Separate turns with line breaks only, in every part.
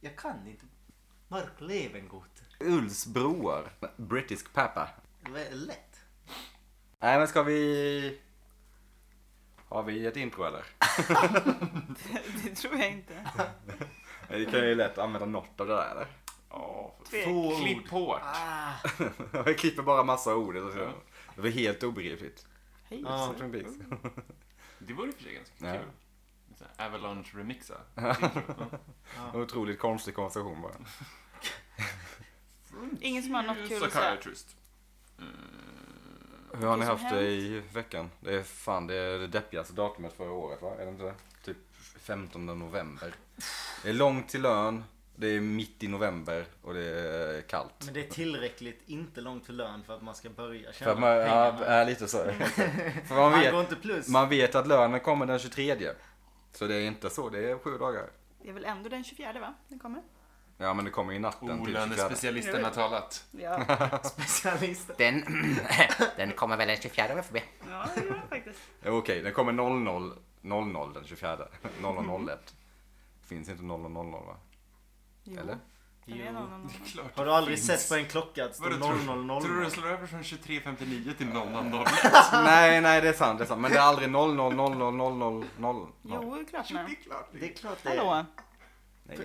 Jag kan inte. Mark Levengood.
Ulsbroar. Brittisk pepper.
Det är Lätt.
Nej men ska vi... Har vi ett intro eller?
Det tror jag inte.
Vi kan ju lätt använda något av det där eller?
Ja,
Tvek.
Två
klipp
ord.
hårt.
Ah,
Jag klipper bara massa ord. och så- Det var helt obegripligt.
Hej.
Ja.
Som en bit.
Det vore i och för sig ganska
Ja.
kul. Så här, Avalanche remixa. intro. Ja.
En Otroligt konstig konversation bara.
Mm.
Ingen som har något kul att säga.
Psychiatrist.
Hur har ni
Vad är det som
haft det i veckan? Det är fan det, är det deppigaste datumet förra året va? Är det inte det? Typ 15 november. Det är långt till lön, det är mitt i november och det är kallt.
men det är tillräckligt inte långt till lön för att man ska börja
För
tjäna
att man, ja,
pengarna.
är lite så. För
Man
man
går
vet,
inte plus.
man vet att lönen kommer den 23. Så det är inte så, det är sju dagar.
Det är väl ändå den 24 va? Den kommer?
Ja men det kommer ju natten till 24.
Eh, Olönespecialisten har talat.
Ja,
Specialist.
Den, den kommer väl den 24 om jag får be.
ja det gör den faktiskt.
Okej, den kommer 00, 00 den 24. 0001. Finns inte 0000 va?
Jo.
Eller?
Den är
Jo.
någon annan.
Det är klart
Har du
det
aldrig
finns.
sett på en klocka att det står
Vadå, tror,
0000?
tror du den slår över från 23.59 till 00.00?
nej, nej det är sant, det är sant. Men det är aldrig 00000000.
Jo, det är klart den är.
är klart
Det är klart det är.
Hallå.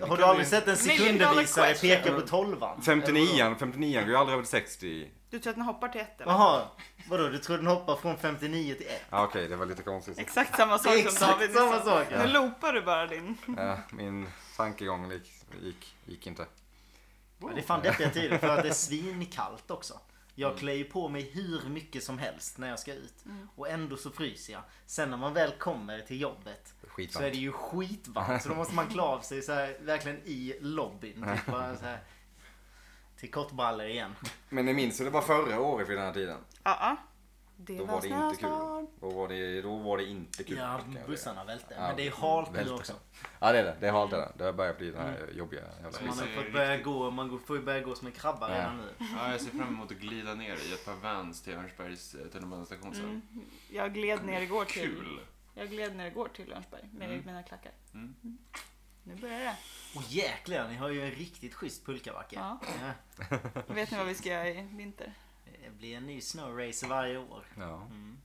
Har du aldrig sett en sekundervisare
question.
peka på tolvan?
59 59 går ju aldrig över till 60.
Du tror att den hoppar till ett eller?
Jaha, vadå du tror den hoppar från 59 till 1?
Ja, Okej, det var lite konstigt.
Exakt samma sak som
Exakt
David
samma
nyss sa.
sak, ja.
Nu loopar du bara din.
Ja, min tankegång gick, gick, gick inte.
Ja, det är fan deppiga tider för att det är svinkallt också. Jag
Mm.
klär ju på mig hur mycket som helst när jag ska ut. Och ändå så fryser jag. Sen när man väl kommer till jobbet så
Skitvarmt.
är det ju skitvarmt. Så då måste man klä av sig så här, verkligen i lobbyn. Typ bara så här, till kortbrallor igen.
Men ni minns hur det var förra året vid den här tiden?
Ja, ja. Det
Då var det inte kul. Då var det, då var det inte
Typ.
kul.
Ja,
kan jag säga.
bussarna välte.
Ja,
Men det är halt nu
välte.
också.
Ja det är det, det är halt det där. Det har börjat bli den
Mm.
här jobbiga jävla
Så
Man
isen.
har
Det är
fått börja gå, man går- får ju börja gå som en krabba
Ja.
redan nu.
Ja, jag ser fram emot att glida ner i ett par vans till Örnsbergs eh, tunnelbanestation sen.
Mm. Jag gled ner igår till,
Kul!
jag gled ner igår till Lönsberg med
Mm.
mina klackar.
Mm.
Mm. Nu börjar det.
Och jäklar, ni har ju en riktigt schysst pulkabacke.
Ja.
Ja.
Vet ni vad vi ska göra i vinter?
Det blir en ny snowracer varje år.
Ja.
Mm.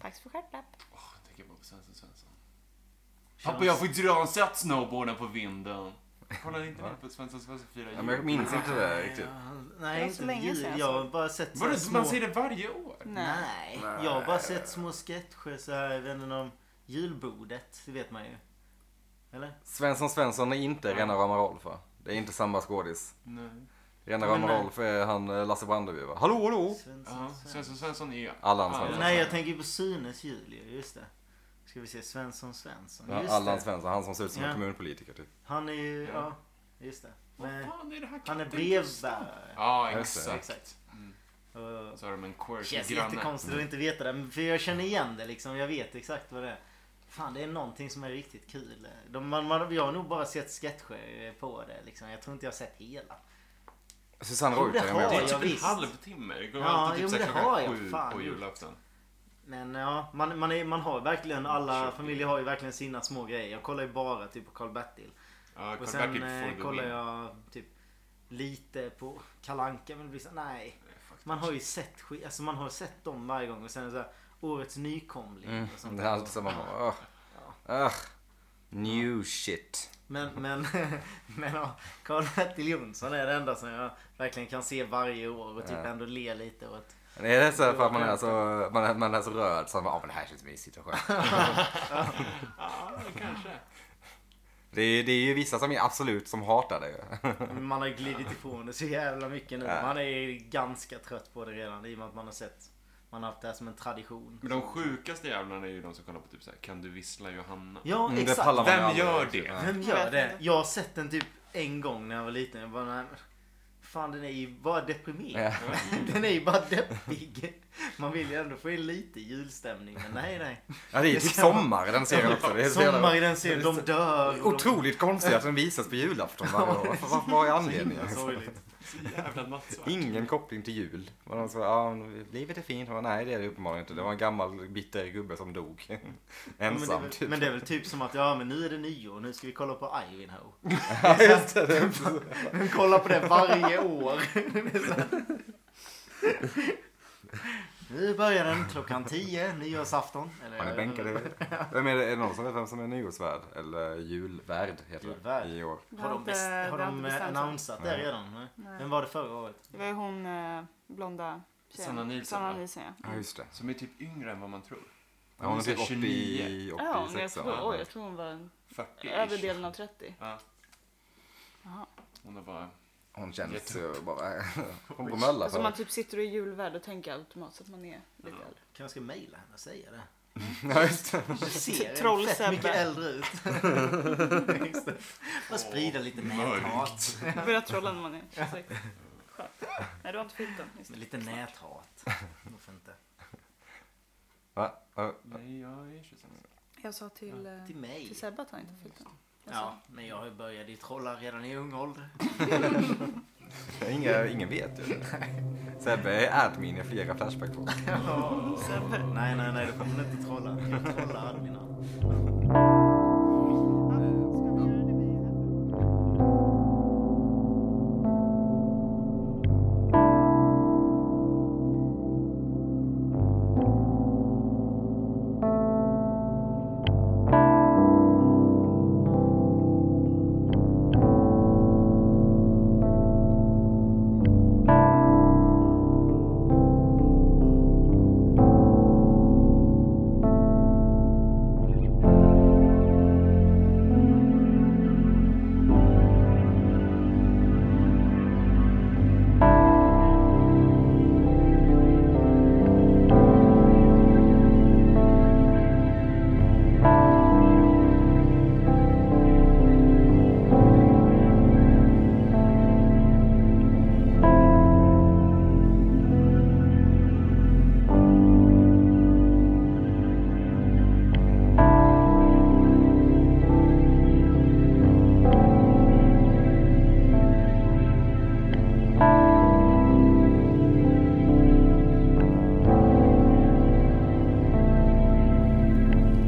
Pax för stjärtlapp.
Åh, jag tänker bara på Svensson Svensson. Pappa, jag får ju dra en sätt snowboarden på vinden. Kollade inte ni på Svensson Svensson fira
ja men jag
jul?
minns inte det riktigt.
Ja,
Det
Nej,
var så
inte
länge
vi.
sedan alltså.
Jag
jag såg.
har bara sett så
Vadå,
här små...
man ser det varje år?
Nej.
Nej. jag har bara sett små sketcher så här, jag vet inte om julbordet, det vet man ju. Eller?
Svensson Svensson är inte Rena Rama Rolf va? Det är inte samma skådis.
Nej.
Rena
Men
Rama
nej.
Rolf är han eh, Lasse Brandeby va? Hallå hallå!
Svensson,
Oh,
Svensson.
Ja, Svensson Svensson är ju...
Allan
Ja,
Svensson.
Nej, jag tänker på Sunes jul ju, just det. Ska vi se, Svensson Svensson.
Ja,
Just
Allan
det.
Svensson, han som ser ut som en
Ja.
kommunpolitiker typ.
Han är ju,
Ja.
ja, just det.
Vad
Men,
fan är det här
han är
katten-
brevbärare.
Ja,
Just det.
exakt.
Exakt.
Mm.
Och-
Så har de en
Det
quirky
känns
granne.
jättekonstigt att inte veta det, men för jag känner igen det liksom. Jag vet exakt vad det är. Fan, det är någonting som är riktigt kul. De, man, man, jag har nog bara sett sketcher på det liksom. Jag tror inte jag har sett hela.
Susanne
Jo, det
Reuter är
har
med
Det
jag.
va?
är typ en
visst.
halvtimme. Det går
Ja,
alltid
jo,
typ så här
men det har
klockan
jag.
sju
Fan,
på
gjort.
julafton.
Men ja, man, man, är, man har ju verkligen,
Mm,
alla familjer har ju verkligen sina små grejer. Jag kollar ju bara typ på Karl-Bertil.
Ja,
Och
Karl-Bertil
sen
får
eh,
gå
kollar
in.
jag typ lite på Kalanka men det blir så, nej. Man har ju sett skit, alltså man har sett dem varje gång och sen så här, årets nykomling
Mm,
och sånt
det är
där.
alltid samma. Ugh. Ugh. New shit.
Men, men, men ja, Karl-Bertil Jonsson är det enda som jag verkligen kan se varje år och typ
Ja.
ändå le lite åt.
Men Är det så här för att man är så, man är, man är så röd så man bara, "Ah, men det här känns mysigt och skönt.
Ja, kanske.
Det är, det är ju vissa som är absolut som hatar det ju.
Men Man har ju glidit ifrån det så jävla mycket nu. Man är ju ganska trött på det redan i och med att man har sett, man har haft det här som en tradition.
Men de sjukaste jävlarna är ju de som kollar på typ såhär, kan du vissla Johanna?
Ja,
Mm, det
exakt.
pallar man
Vem
aldrig.
gör det?
Ja.
Vem
Jag
gör
vet
det?
inte.
Jag har sett den typ en gång när jag var liten. Jag bara, nej, men fan den är ju bara deprimerad. Den är ju bara deppig. Man vill ju ändå få in lite julstämning, men nej, nej.
Ja, det är typ sommar i den serien också. Det är så jävla-
Sommar i den serien, de dör. och de-
Otroligt konstigt att den visas på julafton varje år. Vad- Vad vad är anledningen?
Himla sorgligt.
Så jävla nattsvart.
Ingen koppling till jul. Och de sa, ja, men livet är fint. Jag bara, Nej, det är det uppenbarligen inte. Det var en gammal bitter gubbe som dog.
men, det är
Ensam,
väl,
typ.
men det är väl typ som att ja men nu är det nyår, nu ska vi kolla på Ivanhoe.
Ja, just det. det är precis.
Men kolla på det varje år. Det är så här. Nu börjar den klockan 10, nyårsafton. Eller,
Har ni bänkat er? Vem är det? Är det någon som vet vem som är nyårsvärd? Eller julvärd heter
Julvärd.
det i år.
Vi
Har de,
inte-
best, har
vi
de
inte
eh,
bestämt än.
annonsat det
Nej.
redan? Nej.
Nej.
Vem var det förra året?
Det var ju hon eh, blonda tjejen.
Sanna Nilsson,
Sanna
va?
Nilsson ja.
Ja, just det.
Som är typ yngre än vad man tror.
Ja, hon är typ 80,
29.
Ja, men jag
86
tror,
va?
oj, jag tror hon var
40
över delen av 30.
Ja,
Jaha.
hon har bara...
Hon
Jag
känns
tror-
ju bara... Hon går mölla
Alltså man
för.
typ sitter i julvärld och tänker automatiskt att man är lite
Ja.
äldre.
Kanske ska mejla henne och säga det.
Ja, just det.
Du ser
Troll-Sebbe.
fett mycket äldre ut. Just det. Bara sprida lite
mörkt.
näthat.
Man börjar trolla när man är 26. Skönt. Nej, du har inte fyllt den. Just det.
Lite näthat. Varför inte?
Va? Ja,
Nej, jag är 26.
Jag sa till, eh,
Till mig.
till Sebbe att han inte fyllt den. Jag sa,
Ja, men jag började ju trolla redan i ung ålder.
Inga, ingen vet ju. Sebbe är admin i flera Flashback på.
Sebbe.
Nej, nej, nej, då får man inte trolla. Jag trollar adminan.
Eh,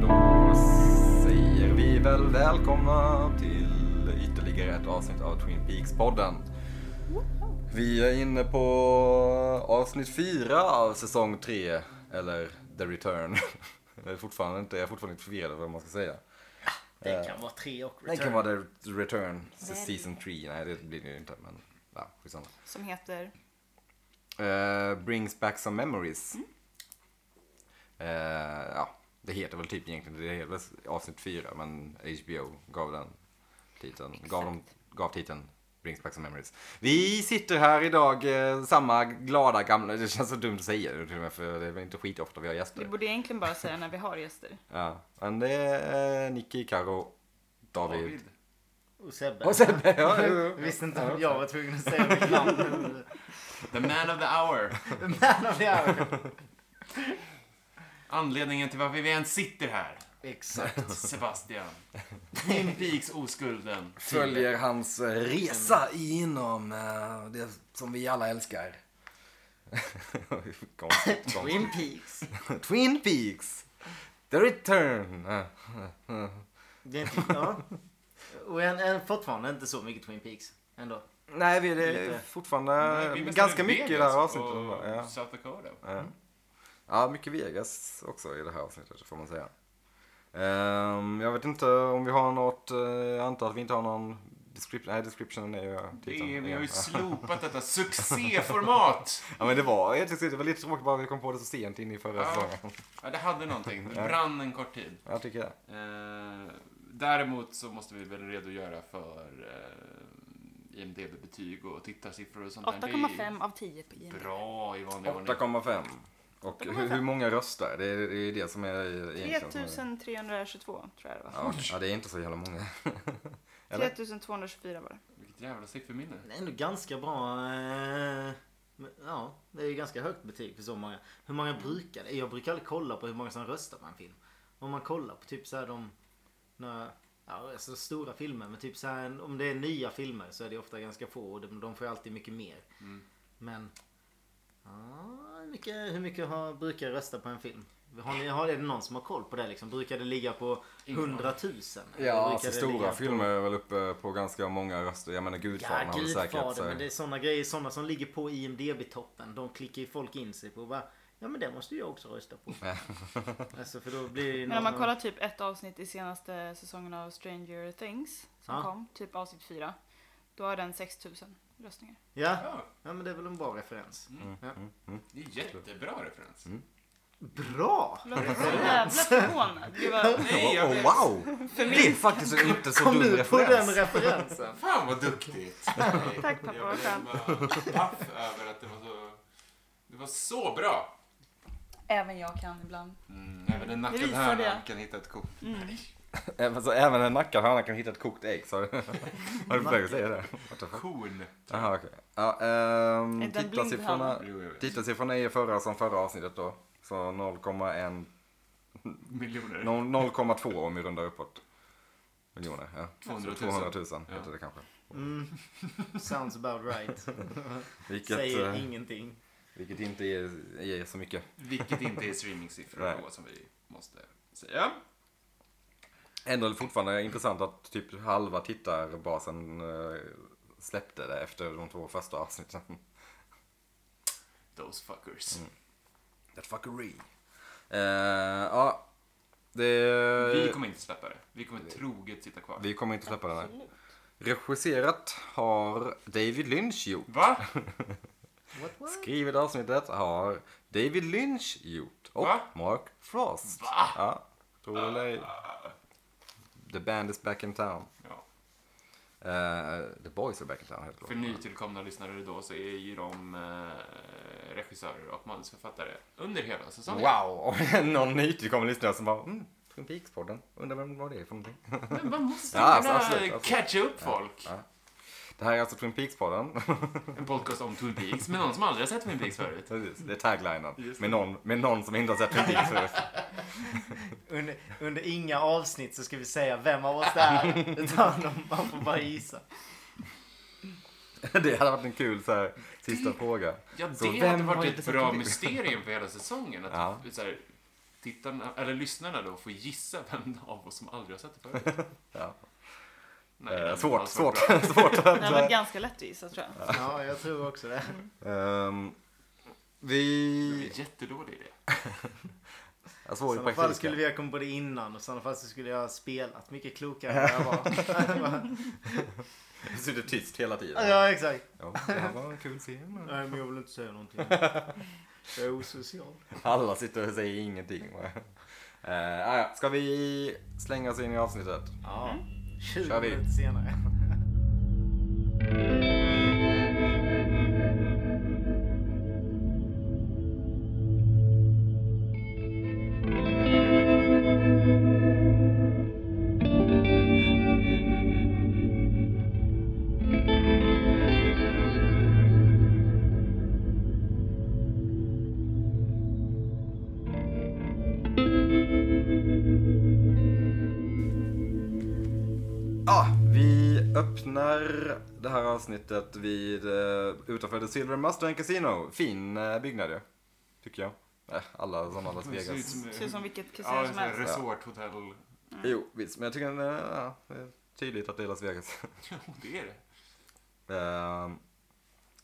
Då säger vi väl välkomna till ytterligare ett avsnitt av Twin Peaks-podden. Vi är inne på avsnitt fyra av säsong tre, eller The Return. Jag är fortfarande inte, jag är fortfarande inte förvirrad över vad man ska säga.
Det kan vara tre och
Det
return.
kan vara The Return, Season 3. Nej, det blir det ju inte, men ja, skitsamma.
Som heter...
Eh, brings back some memories. Eh, ja, det heter väl typ egentligen, det heter väl avsnitt 4 men HBO gav den titeln. Gav, dem, gav titeln Brings back some memories. Vi sitter här idag, eh, samma glada gamla, det känns så dumt att säga det till och med för det är väl inte skitofta vi har
Vi
gäster.
borde egentligen bara säga när vi har gäster.
Ja, men det är eh, Nicky, Karo, David.
David.
Och Sebbe.
Och Sebbe, ja, jo, jo.
Jag visste inte om jag var tvungen att säga mitt namn.
The man of the hour.
Man of the hour.
Anledningen till varför vi ens sitter här.
Exakt.
Sebastian. Twin Peaks oskulden.
Följer hans eh, resa inom eh, det som vi alla älskar. Konstigt, konstigt.
Twin Peaks.
Twin Peaks! The Return! Eh,
Det är inte, ja. Och en, en, fortfarande inte så mycket Twin Peaks. Ändå.
Nej, vi det är
Lite.
fortfarande
Nej, vi är mest
Eh, ganska
i
mycket i det
Vegas
här avsnittet.
och Mm.
Ja.
South Dakota.
Ja. ja, mycket Vegas också i det här avsnittet får man säga. Ehm, jag vet inte om vi har något, eh, jag antar att vi inte har någon description, nej descriptionen är ju titeln
Det är, vi har
igen.
ju slopat detta succéformat.
Ja men det var, jag tyckte det var lite tråkigt bara att vi kom på det så sent in i förra
Ja.
säsongen.
Ja, det hade någonting. Det brann en kort tid.
Jag tycker det.
Eh, däremot så måste vi väl redogöra för eh, IMDB-betyg och tittarsiffror och sånt där. Det är
8,5 av 10 på IMDb.
Bra i vanlig ordning.
8,5. Och hur, hur många röstar? Det är det är det som är egentligen... som är-
3322 tror jag det var.
Ja, ja, det är inte så jävla många. Eller?
3224 var det.
Vilket jävla sifferminne.
Det är ändå ganska bra. eh, men, Ja, det är ju ganska högt betyg för så många. Hur många brukar det? Jag brukar aldrig kolla på hur många som röstar på en film. Om man kollar på typ så här de... När, Ja, så stora filmer. Men typ så här, en- om det är nya filmer så är det ofta ganska få. Och de, de får ju alltid mycket mer. Men... Ja, hur, mycket, hur mycket har, brukar jag rösta på en film? Har, ni, har är det någon som har koll på det liksom? Brukar det ligga på 100 000? Eller
Ja,
brukar
alltså
det
stora
ligga på-
filmer är väl uppe på ganska många röster. Jag menar Gudfadern
Ja,
har väl säkert...
Gudfadern.
så-
Men det är sådana grejer. Sådana som ligger på IMDB-toppen. De klickar ju folk in sig på. och Bara, ja, men det måste jag också rösta på. alltså, för då blir det ju
Men om
någon-
man kollar typ ett avsnitt i senaste säsongen av Stranger Things som
Ja.
kom, typ avsnitt fyra. Då har den 6000 röstningar.
Ja.
Ja,
ja, men det är väl en bra referens.
Mm.
Ja.
det är jättebra referens.
Bra!
Låter så jävla förvånad. Gud vad...
Nej,
Åh,
jag
åh,
vet.
oh, wow! Det är faktiskt en inte så
Kom
dum
du på den
referens.
referensen?
Fan vad duktigt.
Tack, pappa,
Jag
vad
blev bara paff över att det var så... Det var så bra.
Även jag kan ibland.
Mm, även en
Det
nackad
visar
höna
det.
kan hitta ett kort. Nej.
Även, så, Eh, även en nackad höna kan hitta ett kokt ägg. Så. Var du på väg att säga det? What the fuck?
Kon.
Jaha, okej. Ja, ehm,
Är det en blind
tittarsiffrorna,
hand?
Jo, jag vet.
tittarsiffrorna är förra som förra avsnittet då. Så 0,1...
Miljoner.
0,2 om vi rundar uppåt. Miljoner, ja.
200 000.
200 000
Ja.
heter det kanske.
Mm. Sounds about right.
Vilket,
Säger
eh,
ingenting.
vilket inte ger, ger så mycket.
Vilket inte är streamingsiffror
Nej.
då som vi måste säga.
Ändå är det fortfarande intressant att typ halva tittarbasen eh, släppte det efter de två första avsnitten.
Those fuckers.
That fuckery. Eh, ja, det...
Vi kommer inte släppa det. Eh, Vi kommer troget sitta kvar.
Vi kommer inte släppa den här. Regisserat har David Lynch gjort.
Va?
What, what?
Skrivit avsnittet har David Lynch gjort. Och
Va?
Mark Frost.
Va?
Ja, tror det eller ej. The band is back in town.
Ja.
Eh, the boys are back in town, helt klart.
För nytillkomna lyssnare då så är ju de eh, regissörer och manusförfattare under hela säsongen.
Wow! Och någon nytillkommen lyssnare som bara mm, Twin Peaks-podden. Undrar vem var det är för någonting.
Men man måste
Ja,
ja,
alltså,
kunna
absolut, absolut.
catcha upp folk.
ja. Det här är alltså Twin Peaks-podden.
En podcast om Twin Peaks med någon som aldrig har sett Twin Peaks förut.
Precis, det är taglinen.
Just det.
Med någon, med någon som inte har sett Twin Peaks förut.
Under, under inga avsnitt så ska vi säga vem av oss det är. Utan de- man får bara gissa.
Det hade varit en kul så här, sista fråga.
Ja, det
Så
hade
vem har
varit
inte
ett
sett
bra
Twin Peaks?
mysterium för hela säsongen. Att typ
Ja.
så här, tittarna, eller lyssnarna då får gissa vem av oss som aldrig har sett det förut.
Ja.
Nej,
Eh,
det hade
svårt,
inte alls varit
svårt.
bra.
Det har varit ganska lätt att gissa tror jag.
Ja, jag tror också det.
Ehm,
Det
vi...
är en jättedålig idé.
Jag
I
svor i
sådana fall
praktiken.
skulle vi ha kommit på det innan och i sådana fall så skulle jag ha spelat mycket klokare än vad jag var.
Vi sitter tyst hela tiden.
ja, exakt.
Ja, det här var en kul scen.
Nej, men jag vill inte säga någonting. Jag är osocial.
Alla sitter och säger ingenting. Eh, ah, ja. Ska vi slänga oss in i avsnittet?
Ja, 20
Kör vi.
Mm. minuter senare.
Ja, vi öppnar det här avsnittet vid eh, utanför The Silver Mustang Casino. Fin eh, byggnad ju, tycker jag. Eh, alla sådana Las
Det ser ut
Vegas.
som,
Ser ut som vilket
ja,
kasino som
så här
helst.
resorthotell.
Jo, visst, men jag tycker eh, ja, det är tydligt att det är Las Vegas.
Jo, det är det.
Ehm,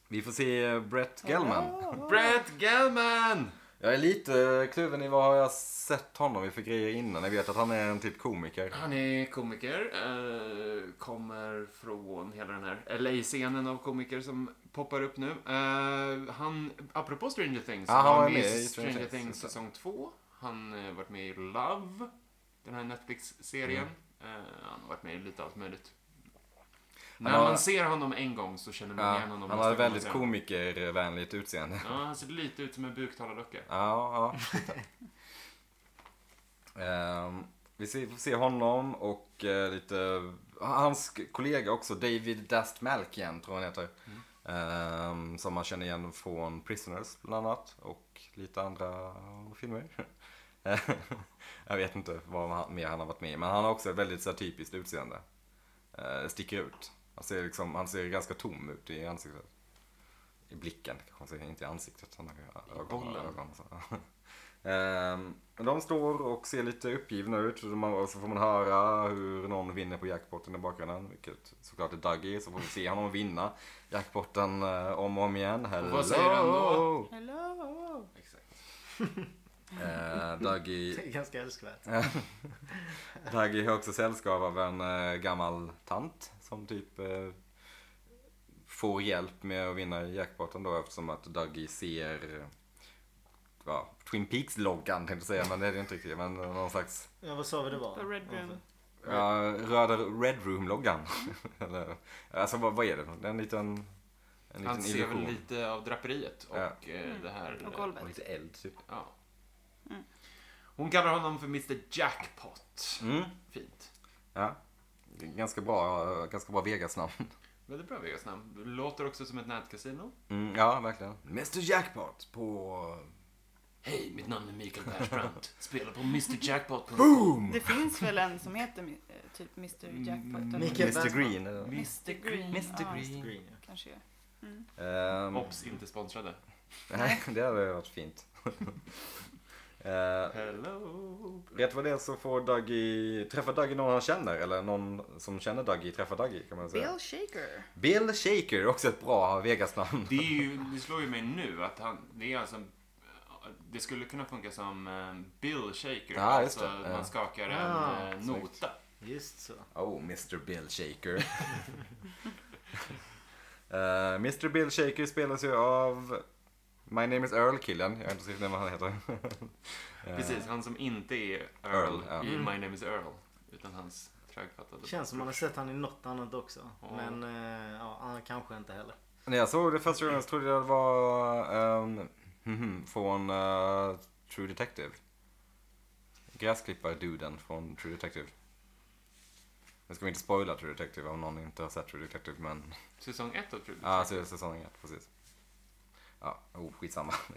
vi får se Brett Gelman.
Brett Gelman!
Jag är lite kluven i vad har jag sett honom i för grejer innan. Jag vet att han är en typ komiker.
Han är komiker, eh, kommer från hela den här LA-scenen av komiker som poppar upp nu. Eh, han, apropå Stranger Things,
Ja, han var
med
med
i
i Stranger
Stranger
Things,
Things
just det.
säsong 2. Han har varit med i Love, den här Netflix-serien.
Mm.
Eh, han har varit med i lite allt möjligt. När
har-
man ser honom en gång så känner man
Ja,
igen honom.
han
nästa
har
gång
väldigt
man ser honom.
komikervänligt utseende.
Ja, han ser lite ut som en buktalardocka.
Ja, ja. lite. Ehm, vi ser- får se honom och eh, lite... Hans kollega också, David Dast Malkian tror han heter. Ehm, som man känner igen från Prisoners bland annat. Och lite andra filmer. Eh, jag vet inte vad han- mer han har varit med i, men han har också ett väldigt så här, typiskt utseende. Eh, sticker ut. Han ser, liksom, han ser ganska tom ut i ansiktet. I blicken kanske man säger, inte i ansiktet. Han har ju
I
ögon,
bollen.
ögon så. Ehm, men de står och ser lite uppgivna ut och man- och så får man höra hur någon vinner på jackpotten i bakgrunden. Vilket såklart är Dougie, så får vi se honom vinna jackpotten eh, om och om igen. Hello!
vad säger han då?
Hello!
Exakt.
Eh, Dougie,
Det är ganska älskvärt.
Dougie har också sällskap av en eh, gammal tant som typ eh, får hjälp med att vinna jackpotten då eftersom att Dougie ser eh, ja, Twin Peaks-loggan tänkte jag säga, men det är det inte riktigt. Men någon slags
Ja, vad sa vi det var?
The Red Room.
ja, röda Red Room-loggan. Eller, alltså vad, vad är det? Det är en liten, en
Han
liten
ser väl
illusion.
lite av draperiet och
Ja.
eh, det här...
Och
Och
golvet.
lite eld typ.
Ja.
Mm.
Hon kallar honom för Mr Jackpot.
Mm.
Fint.
Ja. Det är Ganska bra, ganska bra Vegas-namn.
Väldigt bra Vegas namn. Låter också som ett nätkasino.
Mm, ja, verkligen. Mr Jackpot på
Hej, mitt namn är Mikael Persbrandt. Spelar på Mr Jackpot.
Det finns väl en som heter eh, typ Mr Jackpot? eller-
Mikael
Mr
Bassman.
Green. eller?
Mr Green. Ja,
Green, ja.
Kanske är.
Ehm,
Ops, inte sponsrade.
Nej, det hade varit fint. Ehm,
Hello.
Rätt vad det är så får Dougie, träffar Dougie någon han känner eller någon som känner Dougie träffar Dougie kan man säga.
Bill Shaker.
Bill Shaker, också ett bra Vegas-namn.
Det, är ju, det slår ju mig nu att han, det är alltså det skulle kunna funka som eh, Bill Shaker.
Ja, just
alltså
det.
att
Ja.
man skakar en
Ah,
eh,
snyggt.
nota.
Just så.
Oh, Mr Bill Shaker. Eh, Mr Bill Shaker spelas ju av My name is Earl-killen. Jag vet inte riktigt vad han heter. Eh,
Precis, han som inte är Earl
Earl, ja.
i My name is Earl. Utan hans trögfattade...
Mm. Känns som man har sett han i något annat också.
Ja.
Men eh, ja, han kanske inte heller.
När jag såg det första gången så trodde jag det var ehm, mhm, från eh, True Detective. Gräsklipparduden från True Detective. Nu ska vi inte spoila True Detective om någon inte har sett True Detective men...
Säsong 1 av True Detective.
Ja, ah, säsong 1, precis. Ja, oh, skitsamma.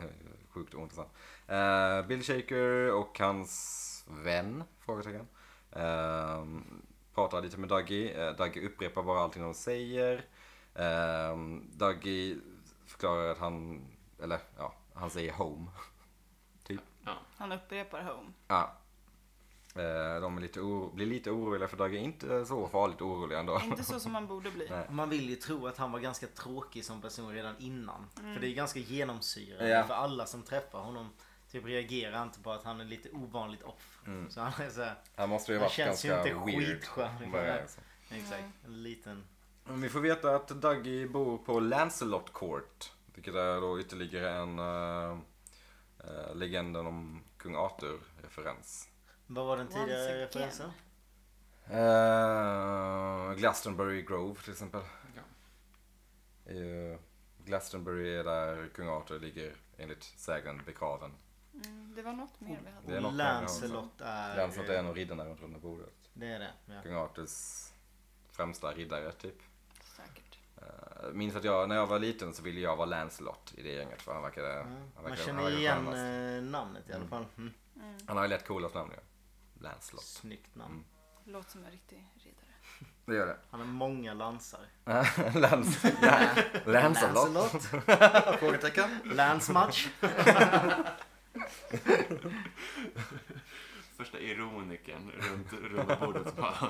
Sjukt ointressant. Eh, Bill Shaker och hans vän, frågetecken. Ehm, pratar lite med Dougie. Eh, Dougie upprepar bara allting de säger. Um, Dougie förklarar att han, eller ja, han säger home. typ.
Ja.
Han upprepar Home.
Ja. Eh, de är lite oro- blir lite oroliga för Dougie är inte så farligt orolig ändå.
Inte så som man borde bli.
Nej.
Man vill ju tro att han var ganska tråkig som person redan innan. För det är ganska genomsyrande
Ja.
för alla som träffar honom. Typ reagerar inte på att han är lite ovanligt off. Så han är såhär.
Han måste ju ha
Han
varit
känns ju
ganska
inte
weird.
skitskön,
från
liksom.
början, alltså.
Exakt. En liten.
Vi får veta att Dougie bor på Lancelot Court. Vilket är då ytterligare en eh, eh, legenden om kung Arthur-referens.
Vad var den
Once
tidigare
again.
referensen?
Eh, Glastonbury Grove till exempel.
Ja.
Eh, Glastonbury är där kung Arthur ligger enligt sägnen begraven.
Mm, det var något mer vi
Det
hade.
är något med
Lancelot är...
Lancelot är en av riddarna runt runda bordet.
Det är det. Ja.
Kung Arthurs främsta riddare typ.
Säkert.
Jag minns att jag, när jag var liten så ville jag vara Lancelot i det gänget för han verkade, han verkade,
Mm. Man
han
känner
verkade
igen
skönast.
eh, namnet i alla fall. Mm.
Han har ju lätt coolast namn ju. Lancelot.
Snyggt
Mm.
namn.
Låter som en riktig riddare.
Det gör det.
Han har många lansar.
Lans, ja. Lancelot?
Lancelot.
Frågetecken?
Lansmatch.
Första ironiken runt runda bordet så bara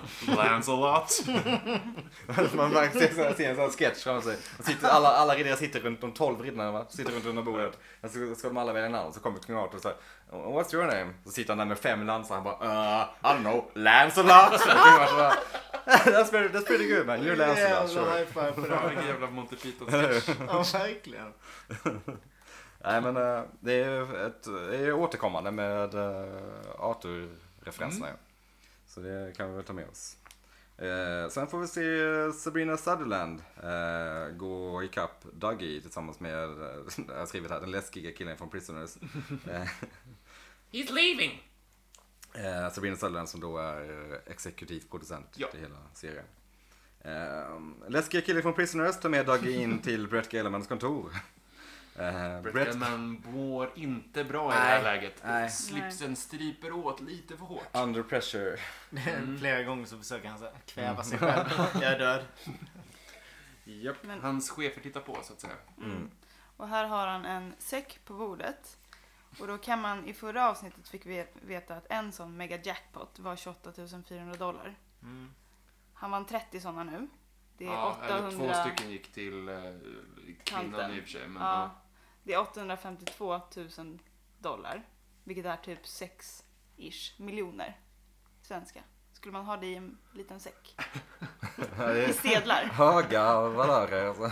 Lancelot.
Man märker ser sån här- ser en sån här sketch framför sig. Och Sitter, alla, alla riddare sitter runt, de tolv riddarna va? sitter runt runda bordet. Och Så ska de alla välja namn. Så kommer kung Arthur och säger "Oh, What's your name? Så sitter han där med fem lansar. Han bara uh, I don't know, Lancelot. Och kung Arthur bara, that's, pretty, that's pretty good man, you're Lancelot
Jävla
sure.
high five på
Bra,
det.
vilken jävla Monty Python-sketch.
Ja, verkligen.
Nej men eh, det är ju ett, det är ju återkommande med eh, Arthur-referenserna. ja. Så det kan vi väl ta med oss. Eh, sen får vi se Sabrina Sutherland eh, gå ikapp Dougie tillsammans med, eh, jag har skrivit här, den läskiga killen från Prisoners. Eh,
He's leaving!
Eh, Sabrina Sutherland som då är eh, exekutiv producent
Ja.
till hela serien. Eh, läskiga killen från Prisoners tar med Dougie in till Brett Gelemans kontor. Eh,
Brett
Brett
Eldman mår inte bra i det
Nej.
här läget.
Nej.
Slipsen stryper åt lite för hårt.
Under pressure. Mm.
Flera gånger så försöker han så här, kväva sig själv. Jag är död.
Japp.
Men-
Hans chefer tittar på, så att säga.
Mm. Och här har han en säck på bordet. Och då kan man, i förra avsnittet fick vi veta att en sån mega jackpot var 28 400 dollar.
Mm.
Han vann 30 sådana nu. Det är
eller
800...
två stycken gick till eh, kvinnan
Tanten.
i och för sig. Men,
Ja, det är 852 000 dollar. Vilket är typ 6-ish miljoner svenska. Skulle man ha det i en liten säck?
Det
I
är
sedlar?
Höga valörer alltså.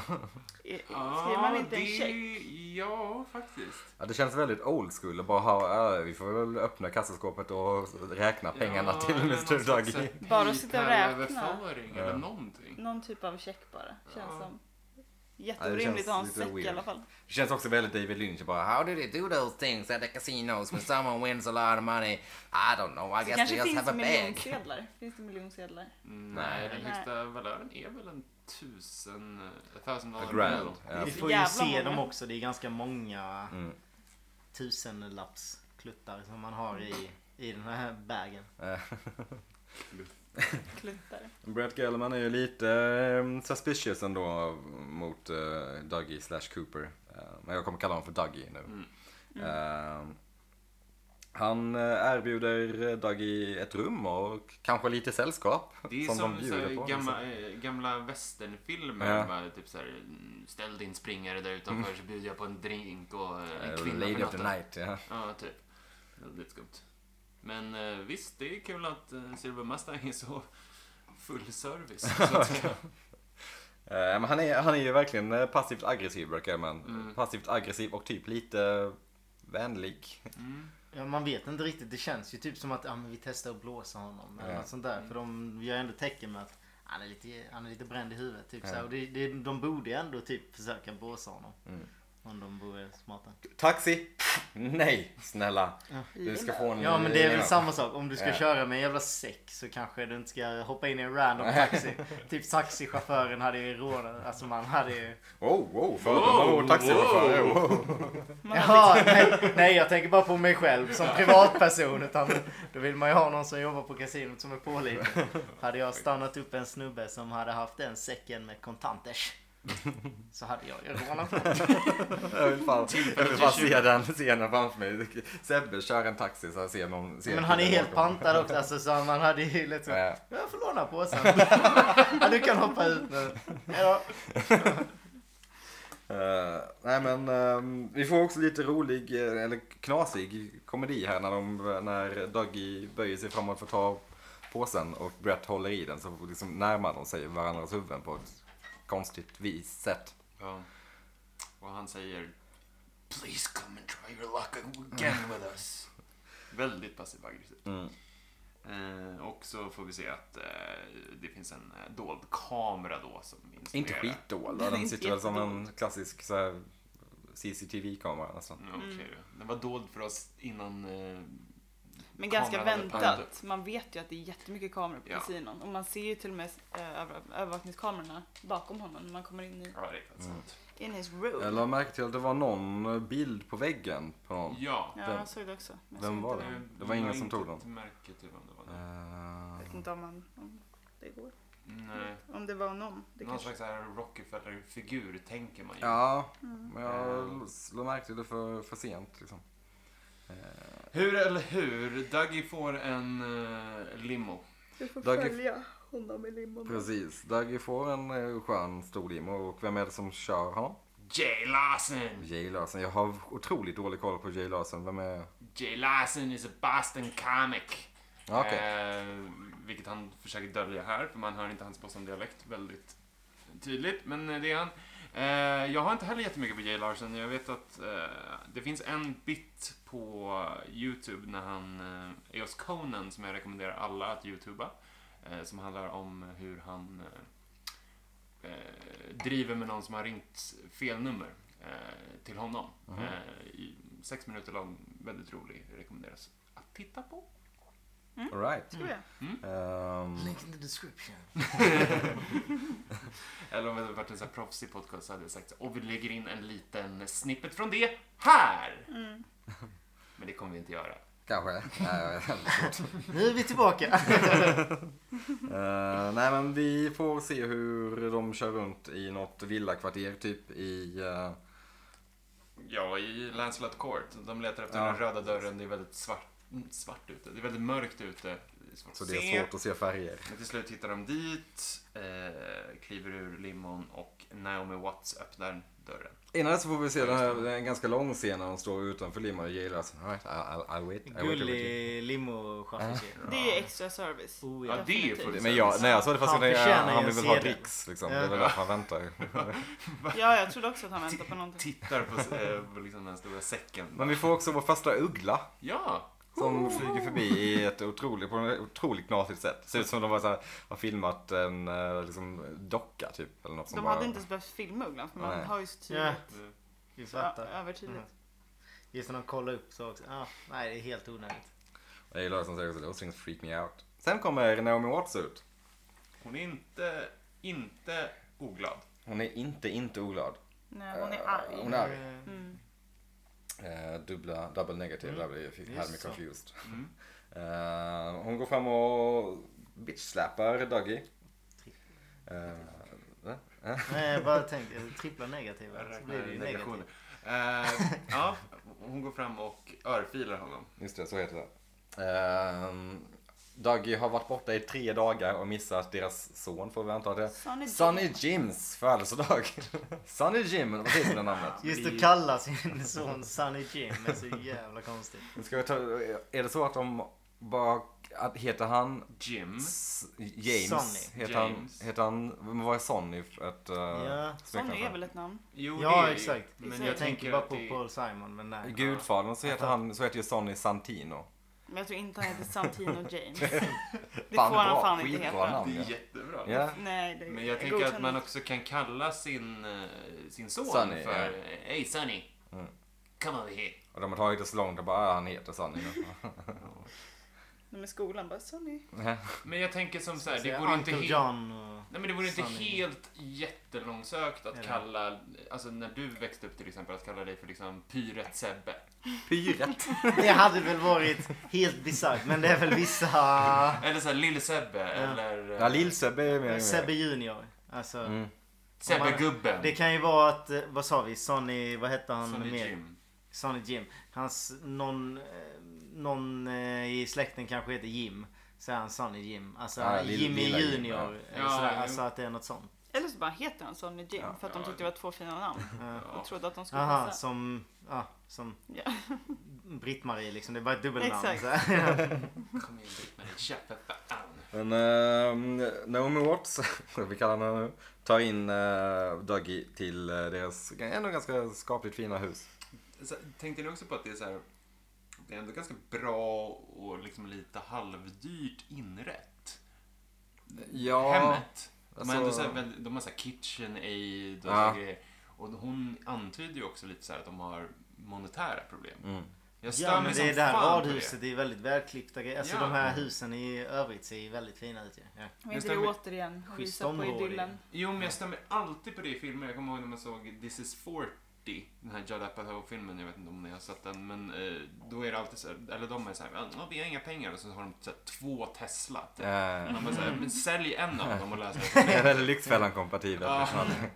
I- i-
ja,
Eh, Skriver man inte en
Ah, det-
check?
Ja, faktiskt.
Ja, det känns väldigt old school att bara ha, ja, vi får väl öppna kassaskåpet och räkna pengarna
ja,
till
eller någon
Mr
slags
Dougie.
Bara att sitta och räkna.
hyperöverföring
Ja.
eller någonting.
Någon typ av check bara, känns
Ja.
som. Jätteorimligt att ha en
känns lite
säck i
weird.
alla fall.
Det känns också väldigt David Lynch bara How do they do those things at the casinos when someone wins a lot of money? I don't know, I guess
Det
they
kanske
just
finns
have a bag.
miljonsedlar. Finns det miljonsedlar?
Mm, Nej, den
Nej.
högsta valören är väl en tusen... eh, A thousand
A
dollar
grand.
bill.
Ja.
Vi
så
får ju
jävla
se
många.
dem också. Det är ganska många
Mm.
tusenlappskluttar som man har i, i den här bagen.
Eh.
Kluttar.
Brett Gelman är ju lite eh, suspicious ändå mot eh, Dougie slash Cooper. Eh, men jag kommer kalla honom för Dougie nu.
Mm.
Eh, han eh, erbjuder Dougie ett rum och kanske lite sällskap.
Det är
Som
som,
de
så
bjuder
här,
på, liksom.
gamla, eh, gamla westernfilmer.
Ja.
med Typ så här, mm, ställ din springare där utanför så bjuder jag på en drink och eh, en
Eh,
kvinna
Lady
för
of the
natten.
night, ja.
Ja, typ. Väldigt skumt. Men eh, visst, det är kul att eh, Silver Mustang är så full service. Så att säga.
Eh, men han, är, han är ju verkligen eh, passivt aggressiv, Brett Gelman.
Mm.
Passivt aggressiv och typ lite vänlig.
Mm.
Ja, man vet inte riktigt. Det känns ju typ som att ja, men vi testar att blåsa honom. Eller
Ja.
något sånt där. För de gör ändå tecken med att han är lite, han är lite bränd i huvudet. Typ, så här. Och det, det, de borde ju ändå typ försöka blåsa honom. Om de vore smarta.
Taxi! Nej, snälla. Du ska få en...
Ja men det är väl
Ja.
samma sak. Om du ska
Ja.
köra med en jävla säck så kanske du inte ska hoppa in i en random taxi. typ taxichauffören hade ju rånat. Alltså man hade ju...
Wow, wow,
Wow,
fördomar mot taxichaufförer.
wow.
Wow.
Man hade
Jaha, nej, nej jag tänker bara på mig själv som privatperson. Utan då vill man ju ha någon som jobbar på kasinot som är pålitlig. Hade jag stannat upp en snubbe som hade haft en säcken med kontanters. Så hade jag ju rånat honom.
Jag vill fan, jag vill fan se den scenen framför mig. Sebbe kör en taxi så jag ser någon... Ser
Men han är
killen
helt
bakom.
pantad också. Alltså, så man hade ju liksom...
Ja.
Jag får låna påsen. ja, du kan hoppa ut nu. Hejdå.
Eh, nej men ehm, vi får också lite rolig, eh, eller knasig komedi här när, de, när Dougie böjer sig framåt för att ta påsen och Brett håller i den så liksom närmar de sig varandras huvuden på ett konstigt vis sätt.
Ja. Och han säger Please come and try your luck again with us. Mm. Väldigt passiv aggressiv.
Mm.
Eh, och så får vi se att eh, det finns en eh, dold kamera då som
Inte
installerar.
skitdålig,
Den är
den
inte
sitter väl som en
jättedålig.
klassisk så här, CCTV-kamera nästan.
Mm, Okej då. Den var dold för oss innan... Eh,
Men ganska
kameran hade
väntat.
pantat.
Man vet ju att det är jättemycket kameror på
Ja.
kasinon. Och man ser ju till och med eh, över- övervakningskamerorna bakom honom när man kommer in i
ja, det är faktiskt
Mm.
sant.
in his room.
Jag lade märke till att det var någon bild på väggen på någon.
Ja.
Ja,
Vem-
jag såg det också. Men jag
vem
såg
var
inte
det?
Eh,
Det var ingen
jag
som
inte
tog dem.
ett märke till vem det var. Nej.
Jag vet
Eh,
inte om, man, om det går.
Nej.
Om det var någon. Det
Någon
kanske...
slags så här Rockefeller-figur tänker man ju.
ja,
Mm.
men jag lade märke till det för, för sent liksom.
Hur eller hur, Dougie får en eh, limo.
Du får
Dagge-
följa honom i limon.
Precis. Dagge får en eh, skön stor limo och vem är det som kör honom?
Jay Larson!
Jay Larson. Jag har otroligt dålig koll på Jay Larson. Vem är...
Jay Larson is a Boston comic.
Ja, Okej.
Eh, vilket han försöker dölja här, för man hör inte hans Boston-dialekt väldigt tydligt. Men eh, det är han. Eh, jag har inte heller jättemycket på Jay Larson. Jag vet att eh, det finns en bit på YouTube när han eh, är hos Conan, som jag rekommenderar alla att YouTuba. Eh, som handlar om hur han eh, eh, driver med någon som har ringt fel nummer eh, till honom.
Mhm.
Eh, i, sex minuter lång, väldigt rolig, rekommenderas att titta på.
Alright.
Ska vi göra?
Ehm,
Link in the description.
Eller om det hade varit en så här proffsig podcast så hade jag sagt och vi lägger in en liten snippet från det här. Men det kommer vi inte göra.
kanske. Nej, jag vet inte.
Nu är vi tillbaka.
Eh, nej men vi får se hur de kör runt i något villakvarter typ i... eh,
Ja, i Lancelot Court. De letar efter
Ja.
den röda dörren. Det är väldigt svart, mm, svart ute. Det är väldigt mörkt ute. Det är svårt
så
att
det
se.
är svårt att se färger.
Men till slut hittar de dit, eh, kliver ur limon och Naomi Watts öppnar dörren.
Innan dess så får vi se den här den ganska lång scen när de står utanför Lima och gillar sig. Alright, I'll, I'll wait. I wait, I wait.
Gullig limo-chaffis.
Det är extra service.
Oh,
Ja,
ja.
det är ju
Definitivt.
fullt
Men jag, när jag såg det första
Han
gången, jag-
förtjänar ju
han
en
vill väl ha
sedel.
dricks liksom. Det är väl
Ja.
därför han väntar.
Ja, jag trodde också att han väntade på någonting.
Tittar på, eh, på liksom den här stora säcken.
Men vi får också vår första uggla.
Ja!
Som flyger förbi i ett otroligt, på ett otroligt knasigt sätt. Ser ut som de var så här, har filmat en eh, liksom, docka typ. Eller något som
De
bara...
hade inte ens behövt filma ugglan för man
Nej.
har ju så
Ja,
tydligt.
vi
Ja,
fattar.
Mm.
övertydligt.
Just när de kollar upp så också. Ah, nej, det är helt onödigt.
Jag gillar som säger också, those things freak me out. Sen kommer Naomi Watts ut.
Hon är inte, inte oglad.
Hon är inte, inte oglad.
Nej, hon är
Eh,
arg.
Hon är arg.
Eh,
Mm.
Eh, dubbla, double negative,
Mm.
där blir jag
Just
had me
så.
confused.
Mm.
Eh, hon går fram och bitch-slappar Dougie. Eh, va? Eh,
Nej, jag bara tänkte trippla negativa. Så
Jag
blir det ju
räknar negationer.
negativt.
Eh, ja, hon går fram och örfilar honom.
Just det, så heter det. Eh, Dougie har varit borta i tre dagar och missat deras son, får vi anta det.
Sonny Jim.
Sonny Jims födelsedag. Sonny Jim, vad heter det namnet?
Just att kalla sin son Sunny Jim är så jävla konstigt.
Ska vi ta, är det så att de bara, att heter han
Jim.
S- James?
Mm. Sonny.
Heter han,
James.
heter han, men vad är Sonny? för Ett, eh,
Ja.
smeknamn
Sonny
för?
är väl ett namn?
Jo, det är
Ja,
ju-
exakt.
Men
jag,
jag
tänker
tänker
bara
att
på
det...
Paul Simon, men nej.
Gudfadern så heter han, så heter ju Sonny Santino.
Men jag tror inte han heter Santino James. Det
Fan,
får han
bra.
fan inte
Skitbra
heta.
namn.
Det är jättebra.
Ja.
Nej, det
Men jag tänker att man också kan kalla sin, eh, sin son
Sonny,
för
ja. Mm.
Hey Sonny, come over here.
Och de har tagit det så långt och bara, ah, han heter Sonny. nu."
De i skolan bara Sonny.
Men jag tänker som så här, det
Det
vore inte
Uncle
helt...
John och...
Nej men det vore inte
Sonny.
helt jättelångsökt att
Eller?
kalla, alltså när du växte upp till exempel, att kalla dig för liksom Pyret Sebbe.
Pyret.
Det hade väl varit helt bisarrt, men det är väl vissa...
Eller såhär Lille Sebbe, eller eh,
Ja, Lill-Sebbe är mer
Sebbe Junior. Alltså,
Mm.
Sebbe-gubben.
det kan ju vara att, eh, vad sa vi, Sonny, vad hette han
Sonny
mer?
Jim.
Sonny Jim. Hans, någon, eh, någon eh, i släkten kanske heter Jim. Så är han Sonny Jim. Alltså
Ja, lill-
Jimmy
lilla Jim,
Junior.
ja.
eller
Ja,
sådär.
jo.
Alltså att det är något sånt.
Eller så bara heter han Sonny Jim för att de
Ja.
tyckte det var två fina namn.
Ja.
Och trodde att de skulle
Aha,
passa.
som, ja, som
Ja.
Britt-Marie liksom. Det var ett dubbelnamn.
Exakt.
Så här.
Kom igen Britt-Marie, kör för fan.
Men ehm, Naomi Watts, vi kallar henne nu, tar in eh, Dougie till eh, deras ändå ganska skapligt fina hus.
Så, Alltså, tänkte ni också på att det är så här, det är ändå ganska bra och liksom lite halvdyrt inrätt?
Ja,
Hemmet. De, har
alltså-
ändå så här, väldigt- de har så här kitchen aid och
Ja.
så grejer. Och hon antyder ju också lite så här att de har monetära problem.
Mm.
Jag stör
Ja
mig
men
som
det är det här
fan på
radhuset, det är väldigt välklippta grejer. Alltså
Ja.
de här husen i övrigt ser ju väldigt fina ut ju. Ja.
Men
Just
inte det
det, men-
återigen. Hon
Schysst
visar på
område.
idyllen.
Jo, men jag stämmer alltid på det i filmer. Jag kommer ihåg när man såg This is 40, den här Judd Apatow-filmen. Jag vet inte om ni har sett den, men eh, då är det alltid så här, eller de är så här, "Ja, vi har inga pengar och så har de så här, två Tesla. Typ.
Eh,
Man bara så här, men sälj en av dem och lös
det
det.
är väldigt Lyxfällan-kompatibelt.
Ja.
liksom.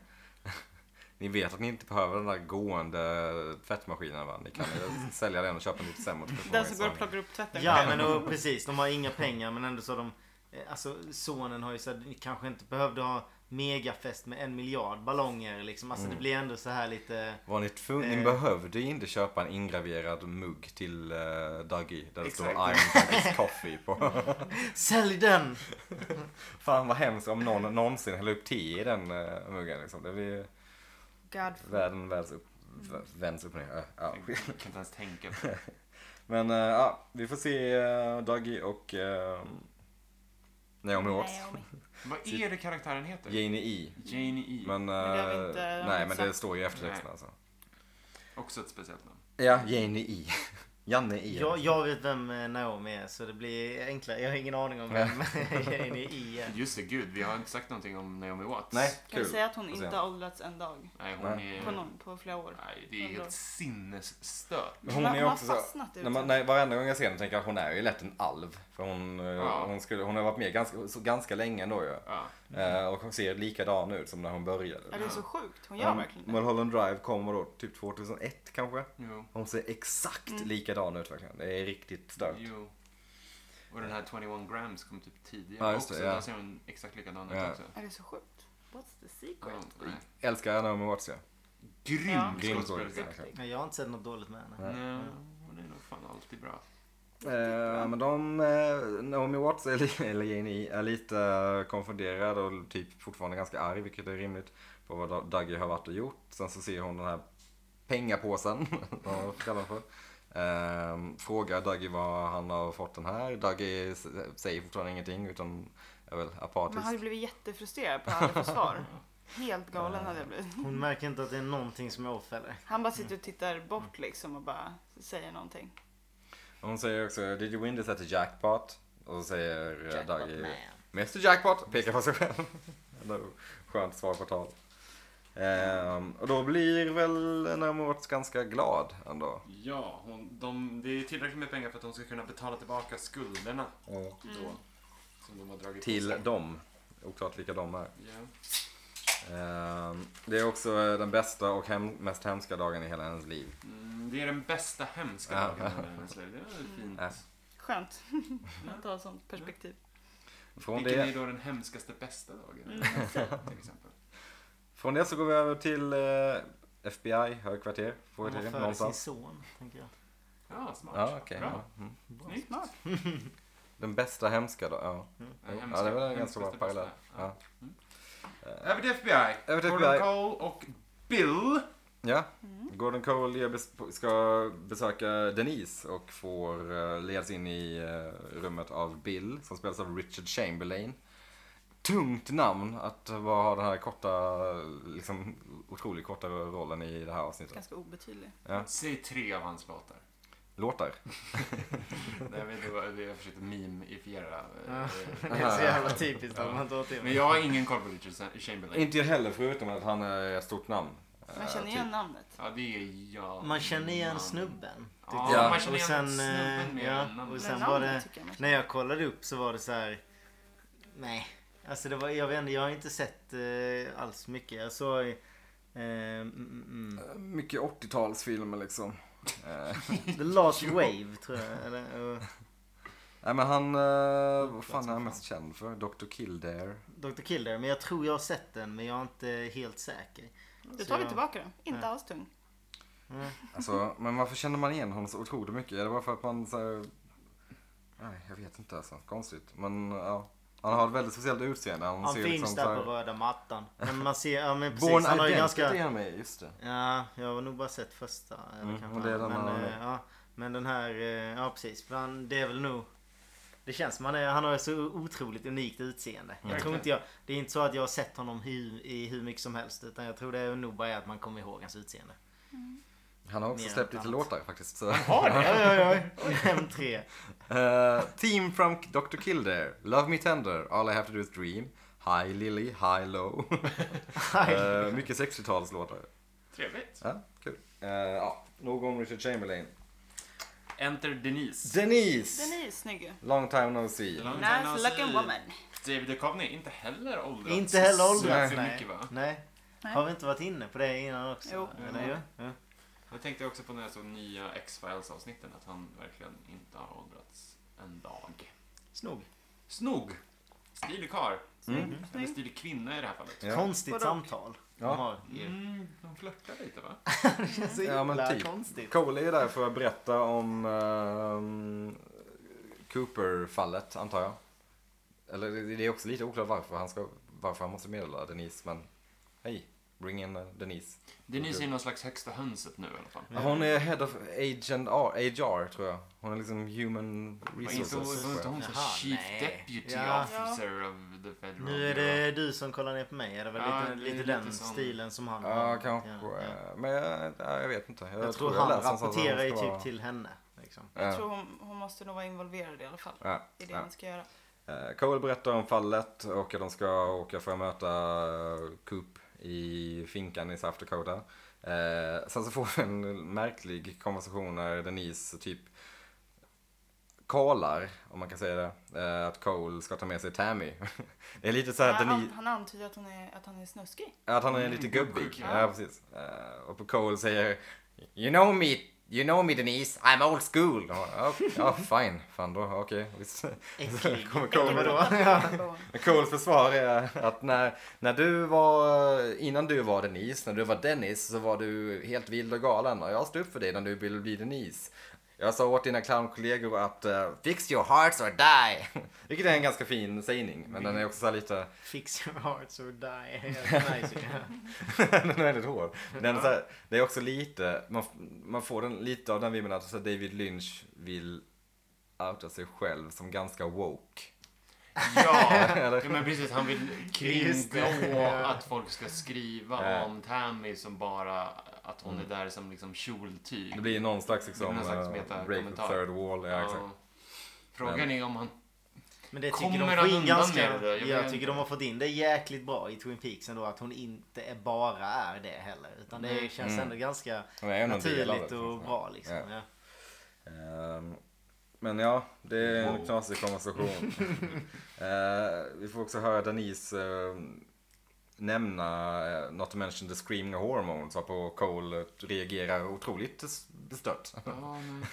Ni vet att ni inte behöver den där gående tvättmaskinen va? Ni kan ju sälja den och köpa en lite sämre.
Den som går och plockar upp tvätten.
Ja men då, precis, de har inga pengar men ändå så har de eh, Alltså sonen har ju såhär, ni kanske inte behövde ha megafest med en miljard ballonger liksom. Alltså
Mm.
det blir ändå så här lite
Var ni tvungna? Ni
Eh.
behövde ju inte köpa en ingraverad mugg till uh, Dougie. Där det står I'm
Exakt.
Dougie's coffee på.
Sälj den!
Fan vad hemskt om någon någonsin häller upp te i den eh, muggen liksom. Det blir
God.
världen världs upp, v- vänds upp och ner. Eh, ja.
Jag kan inte ens tänka på det.
Men eh, ja, vi får se uh, Dougie och uh, Naomi Watts.
Naomi.
Vad är det karaktären heter?
Janie E.
Janie E.
Men, eh,
det har vi inte- det har vi
nej
inte
men det
sagt.
står ju i eftertexten
Nej.
alltså.
Också ett speciellt namn.
Ja, Janie alltså. E. Janne E.
Jag, jag vet vem eh, Naomi är så det blir enklare. Jag har ingen aning om vem Jane i är.
Just det, gud, vi har inte sagt någonting om Naomi Watts.
Nej,
Kan vi
kul.
säga att hon
Får se.
inte har åldrats en dag?
Nej, hon
Nej.
är...
På, någon, på flera år.
Nej, det är helt sinnesstört.
Men Hon
Hon
är
har-
ju
hon
också
har
så,
fastnat i
när man,
det.
nej, varenda gång jag ser henne tänker jag att hon är ju lätt en alv. För hon, eh,
Ja.
hon, skulle, hon har varit med ganska, så, ganska länge ändå ju.
Ja.
Eh, och hon ser likadan ut som när hon började.
Mm. Ja, det är så sjukt. Hon gör
Ja,
verkligen det.
Mm. Mulholland Drive kommer då typ 2001 kanske.
Jo.
Hon ser exakt
Mm.
likadan ut verkligen. Det är riktigt stört.
Jo. Och den här 21 grams kom typ tidigare
Ja, just
också.
det, ja.
Där ser hon exakt likadan ut
Ja.
också.
Ja, det är så sjukt. What's the
Ja,
Mm.
secret?
nej.
Älskar Naomi Watts ja.
Mm.
Grym
Ja.
Grym
skådespelerska.
skådespelerska.
Nej, Jag har inte sett något dåligt med henne.
Nej, hon är nog fan alltid bra.
Eh, men de, eh, Naomi Watts eller, eller Jane E är lite eh, konfunderad och typ fortfarande ganska arg, vilket är rimligt, på vad Doug- Dougie har varit och gjort. Sen så ser hon den här pengapåsen, vad man kallar den för. Eh, frågar Dougie vad han har fått den här. Dougie s- säger fortfarande ingenting utan är väl apatisk.
Man hade blivit jättefrustrerad på alla får svar. Helt galen hade jag blivit.
Hon märker inte att det är någonting som är off heller.
Han bara sitter och tittar bort liksom och bara säger någonting.
Hon säger också Did you win this at the jackpot? Och så säger eh,
Jackpot
Dougie
man.
Mr Jackpot pekar på sig själv. Ändå Skönt svar på tal. Ehm, och då blir väl Naomi Watts ganska glad ändå.
Ja, hon, de, det är tillräckligt med pengar för att hon ska kunna betala tillbaka skulderna. Då, som de har dragit på
Till
sig.
dem. Oklart vilka de är.
Ja.
Ehm, det är också eh, den bästa och hem, mest hemska dagen i hela hennes liv.
Mm, det är den bästa hemska
Ja.
dagen under hennes liv. Det var ju fint.
Ja.
Skönt att ha sånt perspektiv.
Från
Vilken
det,
är då den hemskaste bästa dagen? till exempel.
från det så går vi över till eh, FBI, högkvarter.
Hon
Frågetecken,
föder sin
någonstans.
son, tänker jag.
Ja, smart.
Ja, okej.
Bra.
ja. Mm.
Snyggt.
Den bästa hemska dagen, ja.
Den
Ja,
hemska-
det var en ganska
hemskaste
bra
bästa.
parallell.
Ja.
Ja.
Över till FBI.
Över till
Gordon
FBI.
Cole och Bill.
Ja,
Mm.
Gordon Cole ger bes- ska besöka Denise och får eh, ledas in i eh, rummet av Bill som spelas av Richard Chamberlain. Tungt namn att bara ha den här korta, liksom otroligt korta rollen i det här avsnittet.
Ganska obetydlig.
Ja.
Säg tre av hans låtar.
Låtar.
Nej, men det var, jag försökte mimifiera. eh,
Det är så jävla typiskt att man inte har
Men
till
jag har ingen koll på Richard Chamberlain.
Inte jag heller förutom att han är ett stort namn. Eh,
Man känner
typ.
igen namnet.
Ja, det är jag.
Man känner igen
Man-
snubben. tyckte
Ja,
Ja.
jag.
man känner
Och sen,
igen snubben
eh,
mer
ja,
än namnet.
och
Men
sen var
namnet
det...
tycker jag man känner.
När jag kollade upp så var det så här. Nej. Alltså det var, jag vet inte, jag har inte sett eh, alls mycket. Jag såg... Eh, mm, mm,
typ Mycket 80-talsfilmer liksom. Eh,
mm. The Last Wave tror jag. Eller, eh,
Nej men han, eh, vad fan är han mest känd för? Dr. Kildare.
Dr. Kildare. Men jag tror jag har sett den men jag är inte helt säker.
Då tar vi
Så-
tillbaka den. Inte alls tung.
Alltså, men varför känner man igen honom så otroligt mycket? Är det bara för att man så här... Nej, jag vet inte alltså. Konstigt. Men ja. Han har ett väldigt speciellt utseende. Han,
Han
ser
finns
liksom
där
så här...
på röda mattan. Men man ser, ja men precis.
Born
han har ju
Identity
ganska...
är han med i, just det.
Ja, jag har nog bara sett första. Eller
Mm, och
kanske
det är den
andra,
han har
men,
med.
eh, ja, men den här, eh, ja precis. För han, det är väl nog... Det känns som han, är, han har ett så otroligt unikt utseende. Jag tror
Verkligen.
inte jag, det är inte så att jag har sett honom hur, i hur mycket som helst. Utan jag tror det är nog bara att man kommer ihåg hans utseende.
Han har också
Mer
släppt
än
lite
annat.
låtar faktiskt. Så.
Har det? Oj, oj, oj. M3.
Eh, team from Dr. Kildare. Love Me Tender. All I Have To Do Is Dream. High Lily, High Low. Eh, mycket 60-talslåtar.
Trevligt.
Ja, kul. Eh, ja, nog om Richard Chamberlain.
Enter Denise.
Denise!
Den är snygg ju.
Long time no see.
Long time no
Nice
see.
looking woman.
Mm.
David Duchovny, inte heller åldrats.
Inte heller åldrats.
Så
Nej.
mycket va?
Nej.
Nej.
Har vi inte varit inne på det innan också?
Jo.
Eller, ju? ja.
Jag tänkte också på när jag såg nya X-Files avsnitten att han verkligen inte har åldrats en dag.
Snog.
Snog! Stilig karl.
Mm.
Eller stilig kvinna i det här fallet.
Ja.
Konstigt
Vadå?
samtal. de
Ja.
har.
Mm, de flörtar lite va?
Det känns så
Ja, men
jävla
typ.
konstigt.
Cole är där för att berätta om ehm, Cooper-fallet, antar jag. Eller det det är också lite oklart varför han, ska, varför han måste meddela Denise, men hej, bring in eh, Denise.
Denise är någon slags högsta hönset nu i alla fall.
Ja, Hon är head of agent ah, R, HR, tror jag. Hon är liksom human
Var inte hon-
resources.
var inte
tror jag.
hon så
Jaha,
chief
nej.
deputy
Ja.
officer of the federal
Nu är
Bureau?
det du som kollar ner på mig. Är det väl
Ja,
lite,
det är
lite
lite
den
sån-
stilen som han
Ja,
har?
kanske. eh,
Ja, ja.
Men jag, ja, jag vet inte.
Jag, tror
jag
han
läste någonstans att hon
rapporterar ju
ska
typ
vara-
till henne. liksom. liksom.
Jag
Ja.
tror hon, hon måste nog vara involverad i alla fall.
Ja,
I det
ja.
man ska göra.
Eh, Cole berättar om fallet och att de ska åka för att möta eh, Coop i finkan i South Dakota. Eh, sen så får vi en märklig konversation när Denise typ kallar, om man kan säga det, eh, att Cole ska ta med sig Tammy. Det är lite så här
han,
Denise,
an- han antyder att, hon är, att han är snuskig.
att han är lite gubbig.
Ja.
Ja, precis. Eh, och Cole säger You know me, you know me Denise, I'm old school. Och, Ja, ja, fine. Fan då, okej. visst.
Äcklig.
Kommer Cole med då.
Ja.
Men Coles försvar är att när, när du var, innan du var Denise, när du var Dennis så var du helt vild och galen och jag stod upp för dig när du ville bli Denise. Jag sa åt dina clownkollegor att eh, fix your hearts or die. Vilket är en ganska fin sägning, men den är också så här lite,
Fix your hearts or die. Helt nice. ju.
den är väldigt hård. Den är så här, det är också lite, man, man får den, lite av den vibben att så här, David Lynch vill outa sig själv som ganska woke.
Ja,
Eller?
ja, men precis. Han vill
Just
kringblå
det.
att folk ska skriva
Ja. Mm.
om Tammy som bara att hon är där som liksom kjoltyg.
Det blir någon slags,
Det
liksom,
blir någon slags
eh,
meta-
break the
kommentar.
third wall. Ja,
Ja.
exakt.
Frågan är om han...
Men det tycker
Kommer
de
han
får in
undan
ganska...
med det? Jag
Jag,
vet
tycker
inte.
de har fått in det jäkligt bra i Twin Peaks ändå. Att hon inte är bara är det heller. Utan det
Nej.
känns
Mm.
ändå ganska
Men jag är ändå en del av det,
naturligt och
liksom.
bra liksom.
Ja.
Ja.
Ehm, Men ja, det är en
Wow.
knasig konversation. Eh, vi får också höra Denise eh, nämna eh, Not to mention the screaming hormones varpå Cole reagerar otroligt s- bestört.
Ja, nej.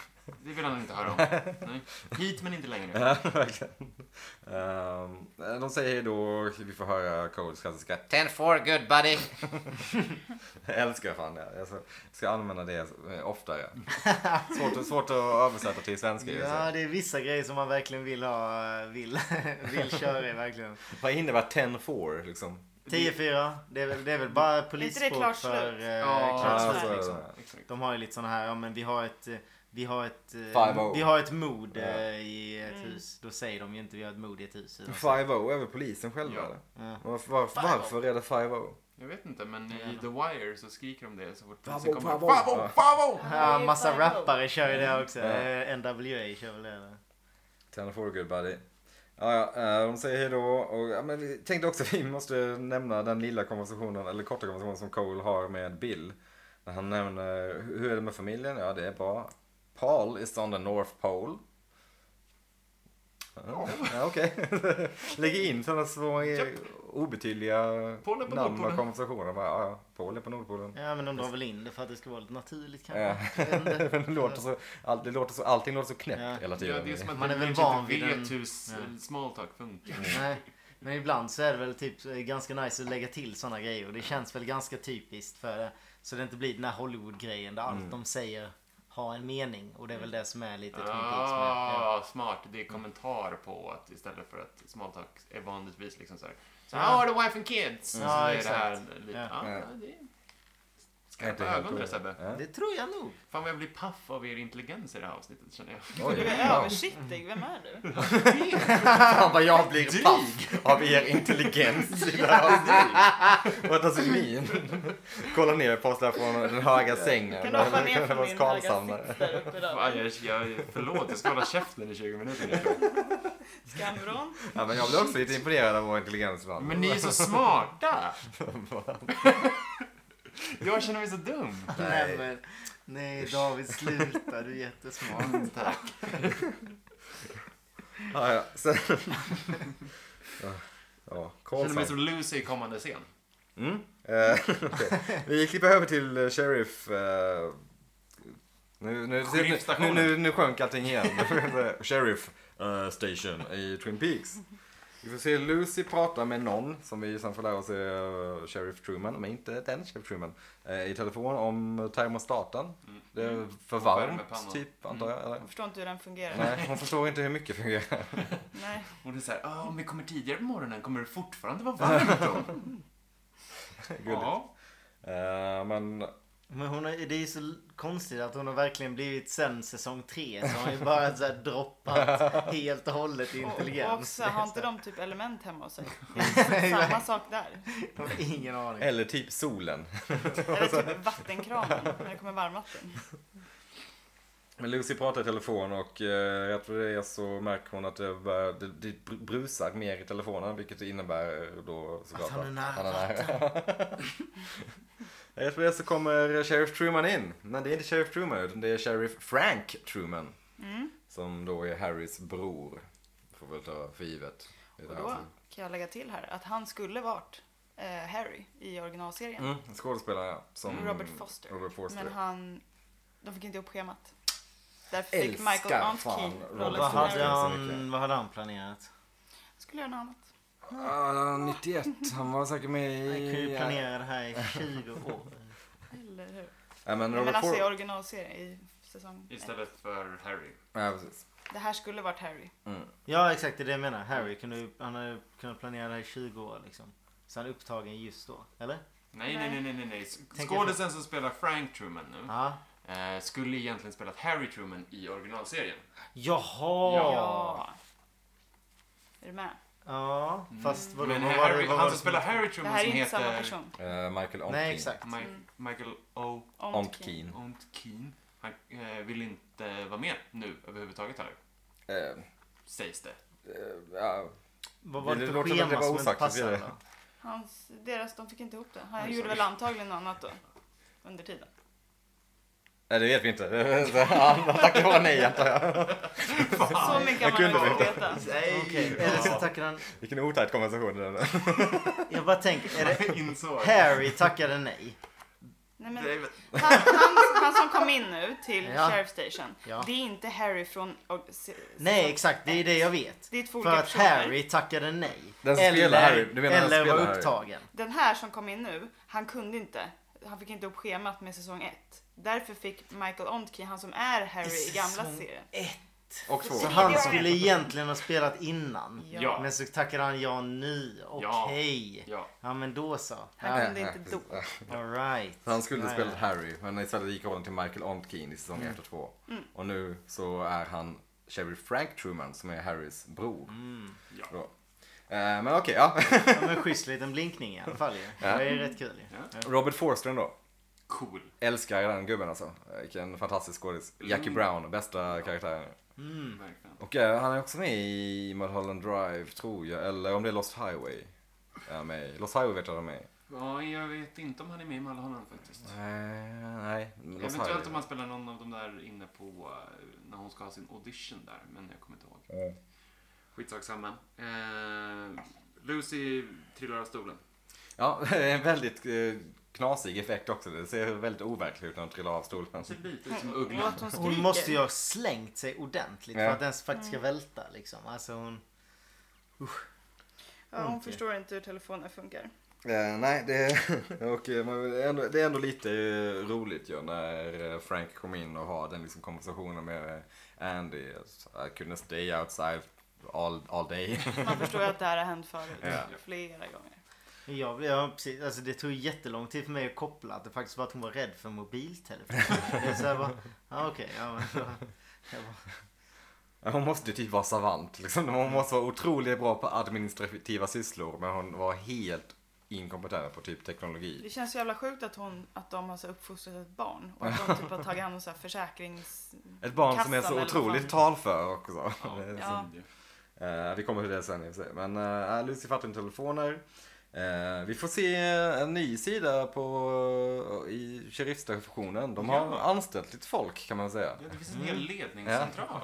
Det vill han inte höra om. Nej. Hit men inte längre.
Ja, verkligen. Ehm, de säger hej då, vi får höra Coles klassiska 10-4 good buddy. jag älskar fan det. Jag ska- ska använda det eh, oftare. Svårt, svårt att översätta till svenska just nu.
Ja, det är vissa grejer som man verkligen vill ha, vill, vill köra i verkligen.
Vad innebär 10-4 liksom?
10-4, det, är väl- det är väl bara polisspråk
klart
för
slut?
eh,
Ja,
klart
så
slut,
är det.
liksom.
Exakt.
De har ju lite såna här, ja men vi har ett eh, vi har ett, eh,
5-0.
vi har ett mord eh,
oh. Ja.
i
Mm.
ett hus. Då säger de ju inte vi har ett mord i ett hus. utan-
5-0 är väl polisen själva
Ja.
eller?
Ja.
Varför, varför, varför är det 5-0?
Jag vet inte, men i
Jävlar.
The Wire så skriker de det så fort
Favo,
polisen kommer.
favo.
Favo, favo!
Ja, massa
5-0.
rappare kör ju det också.
Mm. Ja.
Eh, NWA kör väl det. eller?
10 for good buddy. Ja, ja, eh, de säger hejdå och ja, men vi tänkte också att vi måste nämna den lilla konversationen, eller korta konversationen som Cole har med Bill. När han nämner, hur är det med familjen? Ja, det är bra. Paul is on the North Pole. Ja, ja, okej. Lägg in sådana små eh,
Japp.
obetydliga
Paul är på
namn och
Nordpolen.
konversationer. Bara, ja, ja, Paul är på Nordpolen.
Ja men de drar väl in det för att det ska vara lite naturligt
Ja.
kanske. Jag vet inte.
Men det låter så, all, det låter så, allting låter så knäppt
Ja.
hela tiden.
Ja, det typ är som att
Man är väl
kanske
van
inte
vid
vet
den-
hur s-
Ja.
eh, small talk funkar.
Nej. Men ibland så är det väl typ eh, ganska nice att lägga till såna grejer och det känns väl ganska typiskt för det. Så det inte blir den här Hollywood-grejen där allt de säger har en mening och det är väl det som är lite Twin Peaks med. Ja. Mm.
Ah, smart. Det är kommentar på att istället för att small talk är vanligtvis liksom så här. Så how are the wife and kids?
Mm. Ja,
så är
exakt.
det här lite,
Ja.
ah,
Ja.
ja, det är
Jag är inte
skarpa
helt
ögon där
dum.
Sebbe.
Ja.
Det tror jag nog.
Fan vad jag blir paff av er intelligens i det här avsnittet känner jag.
Oj,
Du är
wow.
översittig, vem är du?
Fan vad jag blir
Dryg.
paff av er intelligens i det här avsnittet. Och att alltså min. Kolla ner på oss där från den höga sängen.
Kan du hoppa ner
Det
från
var
din
Karlshamn
höga
där.
sits där uppe
Fan,
där?
jag, jag, förlåt, jag ska hålla käften i 20 minuter nu.
Skamvrån?
Ja, men jag blir också lite imponerad av vår intelligens ibland.
Men ni är så smarta! Jag känner mig så dum.
Nej.
Nej, men, nej David sluta, du är jättesmart.
Tack.
Ja, ja. Sen... Ja, Ja,
Jag känner mig
Karlshamn.
som Lucy i kommande scen.
Mm. Eh, okej. Vi klipper över till eh, Sheriff. eh, Nu, nu, nu, nu,
Sheriffstationen.
nu, nu sjönk allting igen. sheriff eh, Station i Twin Peaks. Vi får se Lucy prata med någon som vi sen får lära oss är eh, Sheriff Truman, men inte den Sheriff Truman. eh, I telefon om termostaten.
Mm.
Det är för
Och
varmt
värmepannan.
typ antar jag. Eller?
Jag förstår inte hur den fungerar.
Nej, hon förstår inte hur mycket fungerar.
Nej.
Och det är så här, "Ah, om vi kommer tidigare på morgonen kommer det fortfarande vara varmt då.
Gulligt.
ja.
Eh, men
Men hon har, det är ju så konstigt att hon har verkligen blivit sen säsong tre så har hon ju bara så här droppat helt och hållet i
Och
intelligens.
också, har inte de typ element hemma hos sig? Det är samma sak där.
Jag har ingen aning.
eller typ solen.
Eller typ vattenkranen när det kommer varmvatten.
Men Lucy pratar i telefon och eh, rätt vad det är så märker hon att det, börjar, det, det br- brusar mer i telefonen vilket innebär då såklart
han är nära
Rätt vad det är så kommer Sheriff Truman in. Men det är inte Sheriff Truman utan det är Sheriff Frank Truman.
Mm.
Som då är Harrys bror. Får väl ta för givet. i det
Och
här
då
fallet.
kan jag lägga till här att han skulle varit eh, Harry i originalserien.
Mm, en skådespelare ja, som
Mm, Robert Foster.
Robert Foster.
Men han... De fick inte ihop schemat. Därför fick
Älskar
Michael
fan
Arnfkin
Robert
rollen
Vad
Foster.
som Harry.
hade,
jag så
han,
mycket.
vad hade han planerat?
Jag Skulle göra något annat.
Ah, 91, han var säkert med
Han kunde ju
i...
planera det här i 20 år.
Eller hur?
Nej, men
Nej,
Robert
men alltså i
Foster.
originalserien i säsong ett.
Istället för Harry.
Ja, precis.
Det här skulle varit Harry.
Ja exakt, det är det jag menar. Harry kunde ju, han hade ju kunnat planera det här i 20 år liksom. Så han är upptagen just då. Eller?
Nej, nej, nej, nej, nej. nej. Sk-
Tänker
Skådisen som spelar Frank Truman nu
Ja.
eh, skulle egentligen spelat Harry Truman i originalserien.
Jaha! Ja.
Ja. Är du med?
fast vadå?
Men
vad var
Harry,
det, vad var
han
det
som spelar Harry
Det
Truman
här är
som
inte samma
heter
person. Mm.
Eh, Michael Onkin.
Nej exakt.
Mi- Michael O.
Ontkin.
Ontkin.
Ontkeen. Han eh, vill inte vara med nu överhuvudtaget heller,
Eh,
sägs det.
eh, ja.
Vad var
Det
det för
låter som att det
schema
var
som inte
osagt,
passade?
så blir det.
då?
Hans, deras, de fick inte ihop det. Han
Oj,
gjorde
sorry.
väl antagligen något annat då. Under tiden.
Nej, det vet vi inte. Så Han tackade bara nej antar jag.
Så mycket har man
kunde
ändå fått
veta.
veta.
Nej!
Okej, eller så tackade han...
Vilken otajt konversation det där.
Jag bara tänker, är det...
Insåg.
Harry tackade nej.
Nej, men
Det är-
han, han, han som kom in nu till
Ja.
Sheriff Station.
Ja.
Det är inte Harry från... och- se-
Nej
säsong
exakt, det är det jag vet.
Det är två olika
För att
personer.
Harry tackade nej.
Den som spelar Harry, du menar den som
eller
spelar
var
Harry?
upptagen.
Den här som kom in nu, han kunde inte. Han fick inte upp schemat med säsong 1. Därför fick Michael Ontke, han som är Harry i, gamla
säsong
serien.
Ett.
Och två.
Så han skulle egentligen ha spelat innan.
Ja.
Ja.
Men så tackade han ja nu. Okej. Ja.
Ja.
men då så.
Han
Ja,
kunde inte då.
Alright.
Så han skulle
Ja,
spelat
ja.
Harry, men istället gick rollen till Michael Ontkin i säsong 1 och 2. Och nu så är han Sheriff Frank Truman som är Harrys bror.
Ja.
Då. Eh, men okej, ja.
Ja, men schysst liten blinkning i alla fall ju. Det är ju rätt kul ju.
Robert Forster då.
Cool.
Älskar den gubben alltså. Vilken fantastisk skådis. Jackie Brown, bästa karaktären.
Mm.
Verkligen.
Och eh, han är också med i Mulholland Drive tror jag, eller om det är Lost Highway. Är han med i. Lost Highway vet jag att han är med i.
Ja, jag vet inte om han är med i Mulholland faktiskt.
Eh, Nej, Lost
Eventuellt om
Highway.
han spelar någon av de där inne på eh, när hon ska ha sin audition där, men jag kommer inte ihåg.
Mm.
Skitsak samma. Eh, Lucy trillar av stolen.
Ja, en väldigt eh, knasig effekt också. Det ser väldigt overkligt ut när de trillar av stolen.
Hon ser lite ut som
Och
Ugglan.
att hon skriker. Mm.
Hon måste ju ha slängt sig ordentligt för
Ja.
att ens faktiskt ska välta liksom. Alltså hon...
ja, hon
ont i.
förstår inte hur telefonen funkar.
Eh, nej, det, och, eh, man vill ändå, det är ändå lite eh, roligt ju när eh, Frank kom in och har den liksom, konversationen med eh, Andy. I couldn't stay outside all, all day.
Man förstår ju att det här har hänt förut.
Ja.
Flera gånger.
Jag, blev- ja, precis, alltså det tog jättelång tid för mig att koppla att det faktiskt var att hon var rädd för mobiltelefon. Det är så jag bara, ja okej. ja, men då- jag bara,
Hon måste ju typ vara savant. Liksom. Hon måste vara otroligt bra på administrativa sysslor men hon var helt inkompetent på typ teknologi.
Det känns så jävla sjukt att, hon, att de har så här uppfostrat ett barn. Och att de typ har tagit hand om så här försäkrings...
Ett barn som är
Kassan
så
eller
otroligt talför också. Det är
Ja.
Eh, vi kommer till det sen i och för sig. Men eh, Lucy fattar inte telefoner. Eh, vi får se en ny sida på, eh, i sheriffstationen. De har
Ja.
anställt lite folk kan man säga.
Ja, det finns en
Mm.
hel ledningscentral.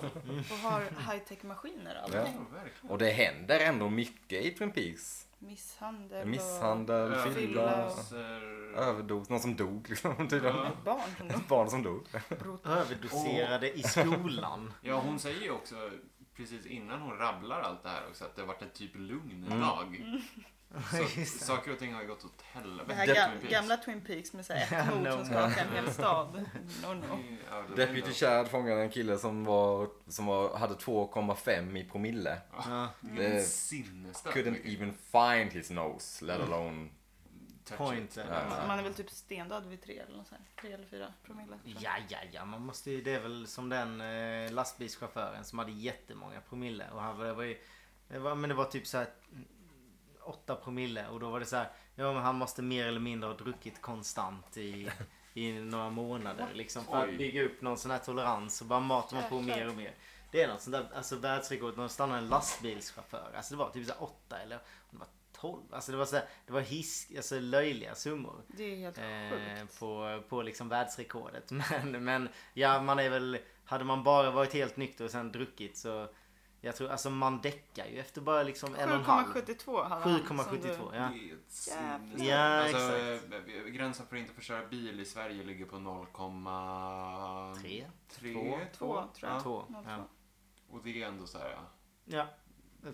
Och har high-tech-maskiner och allt.
Ja.
Ja, verkligen.
Och det händer ändå mycket i Twin Peaks.
Misshandel och...
Misshandel,
fylla.
fylla,
Överdoser.
överdos, någon som dog liksom tydligen.
Ja.
Barn som de
Ett barn som dog.
Överdoserade i skolan.
Ja, hon säger ju också precis innan hon rabblar allt det här också att det har varit en typ lugn
Mm.
dag. Så,
Just det.
saker och ting har ju gått åt
Det
helvete.
här
Twin
ga-
Peaks.
gamla Twin Peaks med så här
Ja,
ett mord
no,
som
no.
skakar en hel stad. No, no.
Ja, det-
Deputy Chad fångade en kille som, var, som var, hade 2,5 i promille.
Ja,
Det är sinnesstört.
Couldn't
mycket.
even find his nose, let alone...
Touch
point.
it.
Ja.
Man är väl typ stendöd vid tre eller något sånt. Tre eller fyra promille. tror jag.
Ja, ja, ja. Man måste ju, det är väl som den eh, lastbilschauffören som hade jättemånga promille. Och han var, det var ju, det var, men det var typ så här 8 promille och då var det så här, ja men han måste mer eller mindre ha druckit konstant i i några månader. Liksom, för
Oj.
att bygga upp någon sån här tolerans. Och bara matar man på
Jäklar.
mer och mer. Det är något sånt där alltså, världsrekord när de stannar en lastbilschaufför. Alltså det var typ så här åtta eller om det var tolv. Alltså det var, så här, det var his, alltså, löjliga summor.
Det är helt
Eh,
sjukt.
på, på liksom världsrekordet. Men, men ja, man är väl... Hade man bara varit helt nykter och sen druckit så... Jag tror, alltså man däckar ju efter bara liksom en och en halv.
7,72 hade han, som
7,72
du-
ja.
Det är ett
Jävlar.
sinnes-
Ja,
alltså,
exakt.
eh, Gränsen för att inte få köra bil i Sverige ligger på 0,3.
Tre.
Två.
Två.
Två, tror jag.
Ja.
Två.
Noll
Ja.
Och det är ändå så här, ja,
ja.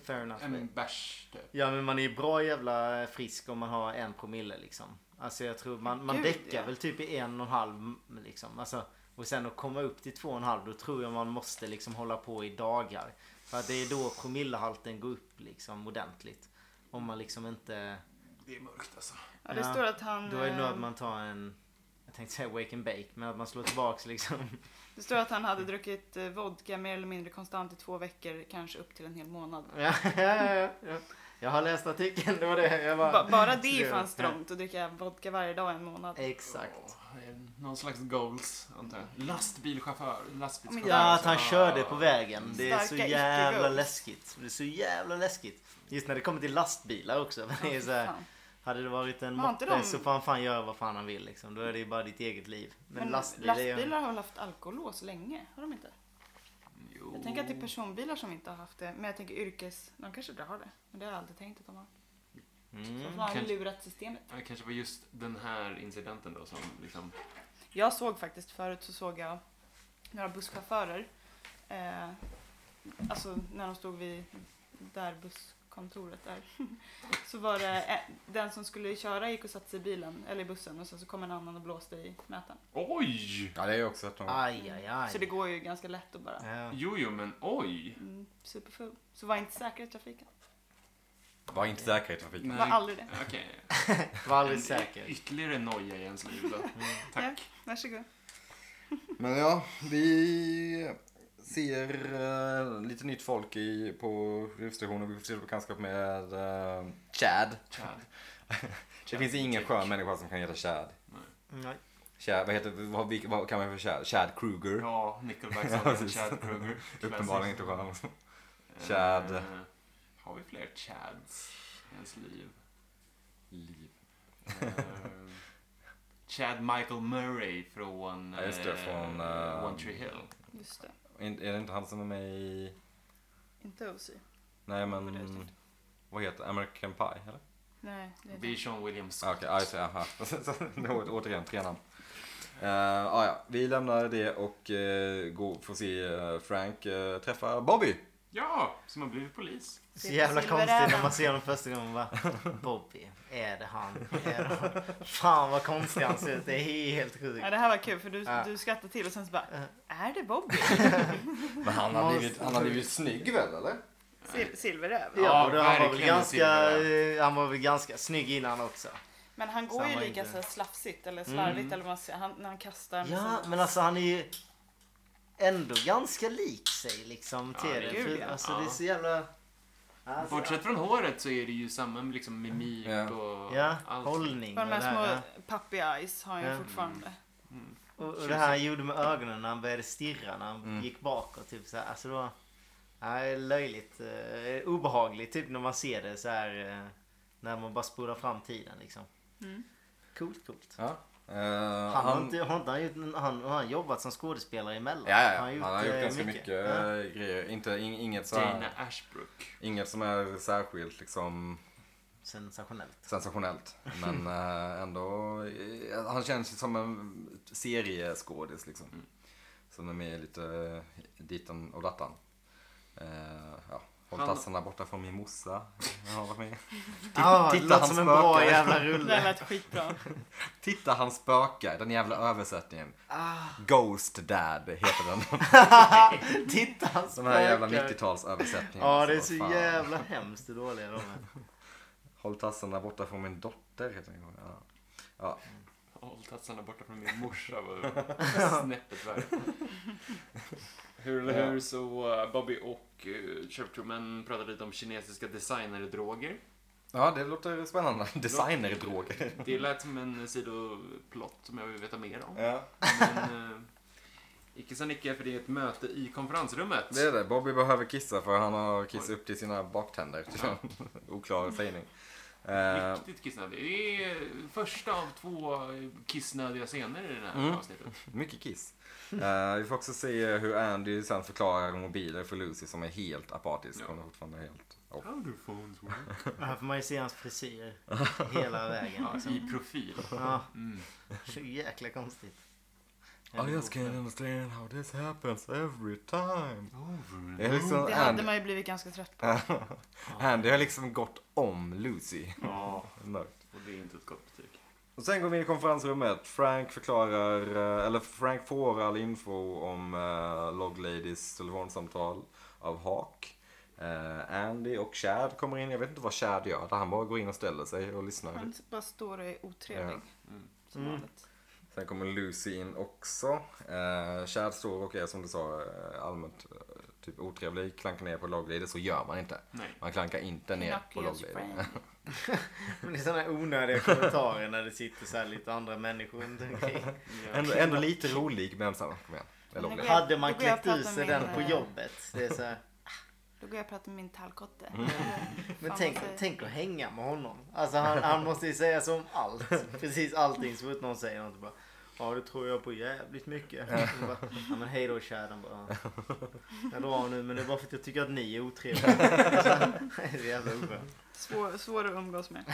Fair enough.
en bärs typ.
Ja men man är ju bra jävla frisk om man har en promille liksom. Alltså jag tror man, man
Gud,
däckar
ja.
väl typ i en och en halv liksom. Alltså, och sen att komma upp till två och en halv då tror jag man måste liksom hålla på i dagar. För att det är då promillehalten går upp liksom ordentligt. Om man liksom inte...
Det är mörkt alltså.
Ja, det
Ja,
står att han...
Då är det nog att
eh,
man tar en... Jag tänkte säga wake and bake men att man slår tillbaks liksom.
eh, Det står att han hade druckit eh, vodka mer eller mindre konstant i två veckor, kanske upp till en hel månad.
Ja, ja, ja, ja. Jag har läst artikeln, det var det. Jag bara...
Ba- bara det
Ja. Eh,
är fan strongt att dricka vodka varje dag i en månad.
Exakt.
Ja, det är någon slags goals, antar jag. Lastbilchaufför. Lastbilschaufför.
Mm. Ja, att han
Så,
körde
ja.
på vägen. Det är så
Starka
jävla
icke-goals.
läskigt. Det är så jävla läskigt. Just när det kommer till lastbilar också.
Ja,
Det är
fy
så här,
fan.
hade det varit en
Har inte
moppe
de-
så får han fan göra vad fan han vill. Liksom. Då är det ju bara ditt eget liv. Men,
Men
lastbil är ju...
lastbilar har väl haft alkoholås länge? Har de inte?
Jo.
Jag tänker att
Oh.
det är personbilar som inte har haft det. Men jag tänker yrkes... De kanske inte har det. Men det har jag aldrig tänkt att de har. Så
Mm.
de har
Kanske-
lurat systemet.
Ja, Det kanske var just den här incidenten då som liksom...
Jag såg faktiskt förut så såg jag några busschaufförer. Eh, alltså när de stod vid där busskontoret är. så var det eh, den som skulle köra gick och satte sig i bilen eller i bussen och sen så kom en annan och blåste i mätaren.
Oj!
Ja, det är också att de...
Aj, aj, aj.
Så det går ju ganska lätt att bara
Ja.
Jo, jo, men oj!
mm, superfull. Så var inte säker i trafiken.
Var inte säkra i trafiken.
Nej.
Var aldrig det.
Okej.
Var aldrig Mm.
En-
säker.
Ytterligare noja i ens liv. Då. Tack.
Ja, varsågod.
Men ja, vi ser eh, lite nytt folk i, på rivstationen. Vi får se på bekantskap med eh, Chad.
Chad.
Det finns ingen skön människa som kan heta Chad.
Nej.
Chad vad, heter, vad, vilka- vad kan man för Chad? Chad Kruger.
Ja, Nickelbacks
Ja,
hade
precis.
Chad Kruger.
Uppenbarligen inte skön.
Eh,
Chad.
har vi fler Chads i ens liv? Liv. Eh, Chad Michael Murray från,
Ja, just det,
eh,
från, eh,
One Tree Hill.
Just det.
In- Är det inte han som är med i...
Inte OC.
Nej
Vad är det
men...
snart?
Vad heter det? American Pie eller?
Nej, det är det.
Bichon Williams.
Ah, Okej, okay, just det. aha. Så- det var Återigen, tre namn. Eh, ah, ja. Vi lämnar det och eh, går, får se eh, Frank eh, träffa Bobby.
Ja, som har blivit polis.
Så jävla konstigt när
Silverräven.
man ser honom första gången. Bara, Bobby, är det han? Är det han? Fan vad konstig han ser ut. Det är helt sjukt.
Ja, det här var kul för du,
Ja.
du skrattade till och sen så bara Är det Bobby?
Men han har blivit, han har blivit snygg väl eller?
Sil- Silverräv?
Ja, och då, han, var väl
verkligen
ganska,
silverräv.
han var väl ganska snygg innan också.
Men han går
Samma
ju lika
inte. Mm.
så här slafsigt eller slarvigt eller vad man säger. Han, när han kastar med
Ja,
sina-
men alltså han är ju ändå ganska lik sig liksom
Ja,
till
det är
det.
kul,
För,
ja.
alltså
Ja.
det är så jävla... Alltså,
Bortsett från håret så är det ju samma liksom, mimik
Ja.
och
Ja,
allt.
hållning
Bara
och
de
det
här
här.
små puppy eyes har han ju
Ja. Mm.
fortfarande.
ja. Och, och det här han gjorde med ögonen när han började stirra när han gick bakåt. Typ så här. Alltså då... Ja, det är löjligt. Eh, obehagligt typ när man ser det så här. Eh, när man bara spolar fram tiden liksom.
Mm.
Coolt, coolt.
Ja. Eh,
Han, har inte, har inte han, gjort, han, har han jobbat som skådespelare emellan?
Ja, ja, ja.
Han har gjort, eh,
ganska mycket,
Ja.
eh, grejer. Inte, in, inget, så
Dana
här,
Ashbrook.
inget som är särskilt liksom,
Sensationellt.
sensationellt. Men eh, ändå, eh, han känns ju som en serieskådis liksom.
Mm.
Som är med lite eh, ditan och dattan. Eh, ja. Håll
Han-
tassarna borta från min morsa. Jag har varit med.
Ja, det
titta,
Ah, låter
han
som en
spökar.
bra jävla
Det där
rulle.
lät skitbra.
Titta han spökar, den jävla översättningen.
Ah,
Ghost Dad heter den.
titta han
De här jävla
spökar.
90-talsöversättningarna.
Ja, det är
alltså,
så
vad fan.
jävla hemskt hur dåliga de är.
Håll tassarna borta från min dotter heter den. Ja. Ja.
Håll tassarna borta från min morsa var snäppet värre. Hur eller hur så eh, Bobby och eh, Churchill men pratade lite om kinesiska designerdroger.
Ja, det låter spännande. Designerdroger.
Det lät som en sidoplott som jag vill veta mer om.
Ja.
Men, eh, icke sa Nicke, för det är ett möte i konferensrummet.
Det är det. Bobby behöver kissa för han har kissat upp till sina baktänder. Oklar sägning. Eh,
Riktigt kissnödig. Det är första av två kissnödiga scener i det här
Mm.
avsnittet.
mycket kiss. Eh, vi får också se hur Andy sen förklarar mobiler för Lucy som är helt apatisk.
Ja.
Hon är fortfarande helt... Oh.
How do phones work?
Här får man ju se hans frisyr hela vägen.
Ja,
Liksom.
I profil.
Ja,
Mm.
så jäkla konstigt.
I just can't understand how this happens every time.
Over
Det är liksom
Mm. Det hade
Andy.
man ju blivit ganska trött på.
Andy har liksom gått om Lucy.
Ja,
Mörkt.
och det är inte ett gott betyg.
Och sen går vi in i konferensrummet. Frank förklarar, eh, eller Frank får all info om eh, Log Ladies telefonsamtal av Hawk. Eh, Andy och Chad kommer in. Jag vet inte vad Chad gör. Där han bara går in och ställer sig och lyssnar.
Han bara står och är otrevlig.
Mm.
Som
Mm.
vanligt.
Sen kommer Lucy in också. Eh, Chad står och är som du sa eh, allmänt eh, typ otrevlig. Klankar ner på Log Ladies. Så gör man inte.
Nej.
Man klankar inte ner på Log
Knuckles
Ladies.
friend.
Men det är sådana här onödiga kommentarer när det sitter så här lite andra människor runt omkring.
Ja.
Ändå, ändå lite rolig men samma. Kom igen. Det är
Men
Log
det
Ladies.
Hade man
Då går jag
kläckt
och
ur
pratar
sig
med-
den på jobbet. Det är så här.
Då går jag och pratar med min tallkotte.
Men
Fan,
tänk,
vad säger-
tänk att hänga med honom. Alltså han, han måste ju säga som allt. Precis allting så fort någon säger något. Bara, ja det tror jag på jävligt mycket. Och Bara, ja men hej då kär. Han bara, ja. jag drar nu men det är bara för att jag tycker att ni är otrevliga. Det är så jävla oskönt.
Svår, svår att umgås med.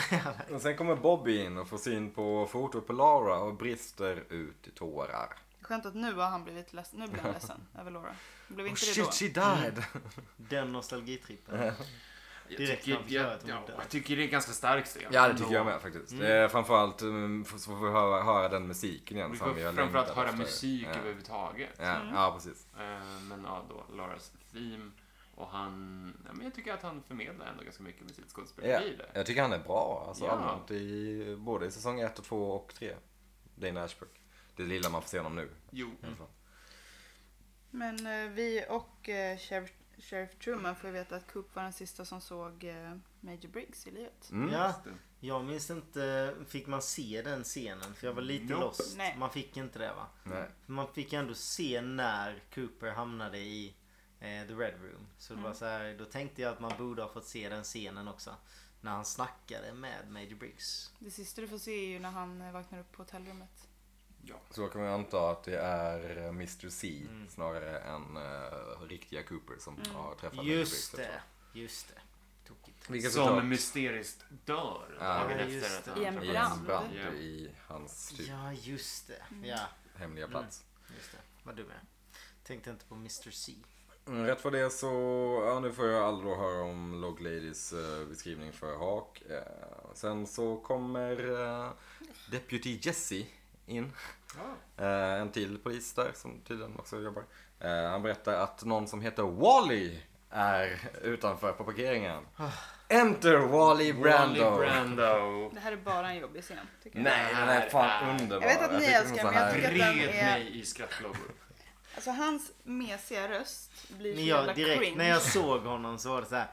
Och sen kommer Bobby in och får syn på fotot på Laura och brister ut i tårar.
Skönt att nu har han blivit ledsen. Nu blev han ledsen över Laura. Blev
Oh
inte det då?
shit, she died!
Den nostalgitrippen.
Jag,
Direkt
tycker,
framför
jag,
örat om
ja,
det.
jag tycker det är en ganska stark scen.
Ja, det tycker jag
Ändå.
med faktiskt. Det är framförallt mm, f- så får vi höra, höra den musiken igen.
Vi
som har
får
längtat
framförallt höra
efter.
musik
Ja.
överhuvudtaget.
Ja,
Mm.
ja, precis.
Eh, Men ja, då Lauras theme. Och han, ja, men jag tycker att han förmedlar ändå ganska mycket med sitt
Ja.
skådespeleri i det.
Jag tycker han är bra, alltså
Ja.
allmänt. I, både i säsong 1 och 2 och 3. Dane Ashbrook. Det lilla man får se honom nu. Alltså.
Jo,
i alla fall.
Men eh, vi och eh, Sheriff, Sheriff Truman får ju veta att Coop var den sista som såg eh, Major Briggs i livet.
Mm.
Ja,
just det.
jag minns inte. Fick man se den scenen? För jag var lite
Nope.
lost.
Nej.
Man fick inte det va?
Nej.
Man fick ändå se när Cooper hamnade i eh, The Red Room. Så det var
Mm.
så här, då tänkte jag att man borde ha fått se den scenen också. När han snackade med Major Briggs.
Det sista du får se är ju när han eh, vaknar upp på hotellrummet.
Ja.
Så kan man anta att det är eh, Mr C
Mm.
snarare än eh, riktiga Cooper som
Mm.
har träffat Mr. Briggs,
Just
jag tror.
det, just det. Tokigt.
Vilket
Som
såklart-
mysteriskt dör dagen
Ja, just
efter. att
det.
I
han
en
I
träffar-
brand.
en brand
Ja.
i hans typ
Ja, just det. Ja,
hemliga
Mm.
plats.
just det. Vad dum jag är. Tänkte inte på Mr C.
Mm, Rätt vad det är så, ja nu får jag aldrig höra om Log Ladies eh, beskrivning för Hawk. Eh, sen så kommer eh, Deputy Jesse in.
Ja.
Eh, en till polis där som tydligen också jobbar. Eh, han berättar att någon som heter Wally är utanför på parkeringen.
Ah.
Enter Wally Brando!
Wally Brando.
Det här är bara en jobbig scen. Tycker jag.
Nej, den är fan underbar.
Jag vet att ni
tycker
älskar
hon
den, men jag
så här-
tycker att
Red
den är-
mig i skrattglåpor.
Alltså hans mesiga röst blir så
Men
jävla
jag, direkt
cringe.
när jag såg honom så var det så här.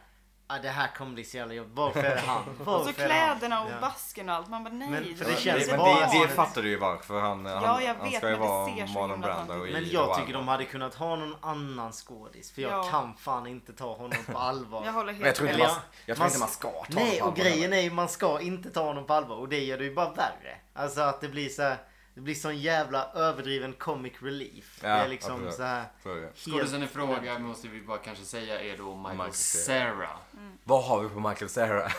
Ah, det här kommer bli så jävla jobbigt. Varför är det han? Varför
Och så
är det han?"
kläderna och
Ja.
vasken och allt. Man bara nej.
Men- för
Ja,
det känns
men
bara-
det, det fattar du ju varför. Han, han,
jag
han
vet,
ska ju
men det
vara
ser så
Marlon
himla
Brando
konstigt
i
ut.
Men
The
jag
Wild.
tycker de hade kunnat ha någon annan skådis. För jag
Ja.
kan fan inte ta honom på allvar.
Jag håller
Men jag
helt
tror inte
Eller
man,
ja,
jag tror
man-
inte man ska ta
Nej,
honom
och
på
grejen
allvar.
är ju man ska inte ta honom på allvar. Och det gör det ju bara värre. Alltså att det blir så här, Det blir sån jävla överdriven comic relief.
Ja,
det är liksom
absolut.
så här.
Så är det.
Skådisen i fråga måste vi bara kanske säga är då
Michael
Michael Cera.
Vad har vi på Michael Cera?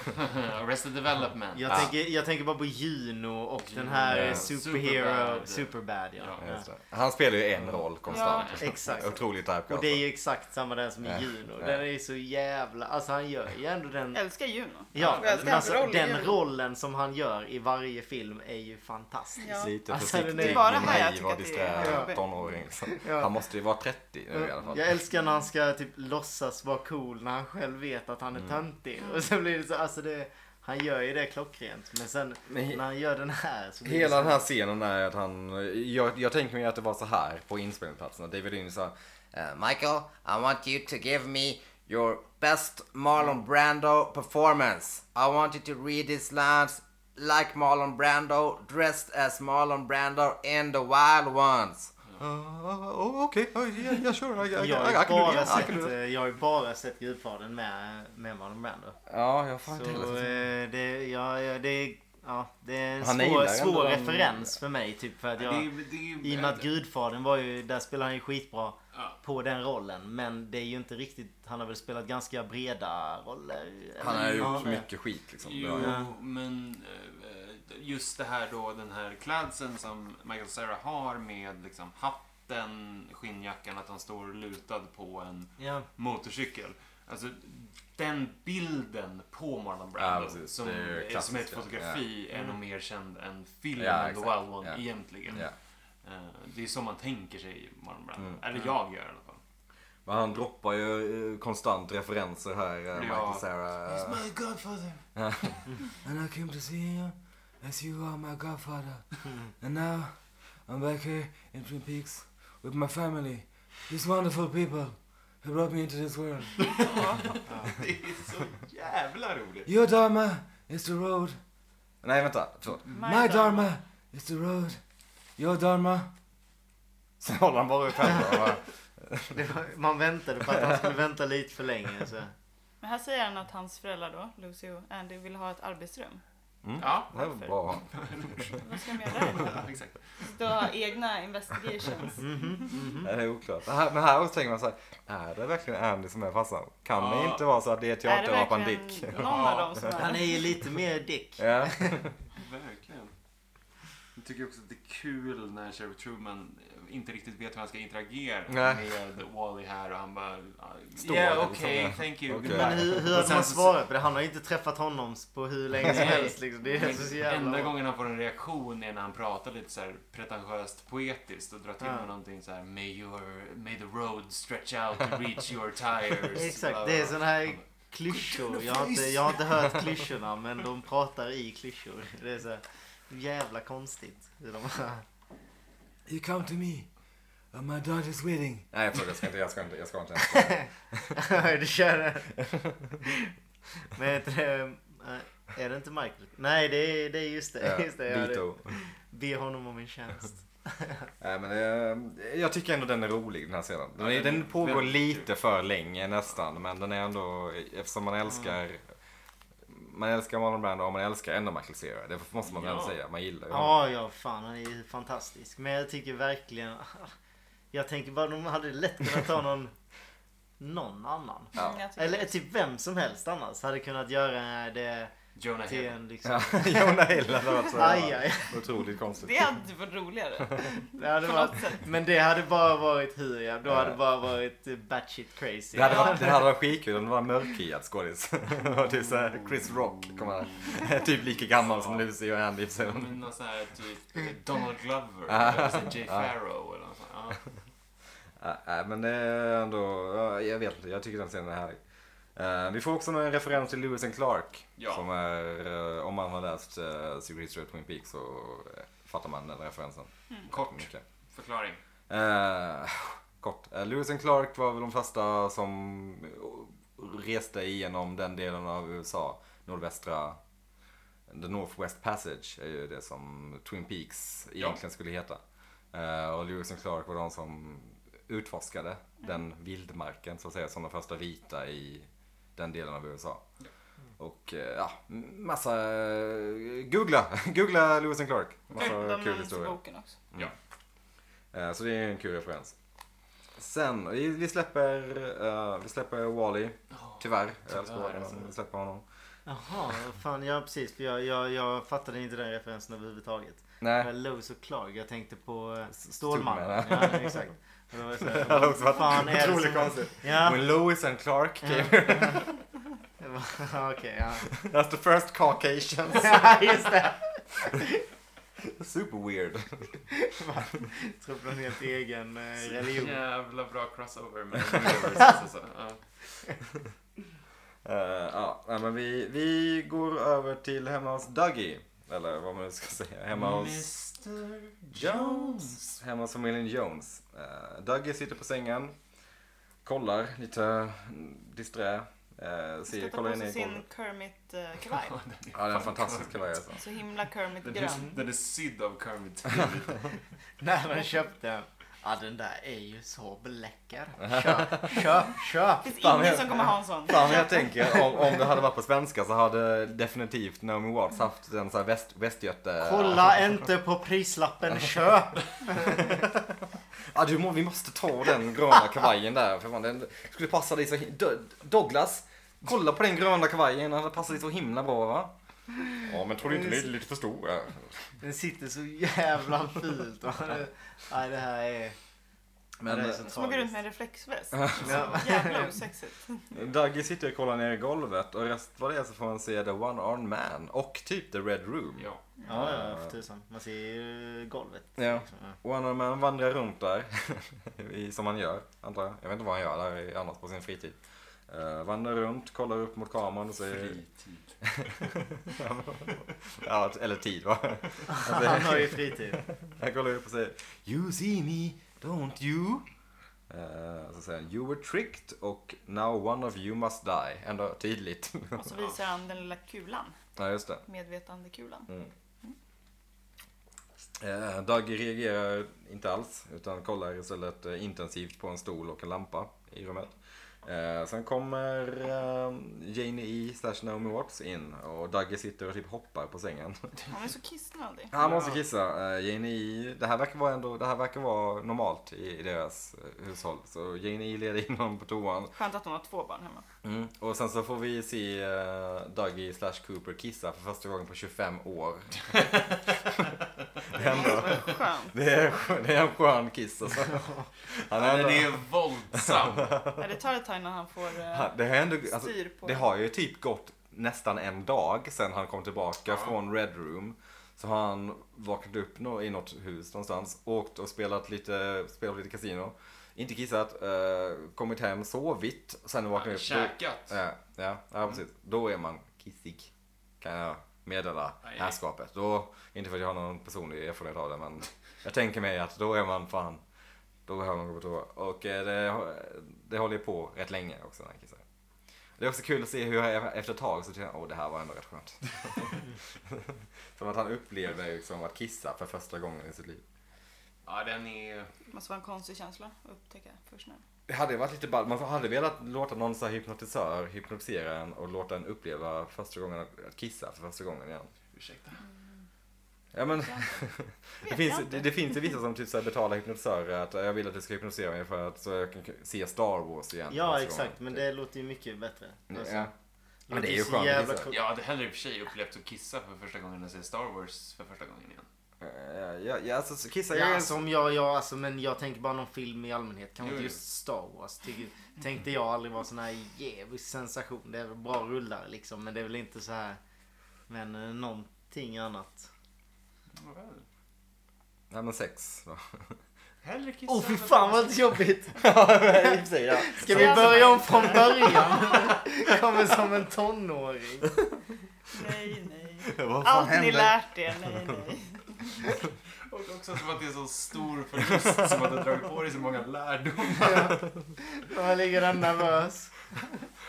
Arrested Development.
Jag,
Ja.
tänker, jag tänker bara på Juno och den här eh,
Ja.
superhero,
Superbad.
superbad, ja.
Ja,
ja.
Just det. Han spelar ju en roll konstant.
Exakt.
Otroligt
Och
typecast.
det är ju exakt samma där som
Ja.
i Juno.
Ja.
Den är ju så jävla... Alltså han gör ju ändå den
Jag älskar Juno.
Ja,
Jag älskar
men
hans
alltså,
roll i
den
Juno.
rollen som han gör i varje film är ju fantastisk.
Ja.
Lite
Alltså,
försiktig
det är
med
bara här jag
naiv
tycker
och
att det är
disträ
jobbigt.
tonåring. liksom.
Ja.
Han måste ju vara 30 nu i alla fall.
Jag älskar när han ska typ låtsas vara cool när han själv vet att han
Mm.
är töntig. Och sen blir det så, alltså det, han gör ju det klockrent. Men sen
Men he-
när han gör den här så blir
Hela
det
den här scenen är att han, jag, jag tänker mig att det var så här på inspelningsplatsen. Att David Lynch sa eh, Michael, I want you to give me
Your best Marlon Brando performance. I want you to read these lines like Marlon Brando, dressed as Marlon Brando in The Wild Ones.
Ah,
oh, okej. Oh, yeah, yeah, sure. I, I, I, I,
Jag har
I
ju
can do
bara,
it. I
sett,
can do it.
eh, jag har ju bara sett Gudfadern med, med Marlon Brando.
Ja, jag har fan
Så
inte heller sett
eh, det, ja, ja, det, är- ja, det är en
Han
svår,
gillar
svår
ändå den-
referens för mig. Typ, för att
Det
jag,
är- det är-
I och med att Gudfadern var ju, där spelade han ju skitbra
Ja.
på den rollen. Men det är ju inte riktigt, han har väl spelat ganska breda roller.
Han har
Eller-
gjort
Ja,
mycket skit liksom. Det har
Jo,
han gjort.
men eh, just det här då, den här klädseln som Michael Cera har med liksom hatten, skinnjackan, att han står lutad på en
Ja,
motorcykel. Alltså den bilden på Marlon
Ja,
Brando
precis.
som,
Det är ju
är
klassiskt,
som ett
ja.
fotografi är
Mm.
nog mer känd än filmen
Ja,
The
exakt.
Wild One
Ja.
egentligen.
Ja.
Eh, Det är så man tänker sig Marlon Brando.
Mm.
Eller jag gör i alla fall.
Men han droppar ju eh, konstant referenser här, eh, Michael Cera. eh.
my godfather.
And I came to see you as you are my godfather. and now I'm back here in Twin Peaks with my family. These wonderful people who brought me into this world.
Det är så jävla roligt.
Your dharma is the road.
Nej, vänta. Förlåt.
Mm. My dharma is the road. Your dharma.
Sen håller han bara upp händerna. och bara-
det var, man väntade på att han skulle vänta lite för länge. Så. Mhm,
Men här säger han att hans föräldrar då, Lucy och Andy, vill ha ett arbetsrum.
Ja,
Det här var bra.
Vad ska de göra där?
exakt.
Sitta och ha egna investigations.
Mm.
mhm.
Det är oklart. Det här, men här tänker man så här. Är det verkligen Andy som är farsan? Kan det
Ja.
inte vara så att det är
Är det
teaterapan
verkligen
Dick?
någon av dem som
Han
är
är ju lite mer dick.
Ja.
Verkligen. Jag tycker också att det är kul när Sheriff Truman inte riktigt vet hur han ska interagera
Nej.
med Wally här och han bara...
Står
yeah,
liksom,
okay,
ja.
thank you.
Okej.
goodbye."
Men hur, hur
Och
hade
sen
man
så-
svarat på det? Han har ju inte träffat honom på hur länge som
Nej.
helst. Liksom. Det är
Men
så så
Enda
jävla...
gången han får en reaktion är när han pratar lite så här pretentiöst poetiskt och drar till
Ja.
med någonting så här May, your, may the road stretch out to reach your tires.
Exakt,
Bla,
det är
bla,
sån
bla.
här klyschor. Jag har, inte, jag har inte hört klyschorna men de pratar i klyschor. Det är så här jävla konstigt. hur De här.
You come to me at my daughter's wedding.
Nej, förlåt. Jag ska inte. Jag ska inte. Jag ska inte.
du kör det. Men heter det... eh, Är det inte Michael? Nej, det är, det är just det.
Ja,
Just det, ja, det.
Dito.
Be honom om en tjänst.
Nej, men eh, jag tycker ändå den är rolig den här scenen. Den, är,
Ja, den är
den pågår
väldigt
lite för länge nästan. Men den är ändå, eftersom man älskar man älskar Marlon Brando och man älskar ändå Michael Cera. Det måste man väl
Ja.
säga. Man gillar ju honom.
Ja, ja, fan han är ju fantastisk. Men jag tycker verkligen... Jag tänker bara de hade lätt kunnat ta någon... Någon annan.
Mm, jag tycker-
Eller typ vem som helst annars hade kunnat göra det
Jonah
till
Hill.
en liksom...
Ja, Jonah Hill hade varit så
Aj, aj.
otroligt konstigt.
Det hade varit roligare.
Det hade varit, men det hade bara varit hur jag... Då hade det bara varit eh, batshit crazy.
Det hade varit, det hade varit skitkul om det var en mörkhyad skådis. Det var typ såhär Chris Rock. Kommer han. Typ lika gammal som Lucy och Andy. Så. Äh,
Men någon sån här typ Donald Glover
Ja.
eller så här Jay
Ja.
Farrow eller något sånt. Ja.
Ja, Nej, äh, men det är ändå, ja, jag vet inte, jag tycker den scenen är härlig. Eh, vi får också en referens till Lewis and Clark.
Ja.
Som är, eh, om man har läst uh, Secret History of Twin Peaks så eh, fattar man den referensen.
Kort
Mycket.
förklaring.
Eh, kort. Eh, Lewis and Clark var väl de första som reste igenom den delen av USA. Nordvästra, The Northwest Passage är ju det som Twin Peaks egentligen skulle heta. Eh, och Lewis and Clark var de som utforskade den vildmarken så att säga som de första vita i den delen av USA. Och eh, ja, massa... eh, Googla! Googla Lewis and Clark. Massa
De
kul
nämns i
historia.
boken också.
Eh, Så det är en kul referens. Sen, vi vi släpper, eh, vi släpper Wally. Tyvärr. Jag älskar
tyvärr,
Wall-E,
alltså.
men Vi släpper honom.
Jaha, fan ja precis. För jag, jag, jag fattade inte den referensen överhuvudtaget.
Nej.
Lowe's och Clark. Jag tänkte på eh,
Stålmannen.
Stålmannen. Ja, exakt. Och då var jag så här,
Det hade också
vad
varit
fan är det
otroligt
som-
konstigt.
Ja.
When Lewis and Clark came
Okej, ja.
as the first Caucasians.
ja. Just det.
Super weird.
Jag tror på en helt egen eh,
Så
religion.
Jävla bra crossover med Universe. Alltså. Ja.
Eh, ja, nej, men vi, vi går över till hemma hos Dougie. Eller vad man nu ska säga. Hemma hos...
Mr
Eh, Jones. Hemma hos familjen Jones. Uh, Dougie sitter på sängen. kollar lite disträ. Eh, ser,
Sätta på
kollar in
sig
i
sin
golvet.
Kermit-kavaj.
Ja, det är en fantastisk kavaj alltså.
Så himla
Den är,
Kermit-grön.
den är sydd av Kermit.
När man köpte den. Ja den där är ju så läcker. Köp, köp, köp.
Det finns
Fan,
ingen
jag-
som kommer ha en sån.
Fan jag tänker, om, om det hade varit på svenska så hade definitivt Naomi Watts haft en sån här väst, västgöte...
Kolla inte på prislappen, köp.
Ja, du, må- vi måste ta den gröna kavajen där. För fan, den skulle passa dig så hi- Do- Douglas, kolla på den gröna kavajen. Den hade passat dig så himla bra va? Ja, men tror
du inte ni är
lite för stor?
Den sitter så jävla fult. va? Det- Nej det här är...
Men,
det här är så
Som att gå
tragiskt.
runt med en reflexväst.
Ja.
Jävla osexigt.
Dagge eh, sitter och kollar ner i golvet och rest vad det är så får man se The One Armed Man och typ The Red Room.
ja.
Ja, ja, för tusan. Man ser ju golvet.
Ja.
liksom.
One Armed Man vandrar runt där, i- som han gör, antar jag. Jag vet inte vad han gör där i- annars på sin fritid. Eh, vandrar runt, kollar upp mot kameran och säger...
Fritid.
ja, eller tid va?
Han har ju fritid.
Han kollar upp och säger You see me, don't you? Eh, så säger han You were tricked och Now one of you must die. Ändå tydligt.
Och så visar han den lilla kulan.
ja, just det.
Medvetandekulan.
Eh, Doug reagerar inte alls utan kollar istället eh, intensivt på en stol och en lampa i rummet. Eh, sen kommer eh, Janie E slash Naomi Watts in och Doug sitter och typ hoppar på sängen.
Han är så kissnödig.
Han måste kissa. Eh, Jane E, det här verkar vara, ändå, det här verkar vara normalt i, i deras eh, hushåll. Så Jane E leder in honom på toan.
Skönt att hon har två barn hemma.
Mm. Och sen så får vi se eh, Dougie slash Cooper kissa för första gången på 25 år. det, är ändå,
Skönt.
det, är, skö- det är en skön kiss alltså. Han är
Den
ändå,
är våldsam.
Ja, det tar ett tag innan han får eh,
han- det, är ändå alltså,
styr på
det har ju typ gått nästan en dag sen han kom tillbaka
Ja.
från Red Room. Så har han vaknat upp nå- i något hus någonstans, åkt och spelat lite, spelat lite kasino. Inte kissat, eh, kommit hem, sovit, sen vaknat upp.
Käkat.
Då, ja, ja, ja, precis. Då är man kissig. Kan jag meddela
Aj.
herrskapet. Då, inte för att jag har någon personlig erfarenhet av det men jag tänker mig att då är man fan, då behöver man gå på toa. Och eh, det, det håller ju på rätt länge också när han kissar. Det är också kul att se hur jag efter ett tag så tycker jag, åh det här var ändå rätt skönt. Som att han upplever liksom att kissa för första gången i sitt liv.
Ja, den är...
Det måste vara en konstig känsla att upptäcka först nu.
Det hade ju varit lite ball. Man hade velat låta någon så här hypnotisör hypnotisera en och låta en uppleva första gången att- att kissa för första gången igen.
Ursäkta.
Ja men
Vet
det
jag
finns,
inte.
det, det finns ju vissa som typ så här betalar hypnotisörer att jag vill att du ska hypnotisera mig för att så jag kan se Star Wars igen. för
Ja
första
exakt, men
gången.
det låter ju mycket bättre. Alltså,
Ja. Men det
låter
är ju
så
skönt att
jävla
kissa.
coolt.
Jag hade hellre i och för sig upplevt att kissa för första gången när jag ser Star Wars för första gången igen.
Ja, ja, ja, alltså så kissa
Ja,
är
som jag, ja, alltså, men jag tänker bara någon film i allmänhet. Kanske inte
Jo, jo.
just Star Wars. Tycker, tänkte jag aldrig var sån här jävlig sensation. Det är väl bra rullar liksom, men det är väl inte så här. Men eh, någonting annat.
Nej men sex. då.
Hellre kissa
Åh oh, fy
än att-
fan vad jobbigt!
I och för sig, ja.
Ska vi börja om från början? Kommer som en tonåring.
Nej, nej.
Vad fan
Allt ni
hände?
lärt er, nej, nej.
Och också som att det är en så stor förlust som att du har dragit på dig så många lärdomar.
Man ligger där nervös.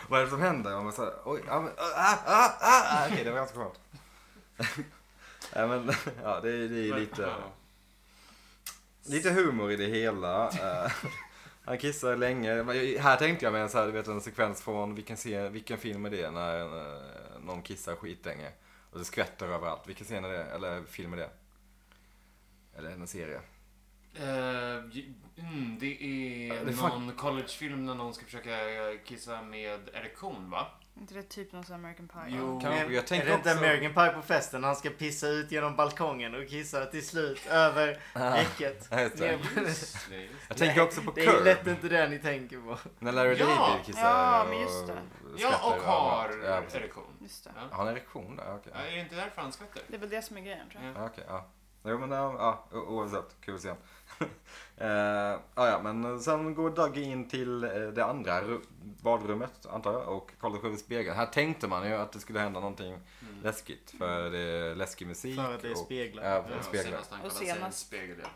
Vad är det som händer? Och man så här, oj, ja, men, ah, ah, ah, ah. Okej, det var ganska skönt. ja, men, ja, det, är- det är lite,
Ja.
lite humor i det hela. Eh, Han kissar länge. Men jag- Här tänkte jag med en, så här, du vet, en sekvens från vilken, se, vilken film är det när eh, någon kissar skitlänge och det skvätter överallt. Vilken scen är det? Eller film är det? Eller en serie?
Eh, j- mm, det är
Det är fan-
någon collegefilm när någon ska försöka eh, kissa med erektion, va?
inte det typ någon sån här American Pie?
Jo.
Kan- jag tänker
är det inte
också-
American Pie på festen när han ska pissa ut genom balkongen och kissar till slut över räcket?
Ja, just det.
Ner på-
Just det, just det.
Ah. Jag tänker också på
Det är ju lätt
Curb.
inte det ni tänker på.
När Larry
Ja!
David kissar
Ja, men just det.
och
Ja,
skvätter
och har
överallt. Ja, precis.
erektion.
Just det.
Ja.
Har han erektion där? Okej.
Ja, Är det inte därför han skvätter?
Det är väl det som är grejen tror jag.
Ja, okej, ja. Jo men ja, ja, o- oavsett, kul scen. uh, ja, ja, men sen går Dougie in till eh, det andra ru- badrummet antar jag och kollar sig i spegeln. Här tänkte man ju att det skulle hända någonting läskigt för det är läskig musik.
Mm. För att det är
och-
speglar.
Ja, för
Ja,
det är speglar.
senast han
Och
kollade sig i en
senast.
spegel, ja.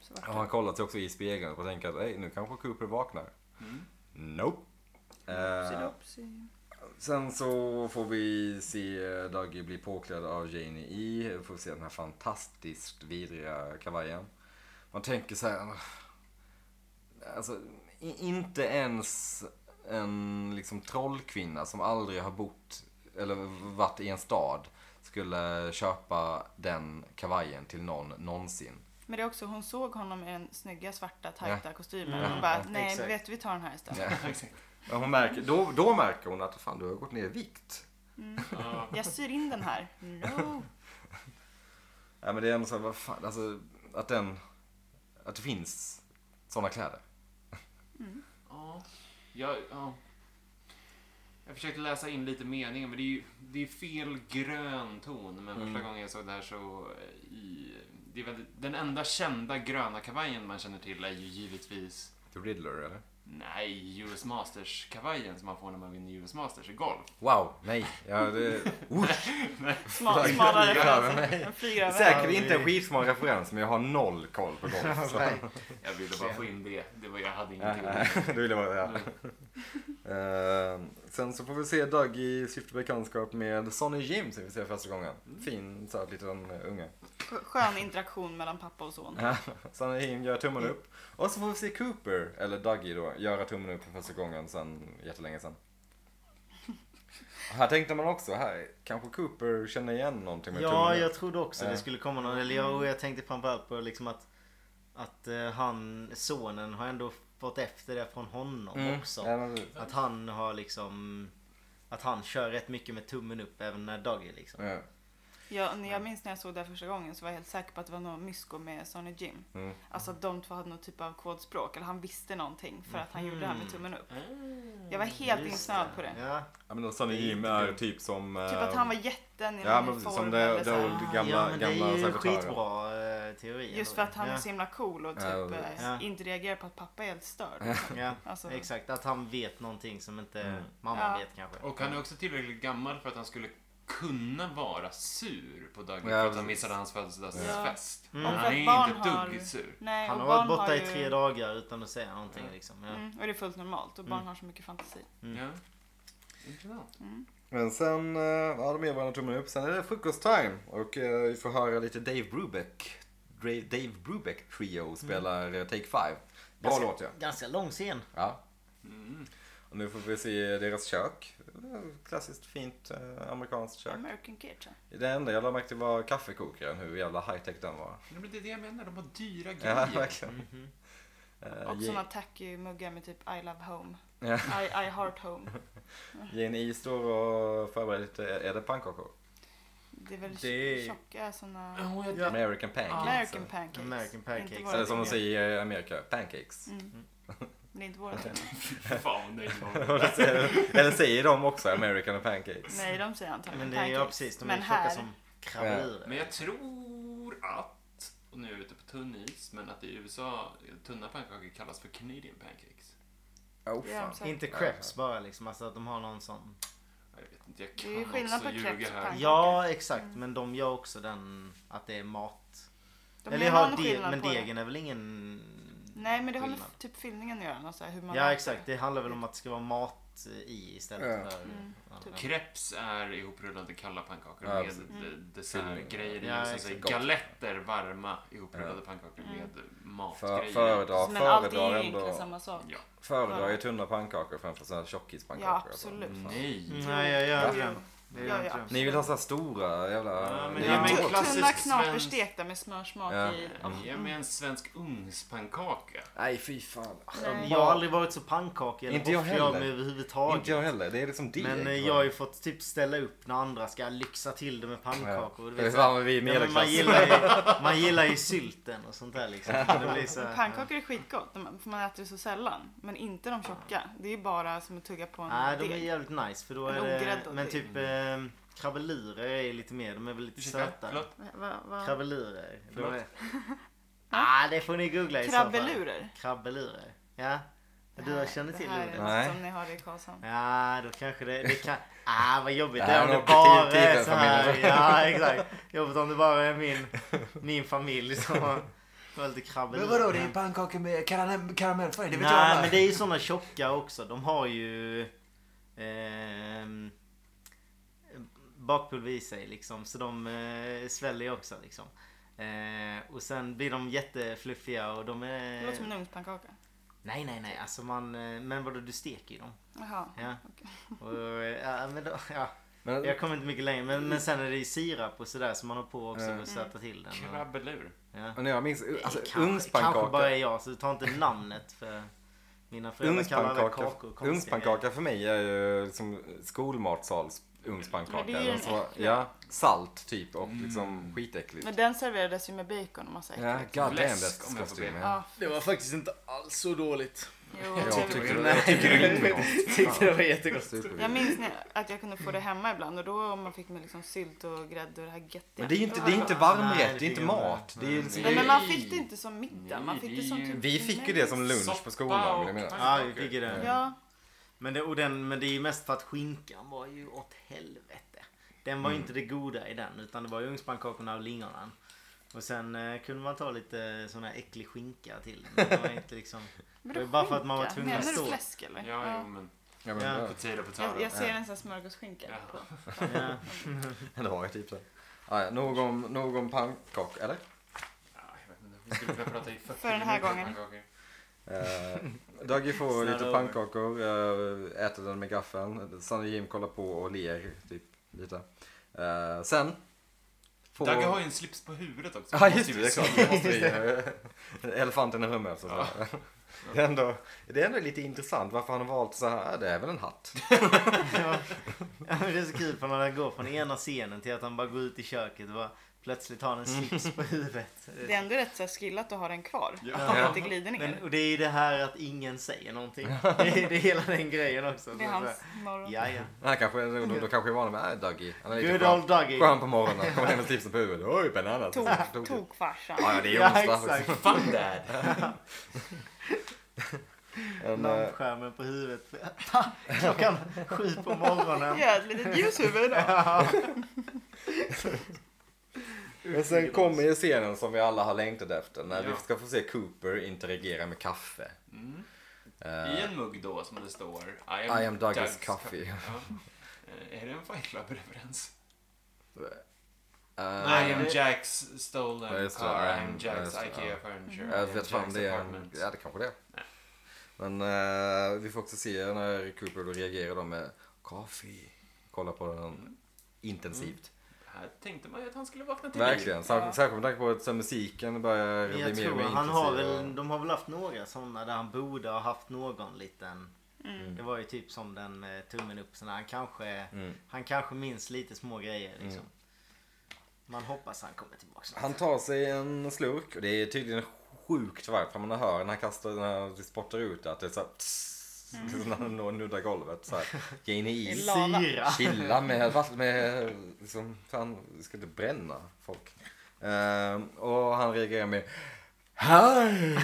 Så vart
Och
det.
Mm.
han kollar sig också i spegeln och tänker att "Ey, nu kanske Cooper vaknar. Nope. Eh,
Synopsis.
sen så får vi se Dougie bli påklädd av Janie E. Får se den här fantastiskt vidriga kavajen. Man tänker så här. Alltså, i- inte ens en liksom trollkvinna som aldrig har bott eller varit i en stad skulle köpa den kavajen till någon någonsin.
Men det är också, hon såg honom i den snygga svarta tajta kostymen.
Mm.
Hon bara, nej men
Exakt.
vet du, vi tar den här istället.
Ja.
Exakt.
Ja, Hon märker, då, då märker hon att fan, du har gått ner i vikt.
Ja.
Jag syr in den här. No.
Ja, men det är ändå så här, vad fan, alltså att den, att det finns sådana kläder.
Ja. Jag, ja. jag försökte läsa in lite meningen, men det är ju det är fel grön ton. Men första gången jag såg det här så... eh, I, det är väl, den enda kända gröna kavajen man känner till är ju givetvis...
The Riddler eller?
Nej, US Masters-kavajen som man får när man vinner US Masters i golf.
Wow, nej. Ja, det, Usch,
Smal,
Fan,
smala
jag klarar mig.
referenser. Den flyger över.
säkert inte en skitsmal referens men jag har noll koll på golf. Så.
Jag ville bara få in det. det var, jag hade ingenting.
Ja, ja, det vill jag bara säga. Eh, sen så får vi se Doug i syfte bekantskap med Sonny Jim som vi ser första gången. Fin så här, liten eh, unge.
Skön interaktion mellan pappa och son.
Ja, Sanna Him gör tummen upp. Och så får vi se Cooper, eller Dougie då, göra tummen upp för första gången sen jättelänge sen. Här tänkte man också, här kanske Cooper känner igen någonting med
Ja,
tummen
jag
upp.
trodde också
Ja.
det skulle komma någon. Eller jag, och jag tänkte framförallt på liksom att, att eh, han, sonen har ändå fått efter det från honom
Mm.
också.
Ja, men precis.
Att han har liksom Att han kör rätt mycket med tummen upp även när Dougie liksom
Ja.
Jag, när jag minns när jag såg det här första gången så var jag helt säker på att det var någon mysko med Sonny Jim.
Mm.
Alltså att de två hade någon typ av kodspråk. Eller han visste någonting för att han gjorde det här med tummen upp. Jag var helt
Just
insnöad på det.
Ja,
ja men då Sonny Jim är typ som...
Typ att han var jätten i
Ja
någon
men precis, som
form
det,
eller
det
så här.
old,
ja
gamla,
men
gamla
det är ju
sabotörer.
skitbra eh, teori
Just
ändå.
för att han
ja.
är så himla cool och typ
Ja,
eh,
ja.
inte reagerar på att pappa är helt störd.
ja,
Alltså,
Exakt, att han vet någonting som inte
Mm.
mamman
Ja.
vet kanske
Och han är också tillräckligt gammal för att han skulle kunna vara sur på dagen
Ja,
för att
precis.
han missade hans födelsedagsfest.
Mm.
Men
Och
för
Han
att
är
barn
inte ett
har-
dugg sur.
Nej,
Han
och
har varit
barn
borta i
ju-
tre dagar utan att säga någonting liksom ja.
Mm, och det är fullt normalt och barn har så mycket fantasi.
Mm.
Ja. Intressant.
Men sen, eh, ja de ger varandra tummen upp. Sen är det frukosttime och eh, vi får höra lite Dave Brubeck. Dra- Dave Brubeck Trio spelar eh, Take Five. Bra
Ganska-
låt ja.
Ganska lång scen
Ja.
Mm.
Och nu får vi se deras kök. Klassiskt fint eh, amerikanskt kök.
American Kitchen.
Det enda jag lade märke till var kaffekokaren, hur jävla high tech den var.
Men det är det jag menar, de har dyra
Ja,
grejer.
verkligen. Eh,
Och
Ja,
såna tacky muggar med typ I love home.
Ja.
I, I heart home.
Jane E står och förbereder lite, är det pannkakor?
Det är väl
Det-
tjocka såna
Åh, jag-
Ja.
American pancakes.
American pancakes.
Alltså, American pancakes.
Inte
Ja,
våra
Eller som de
typer.
säger i Amerika, pancakes.
Mm. Men det är inte våra typer.
Fan, nej.
Eller säger de också American pancakes?
Nej, de säger antagligen
Men det är ju
pancakes.
precis, de
Men
är tjocka
här,
som krabburer
Men jag tror att, och nu är jag ute på tunn is, men att i USA tunna pannkakor kallas för Canadian pancakes.
Oh,
det gör de
fan.
säkert.
Inte crepes bara liksom, alltså att de har någon sån
Jag vet inte, jag
är ju
kan
skillnad
också
på
ljuga
crepes och
här.
pannkakor.
Ja exakt,
Mm.
men de gör också den att det är mat
De
Eller
gör
jag
någon
har de,
skillnad
men
på det.
degen är väl ingen
Nej, men det har med
skillnad.
typ fyllningen att göra. något Så här, hur man
Ja
äter.
exakt, det handlar väl om att det ska vara mat i istället
Ja.
för...
Mm, typ.
Crepes är ihoprullade kalla pannkakor
Ja,
med
precis.
de-
Mm.
dessertgrejer i.
Ja,
och sen
exakt.
så är
Gott.
galetter varma ihoprullade pannkakor
Mm.
med
För,
matgrejer.
föredrar,
Men allt är
föredrar
ju
ändå.
egentligen samma sak.
Ja.
Föredrar ju tunna pannkakor framför sådana här tjockispannkakor.
Ja,
alltså.
absolut.
Mm.
Nej.
Nej jag gör inte
Jo,
det.
jo.
Det
Ja,
gör
ja.
inte det.
Ni vill ha så här stora jävla...
Ja, men
Ni
det är
vill
en
ha-
klassisk
Typ Tunna knaperstekt
svensk-
med smörsmak
Ja.
i.
Mm.
Ja.
Ge mig en svensk ugnspannkaka.
Nej, fy fan.
Nej.
Jag har aldrig varit så pannkakig eller
Inte jag
offrig av
heller.
mig överhuvudtaget.
Inte jag heller. Det är liksom deg.
typ. Men eh, jag har ju fått typ ställa upp när andra ska lyxa till det med pannkakor. Du
Ja. Det är
vet, så här-
samma vi i
liksom. ja, men man,
medelklassen.
gillar ju, man gillar ju sylten och sånt där liksom. Det blir så här,
Pannkakor är skitgott, de- för man äter det så sällan. Men inte de tjocka. Det är ju bara som att tugga på en
Nej, de är
deg.
jävligt nice för då
En
är
ogräddad
det... Men
deg.
typ eh, krabbelurer är ju lite mer, de är väl lite
Ursäkta,
sötare.
förlåt.
Va, va?
Krabbelurer. De
Förlåt?
är- Ah, det får ni googla i så fall.
Krabbelurer?
Krabbelurer. Ja. Du känner till
det här
det?
är
ordet?
Nej.
något som ni har i Karlshamn.
Ja, då kanske det, det kan... Ah, vad jobbigt
Det
det
här
är om
är
det
nog
bara
kritik-
är så här.
kritikfamiljen.
Ja, exakt. Jobbigt om det bara är min, min familj som... har- Det var lite krabbel.
Men vadå, det är pannkakor med karamell, karamellfärg. Det vet jag
Nej
alla.
men det är ju såna tjocka också. De har ju ehm, bakpulver i sig liksom. Så de eh, sväller ju också liksom. Eh, och sen blir de jättefluffiga och de är...
Det låter som en ugnspannkaka.
Nej nej nej alltså man... eh, Men vadå du steker ju dem.
Jaha.
Ja.
okej.
Och, eh, ja, men då, ja.
Men,
Jag kommer inte mycket längre men, men sen är det ju sirap och sådär som man har på också
Mm.
och söta till den. och-
Krabbelur.
Ja.
men jag minns, alltså
Kanske- Kanske bara är
ugnspannkaka.
jag så ta inte namnet för mina föräldrar kallar väl
Ugnspannkaka
kakor konstiga grejer.
ugnspannkaka för mig är ju liksom skolmatsals
Men det
ugnspannkaka.
är ju
Den
en
som var-
äcklig.
Ja, salt typ och
Mm.
liksom skitäckligt.
Men den serverades ju med bacon och massa
Ja,
äckligt.
god damn
Fläsk,
that's
om jag får
disgusting.
be.
ja.
Ja.
Det var faktiskt inte alls så dåligt.
Jo,
Jag
trevligt.
tyckte det
Nej,
jag tyckte det var
Jag tyckte det var jättegott.
supervidrigt.
Jag minns när- att jag kunde få det hemma ibland och då om man fick med liksom sylt och grädde och det här göttiga.
Men det är ju inte, det är inte
Nej,
varmrätt,
det
det är inte
tycker jag
mat. Det är ju liksom,
Nej, men man fick det inte som middag. Man
Nej,
fick
det
det
är
som
ju-
typ
vi fick ju det som lunch på
Soppa
skolan.
och
vill Jag menar.
Ja, jag tycker det.
Ja,
Men det, och den, men det är ju mest för att skinkan var ju åt helvete. Den var ju inte det goda i den utan det var ju ugnspannkakorna och lingonen. Och sen eh, kunde man ta lite sån här äcklig skinka till den. Det var inte liksom...
men
Det var bara för att man var tvungen att
Menar
stå.
du fläsk eller?
Ja, jo, men
Ja, men,
Ja.
ja.
potato,
Jag,
potato.
jag ser en sån här smörgåsskinka.
Ja.
på.
Ja.
Det var ju typ så. Ah, ja. Någon, någon pannkaka, eller?
Ja, jag vet inte. Vi skulle kunna prata i 40
För den här
minuter om
gången.
pannkakor.
Eh, Dagge får
Snälla
lite
Ove.
pannkakor, eh, äter den med gaffeln. Sanne Jim kollar på och ler typ lite. Eh, sen. får-
Dagge har ju en slips på huvudet också. Typ
Ja just det, det är
Måste ju
klart. Det måste vi. Elefanten i rummet. Så att säga. Det, är ändå, det är ändå lite intressant varför han har valt så här. "Ah, Det är väl en hatt.
Ja, Ja, men det är så kul för när han går från ena scenen till att han bara går ut i köket och bara plötsligt har han en slips på huvudet.
Det är ändå rätt så här skillat att ha den kvar.
Ja.
Att det inte glider ner.
Men, och det är ju det här att ingen säger någonting. Det är, det är hela den grejen också.
det är hans morgon.
Ja, ja.
Nej, kanske, då, då, då kanske vi var vana med äh, Dougie. Han är lite
Good
skön,
old Dougie.
skön på morgonen. Kommer hem med slipsen på huvudet. Oj, bananas.
Tok, tokfarsan.
Ja, ja, det är
Ja,
onsdag.
exakt.
Fun dad!
En, eh,
Lampskärmen på huvudet. Klockan sju på morgonen.
Ja, ett litet ljushuvud idag.
Men sen kommer ju scenen som vi alla har längtat efter när vi
Ja.
ska få se Cooper interagera med kaffe.
Mm.
Eh,
I en mugg då som det står I am,
I am Douglas
Doug's
coffee.
co- Ja. Eh, Är det en Fight Club-referens?
Eh,
I am
det-
Jacks
Ja,
stolen
just det.
car. I
Ja,
am
just
Jacks
det.
Ikea furniture. I
Jag
am
vet fan om
Jack's
det är...
apartment.
Ja, det kanske det är.
Nej.
Men eh, vi får också se när Cooper då reagerar då med kaffe. Kolla på den
Mm.
intensivt.
Här tänkte man ju att han skulle vakna till
Verkligen. Särskilt,
Ja.
särskilt med tanke på att så här, musiken börjar
Mm. Men
bli
jag
mer och
tror
mer
han har
intensiv.
väl, de har väl haft några sådana där han borde ha haft någon liten.
Mm.
Det var ju typ som den med tummen upp. Så när han kanske
Mm.
Han kanske minns lite små grejer liksom. Man hoppas han kommer tillbaka snart.
Han tar sig en slurk och det är tydligen sjukt varmt för man hör när han kastar, när det spottar ut det, att det är så här, tss, när han når- nuddar golvet så här. Ge in i
I
is.
la- Lava.
Syra!
Chilla med vatten med, liksom, fan, vi ska inte bränna folk. Ehm, och han reagerar med Hej!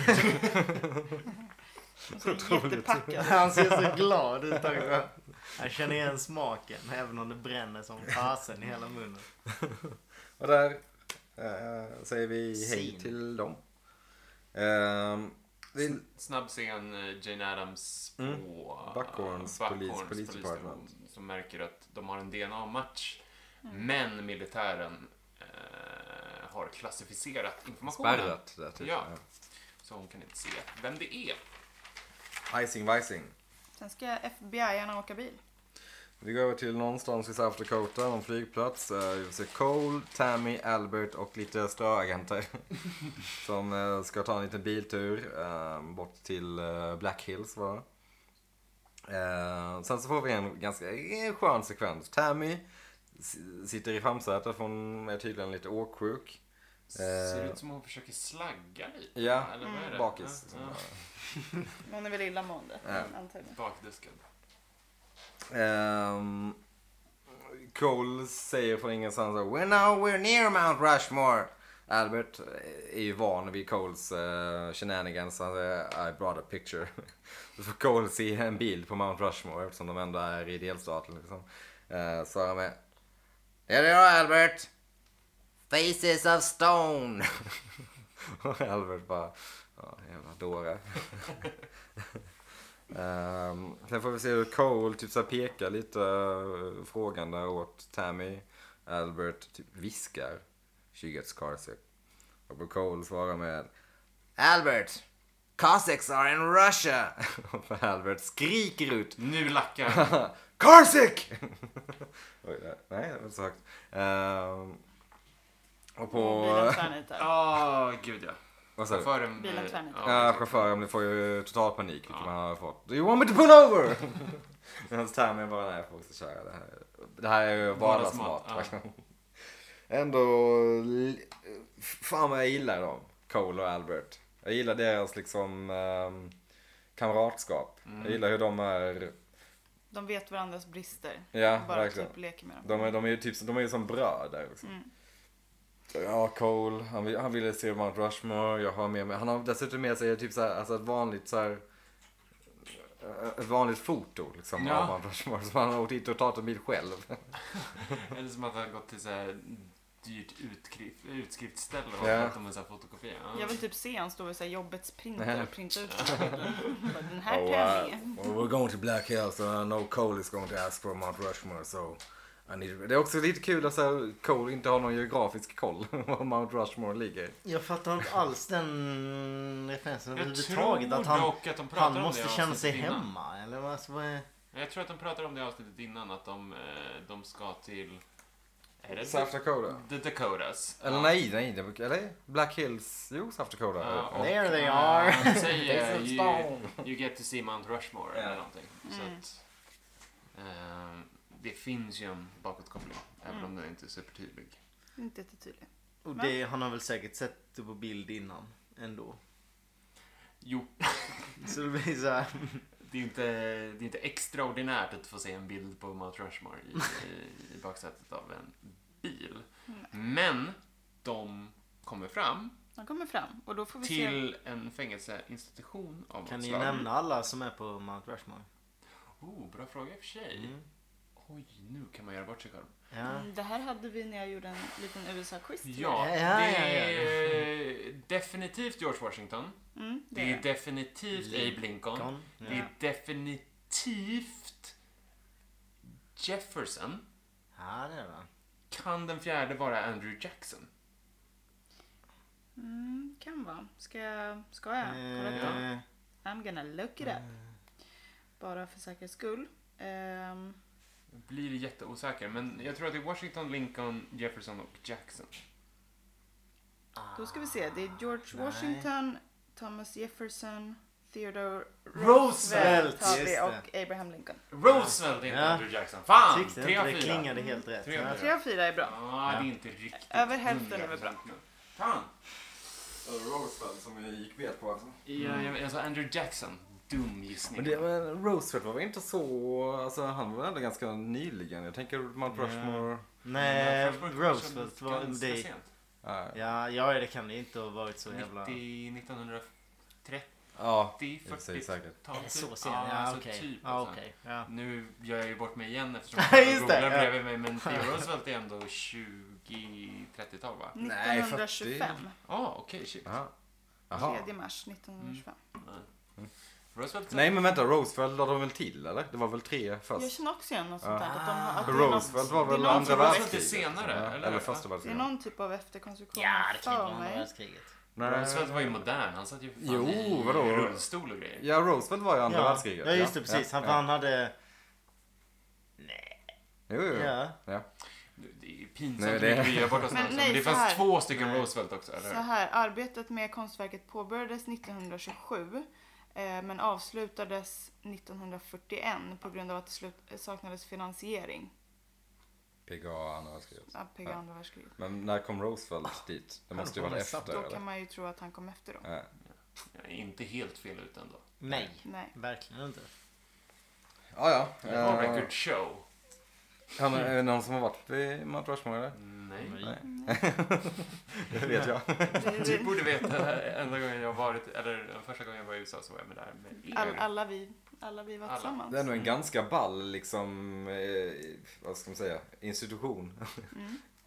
Och så Jättepackad.
Han ser så glad ut också. Jag känner igen smaken även om det bränner som fasen i hela munnen.
Och där eh, säger vi hej
Scene.
till dem. Ehm, det är,
Snabb scen, eh, Jane Addams på eh,
Mm. Buckhorns polis-
Buckhorns
police department.
som- Som märker att de har en DNA-match.
Mm.
Men militären eh, har klassificerat informationen.
spärrat där typ.
Ja. Så hon kan inte se vem det är.
Icing Vicing.
Sen ska FBI-arna åka bil.
Vi går över till någonstans i South Dakota, någon flygplats. Eh, Vi får se Cole, Tammy, Albert och lite ströagenter. som eh, ska ta en liten biltur eh, bort till eh, Black Hills var det. Eh, Sen så får vi en ganska en skön sekvens. Tammy s- sitter i framsätet för hon är tydligen lite åksjuk.
Ser
Eh.
ut som hon försöker slagga lite.
Ja,
eller vad är det?
bakis. liksom.
Ja,
Hon är väl illamående,
Ja.
ja.
antagligen.
Bakduskad.
Ehm, Cole säger från ingenstans så, We're now we're near Mount Rushmore. Albert eh, är ju van vid Coles uh, shenanigans. Han säger I brought a picture. Då får Cole se en bild på Mount Rushmore eftersom de ändå är i delstaten. Liksom. Eh, så han med. There they are Albert. Faces of stone. Och Albert bara, ja jävla dåre. Ehm, sen får vi se hur Cole typ så här pekar lite eh, frågande åt Tammy. Albert typ viskar. She gets carsick. Och på Cole svarar med Albert! Cossacks are in Russia! Och Albert skriker ut
Nu lackar
Karsick! Oj, där. nej, det var inte så högt. Ehm, och på...
Bilen tvärnitar.
Åh, gud ja.
Vad sa du?
Chauffören...
Bilen
eh,
tvärnitar.
Ja,
precis.
chauffören blir- får ju total panik, vilket man har fått. Do you want me to pull over? Medan Tammy bara, nej jag får också köra det här. Det här är ju vardagsmat.
Vardagsmat,
Ändå, fan vad jag gillar dem. Cole och Albert. Jag gillar deras liksom ehm, kamratskap. Jag gillar hur de är,
De vet varandras brister.
ja
bara
verkligen.
typ leker med dem.
De är, de är ju typ, de är ju som bröder. Liksom.
Mm.
Ja, Cole, han, vill- han ville se Mount Rushmore, jag har med mig, han har dessutom med sig typ så här, alltså ett vanligt så här, ett vanligt foto liksom
Ja.
av Mount Rushmore. Så han har åkt hit och tagit en bild själv.
Eller som att han gått till så här dyrt utskrift, utskriftsställe och
Ja.
fått dem en sån här fotokopia. Ja.
Jag vill typ se han stå vid så här jobbets
Nej.
printer och printa ut den. Bara, Den här
Oh,
kan jag med.
uh, we're going to Black Hill, so I know Cole is going to ask for Mount Rushmore, so I need... Det är också lite kul att så här, Cole inte har någon geografisk koll var Mount Rushmore ligger.
Jag fattar inte alls den referensen
Jag
överhuvudtaget.
tror
Att han,
dock att de pratar om
han
det i
måste känna
avsnittet
sig
innan.
hemma. Eller vad, alltså, vad är...
Jag tror att de pratade om det i avsnittet innan, att de, eh, de ska till... Är det
South Dakota?
The Dakotas.
Eller nej, nej, det- eller Black Hills, jo, South Dakota.
Ja,
Ja.
och,
There they
eh,
are.
Han säger
There's a
you, you get to see Mount Rushmore
Ja.
eller någonting. Så att, eh, det finns ju en bakåtkoppling, även om den inte är supertydlig.
Inte jättetydlig.
Och det han har väl säkert sett det på bild innan. Ändå.
Jo,
Så det blir så här.
det är, inte, det är inte extraordinärt att få se en bild på Mount Rushmore i, i, i baksätet av en bil.
Mm.
Men de kommer fram
De kommer fram och då får vi se.
till en fängelseinstitution av
Kan
något
ni
slag.
nämna alla som är på Mount Rushmore?
Oh, bra fråga i och för sig.
Mm.
Oj, nu kan man göra bort sig själv.
Ja.
Mm, Det här hade vi när jag gjorde en liten USA-quiz. till dig.
Ja,
Ja,
det
ja,
är definitivt George Washington.
Mm, det
Det
är
är
det.
definitivt Abe Lincoln.
Kon? Ja.
Det är definitivt Jefferson.
ja, det är det.
Kan den fjärde vara Andrew Jackson?
Mm, kan vara. Ska jag, ska jag kolla upp det?
Eh,
I'm gonna look it up. Bara för säkerhets skull. Ehm,
Blir jätteosäker, men jag tror att det är Washington, Lincoln, Jefferson och Jackson.
Då ska vi se. Det är George
Nej.
Washington, Thomas Jefferson, Theodore
Roosevelt,
Roosevelt har
just
vi
det.
och Abraham Lincoln.
Roosevelt är inte
Ja.
Andrew Jackson. Fan!
Tyckte
Tre
inte
av
det
fyra.
klingade helt rätt.
Tre av
Ja.
fyra.
Tre av fyra är bra.
Ah, det är inte riktigt.
Över hälften är väl bra.
100% nu. Fan!
Roosevelt som vi gick bet på alltså.
Ja,
Mm.
jag, alltså Andrew Jackson. Dum gissning.
Men, det, men Roosevelt var väl inte så, alltså han var ändå ganska nyligen. Jag tänker Mount
Ja.
Rushmore.
Nej,
Men eh, Roosevelt
Roosevelt var
kändes ganska
det.
sent.
Ja,
Ja, ja, det kan det inte ha varit så jävla...
90, 1930,
ja. och för sig
40
säkert.
tal
Så sen, ja okej. Ja,
alltså.
okej. Ja.
Nu gör jag ju bort mig igen eftersom
Ja,
jag
just
googlar
det, ja.
bredvid mig. Men Theodore Roosevelt är ändå 20-30-tal va?
Nej,
1925.
Ja, ah, okej. shit.
Jaha. Jaha.
3 mars 1925.
Roosevelt
Nej men vänta, Roosevelt la de väl till eller? Det var väl tre
Jag
först?
känner också igen något sånt där. Att de, har- att det är något-
Roosevelt var
det är
väl
någon som
andra
har väckt-
väckte
världskriget?
senare,
Ja,
eller?
eller första
Det är
världskriget?
någon typ av efterkonstruktion.
Ja, det kan ju
för
vara andra
mig.
världskriget.
Roosevelt var ju modern. Han satt ju fan
Jo,
i
vadå?
rullstol och grejer.
Ja, Roosevelt var ju andra
ja.
världskriget.
Ja, just det. Precis.
Ja,
han,
ja.
han hade...
Jo, jo. jo.
Ja.
Ja.
Det är ju pinsamt
Nej,
hur
det-
mycket vi gör bort oss
Men
men,
nej,
men det
så
fanns
här.
två stycken
Nej.
Roosevelt också, eller
Så
hur?
här, arbetet med konstverket påbörjades 1927 eh, men avslutades 1941 på grund av att det slut, eh, saknades finansiering
PGA, andra världskriget.
av PGA andra världskriget.
Men när kom Roosevelt dit? Det måste ju
Han
vara
var satt
efter
Då
eller?
kan man ju tro att han kom efter då.
Ja.
Ja, inte helt fel ut ändå.
Nej.
Nej.
Verkligen inte.
Ja, ja.
Det var
Eh,
record show.
Kan, är det någon som har varit vid Mount Rushmore eller?
Nej.
Nej. det vet jag.
Du borde veta, enda gången jag varit, eller den första gången jag var i USA så var jag med där med er.
All, alla, vi, alla vi var
Alla.
tillsammans.
Det är
Mm.
nog en ganska ball liksom, eh, vad ska man säga, institution.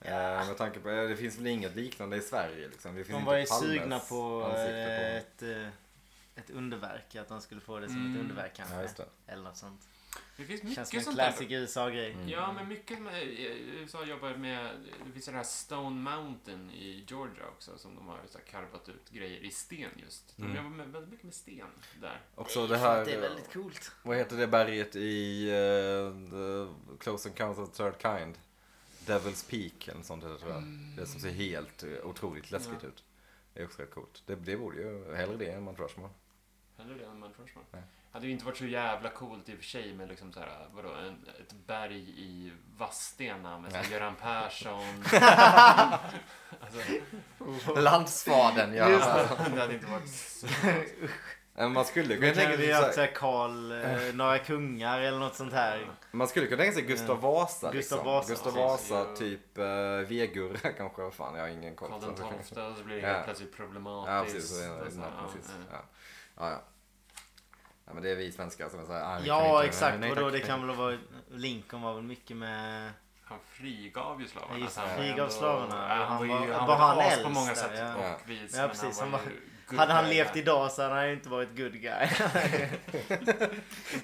Eh, med tanke på, eh, det finns väl inget liknande i Sverige liksom. Det finns
De
inte
var ju
Palmes
sugna på
ansikte
eh,
på-
ett, eh, ett underverk. Att de skulle få det som ett
Mm.
underverk kanske.
Ja, just det. Mm.
Eller något sånt.
Det finns
Känns som
mycket
en
sånt där.
classic USA-grej.
Ja, men mycket med, i USA jobbar med, det finns ju det här Stone Mountain i Georgia också som de har så här karvat ut grejer i sten just. De
Mm.
jobbar med, väldigt mycket med sten där.
Också det här,
Det är
eh,
väldigt coolt.
vad heter det berget i eh, the Close Encounters of the Third Kind? Devil's Peak eller sånt heter det tror jag. Det som ser helt eh, otroligt läskigt ut. Det är också rätt coolt. Det, det borde ju, hellre det än Mount Rushmore.
Hellre det än Mount Rushmore.
Nej.
Hade ju inte varit så jävla coolt i och för sig med liksom så här, vadå, en, ett berg i Vadstena med så här Göran Persson. alltså,
Landsfadern ja.
det hade inte varit så...
Men Eh, man skulle kunna
Men
tänka
tänker
sig
vi alltså- har
så här-
haft såhär Karl, eh, några kungar eller något sånt här.
Man skulle kunna tänka sig Gustav
Ja.
Vasa.
Gustav
liksom.
Vasa,
Gustav
precis.
Vasa
Ja.
typ eh, Vegurra kanske. Vad Fan, jag har ingen koll.
Karl den tolfte och så blir det
Ja.
helt plötsligt
Ja,
problematiskt.
precis. Så är det,
Och så,
ja,
ja, eh,
precis.
ja.
Ja. Ja, ja. ja, men det är vi svenskar som är så här. ah, vi kan
Ja
inte-
exakt,
nej,
vadå
tack.
det kan väl vara... Lincoln var väl mycket med...
Han frigav ju slavarna. Alltså,
Ja, just det.
han var
Frigav
ändå-
slavarna.
Ja, han, var ju, han
var
var
han
ju as
äldst
på många
där,
sätt
ja.
Ja.
och vis.
Ja,
men
precis.
Han
Han
var
var-
ju good
Hade han
guy
levt
där.
idag så hade han ju inte varit good guy.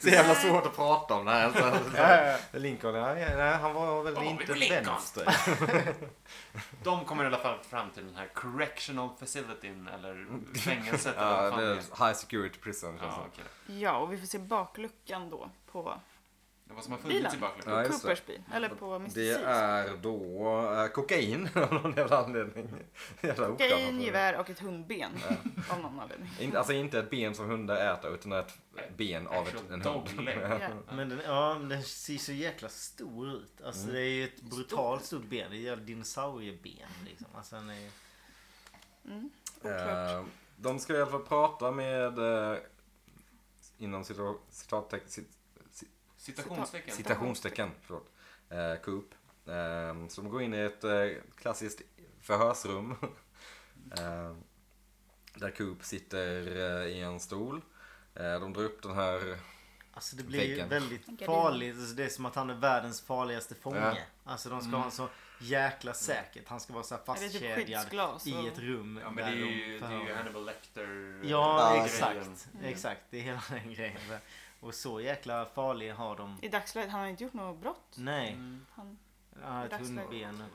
Så jävla svårt att prata om det här. Alltså.
Ja.
Lincoln, ja, ja, nej, han var väl
Vad har vi
inte
på Lincoln?
vänster.
De kommer i alla fall fram till den här correctional facilityn eller fängelset. eller vad
Ja,
fan
det är
det är.
high security prison. känns
Ja,
det.
okej.
Ja, och vi får se bakluckan då på
Det var som har funnits i
Bilen.
bakgrunden.
Ja, just det.
Coopersby. Eller på Mr.
Det
Seas.
är då eh, kokain av någon jävla anledning. Jävla oklart varför.
Kokain, gevär och ett hundben. Av någon anledning.
In, alltså inte ett ben som hundar äter utan ett ben av ett, en hund.
Dog leg.
Ja.
Men den, ja, men den ser så jäkla stor ut. Alltså det är ju ett brutalt stort ben. Det är ett jävla dinosaurieben liksom. Alltså, den är,
Mm. Oklart.
Eh, de ska i alla fall prata med eh, inom cita- citatteck- cit-
Citationstecken.
Cita-
citationstecken förlåt, eh, Coop. Eh, så de går in i ett eh, klassiskt förhörsrum. eh, där Coop sitter eh, i en stol. Eh, de drar upp den här
alltså det blir ju
Väggen.
väldigt
Gardin.
farligt. Alltså, det är som att han är världens farligaste fånge.
Ja.
Alltså de ska ha en så jäkla säkert. Han ska vara så här
Är det typ
fastkedjad
skyddsglas?
i
och-
ett rum.
Ja,
där
men det är
de
ju, det är ju
förhör.
Hannibal Lecter.
Ja,
eh, grejen.
exakt.
Mm.
Exakt, det är hela den grejen. Och så jäkla farlig har de.
I dagsläget, han har inte gjort något brott.
Nej,
Mm.
Han,
ja, ett
Dagsläget.
hundben.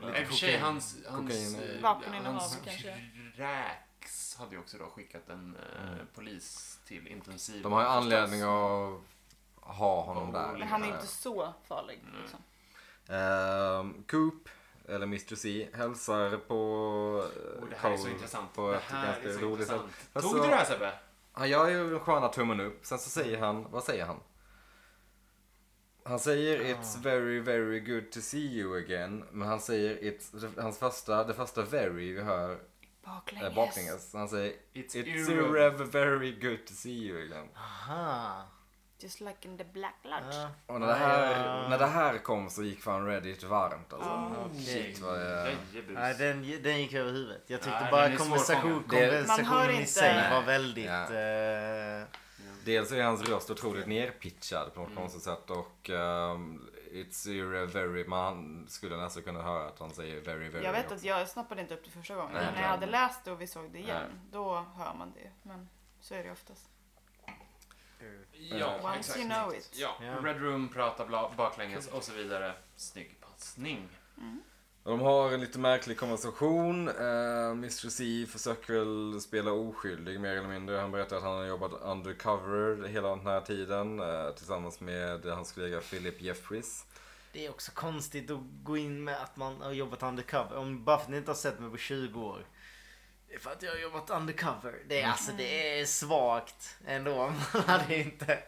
och
I
lite
och för sig,
kokain.
hans, hans,
Kokain.
eh,
Vapeninnehav
hans
kanske.
kräks hade ju också då skickat en eh, polis till intensiv.
De har ju
förstås.
anledning att ha honom
Oh,
där.
men han är inte så farlig.
Mm.
Liksom.
Ehm, Coop, eller Mr C, hälsar på eh,
Och Oh, det här är så
Cole
intressant.
på
det
ett
här är
ganska
så
roligt sätt.
intressant.
Alltså-
Tog du det här Sebbe?
Han gör ju den sköna tummen upp, sen så säger han, vad säger han? Han säger it's very very good to see you again, men han säger it's, hans första, det första very vi hör
Baklänges.
är baklänges. Han säger
It's
it's
irre-
irrev very good to see you again.
Aha.
Just like in the black lodge.
Ja.
Och när det här, när det här kom så gick fan Reddit varmt alltså.
Shit
vad jag-
Nej, den, den gick över huvudet. Jag tyckte
Nej, den
bara
är
konversation,
svårfångad.
Det-
Man hör
konversationen i
inte-
sig var
Nej.
väldigt...
Ja.
eh,
Dels är hans röst otroligt nerpitchad på något konstigt sätt och um, It's a very man skulle nästan kunna höra att han säger very very.
Jag vet
också.
att jag snappade inte upp det första gången.
Nej,
men när
nej.
jag hade läst det och vi såg det igen,
Nej.
då hör man det. Men så är det oftast.
Ja,
Once
exakt.
you know it.
Ja,
Ja.
Red Room pratar bla- baklänges och så vidare. Snygg passning.
Och De har en lite märklig konversation. Uh, Mr C försöker väl spela oskyldig mer eller mindre. Han berättar att han har jobbat undercover hela den här tiden eh, tillsammans med hans kollega Philip Jeffries.
Det är också konstigt att gå in med att man har jobbat undercover. Om bara för att ni inte har sett mig på 20 år. Det är för att jag har jobbat undercover. Det är,
Mm.
alltså, det är svagt ändå. Man hade inte...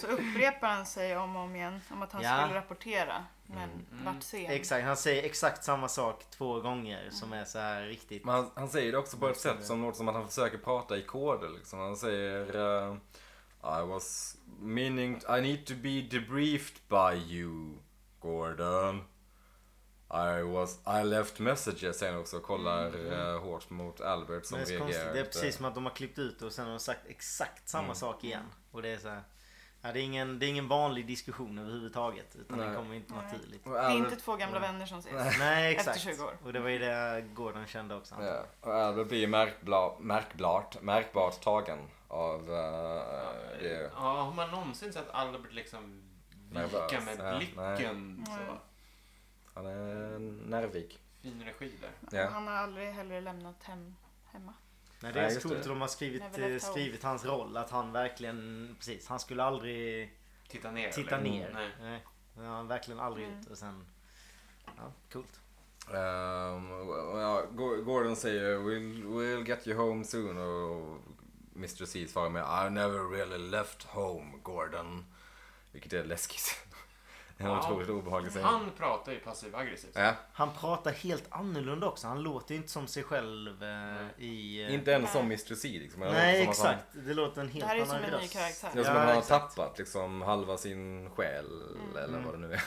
Så upprepar han sig om och om igen om att han
Ja. Mm.
skulle rapportera. Men
Mm.
vart sen.
Exakt, han säger exakt samma sak två gånger som
Mm.
är så här riktigt...
Men han, han säger det också på ett sätt som låter som att han försöker prata i koder liksom. Han säger eh, I was meaning I need to be debriefed by you Gordon. I was I left messages sen också och kollar eh, hårt mot Albert som
Mm, Men det, är så
reagerar.
konstigt. det är
lite.
Mm. precis som att de har klippt ut det och sen har de sagt exakt samma sak igen. Och det är så här... Ja, det, är ingen, det är ingen vanlig diskussion överhuvudtaget. Utan
Nej.
det kommer inte
Nej.
naturligt.
Och Mm.
Det är
Albert-
inte två gamla vänner som ses.
Nej,
Efter
exakt.
20 år.
Och det var ju det Gordon kände också. antar jag.
Ja, och Albert blir ju märkbla, märkbart, märkbart tagen av eh, det.
Ja, har man någonsin sett Albert liksom
Nervös.
vika med
Ja,
blicken? så.
Mm.
Han är nervig.
Fin regi där.
Ja.
Han har aldrig heller lämnat hem, hemma.
Nej, det
Nej,
är
just
så coolt
det.
att de har skrivit,
Never
eh,
left home.
skrivit hans roll. Att han verkligen, precis, han skulle aldrig
Titta ner.
titta
eller?
ner.
Nej.
Nej. Det har han verkligen aldrig
Mm.
gjort. Och sen, ja, coolt.
Ehm, och- och ja, Go- Gordon säger we'll, we'll get you home soon och Mr. C svarar med I never really left home Gordon. Vilket är läskigt. En
Ja.
otroligt obehaglig scen.
Han pratar ju passiv aggressivt.
Ja,
Han pratar helt annorlunda också. Han låter ju inte som sig själv eh, i... eh,
inte ens som Mr. C liksom. Eller
Nej,
som att han-
exakt. Det låter en helt
Det här är
annan
som en ny
röst.
karaktär.
Det är som att
Ja,
han har
exakt. Mm.
tappat liksom halva sin själ eller vad det nu är.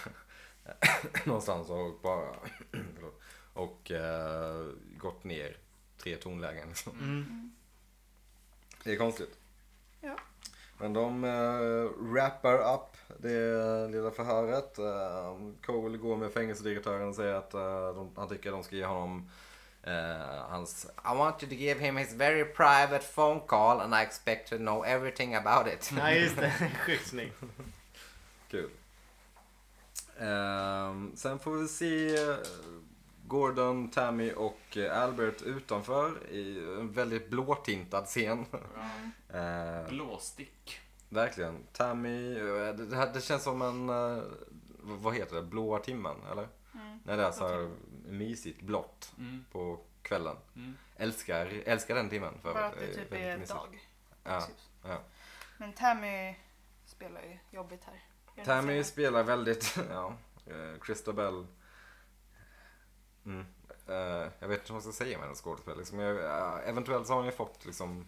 Någonstans och bara förlåt, och eh, gått ner tre tonlägen. Liksom.
Mm.
Det är konstigt.
Ja.
Men de eh, wrappar up det lilla förhöret. Eh, Cole går med fängelsedirektören och säger att eh, de, han tycker de ska ge honom eh, hans I want you to give him his very private phone call and I expect to know everything about it.
Nej, just det. Sjukt snyggt.
Kul. Ehm, sen får vi se eh, Gordon, Tammy och eh, Albert utanför i en väldigt blåtintad scen. Eh,
Blåstick.
verkligen. Tammy, eh, det, det, här, det känns som en, eh, vad heter det, blåa timmen eller?
Mm.
När det är så här mysigt blått
Mm.
på kvällen.
Mm.
Älskar, älskar den timmen. För eh,
Bara att det typ
väldigt
är
mysigt.
dag.
Ja.
Typ.
ja.
Men Tammy spelar ju jobbigt här. Gör
Tammy
det
spelar väldigt, ja, eh, Christabel. Mm. Eh, jag vet inte vad man ska säga med hennes skådespel. Liksom, jag, eh, eventuellt så har hon ju fått liksom,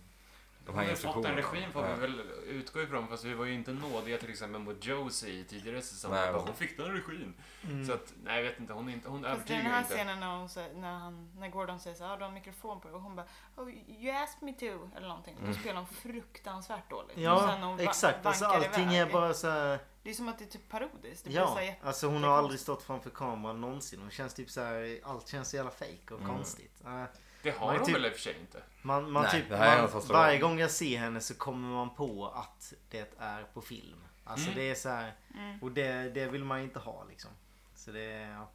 de
Om
här
vi har fått en
instruktionerna. Eh,
regim får
Ja.
vi väl utgå ifrån. Fast vi var ju inte nådiga till exempel mot Josie i tidigare
Nej,
säsonger. Bara,
och-
Hon fick den regin.
Mm.
Så att, nej jag vet inte. Hon, är inte, hon
Fast den
övertygar
här
inte.
scenen när, hon, sä- när, han, när Gordon säger så här, ah, du har mikrofon på dig och hon bara oh, you asked me to eller någonting.
Mm.
Då spelar hon fruktansvärt dåligt. och sen när
Ja,
hon va-
exakt. Alltså,
vankar
allting
iväg.
är bara så här...
Det är som att det är typ parodiskt. Det blir så
Ja,
här jätte...
alltså hon har
jättekonstigt.
aldrig stått framför kameran någonsin. Hon känns typ så här, allt känns så jävla fake och konstigt. Eh,
Det har
Nej,
hon
typ-
väl i och för sig inte.
Man, man
Mm. Nej,
typ,
det här är
man,
hennes första
varje
gång.
gång jag ser henne så kommer man på att det är på film. Alltså
Mm.
det är så här,
Mm.
och det, det vill man inte ha liksom. Så det är ja,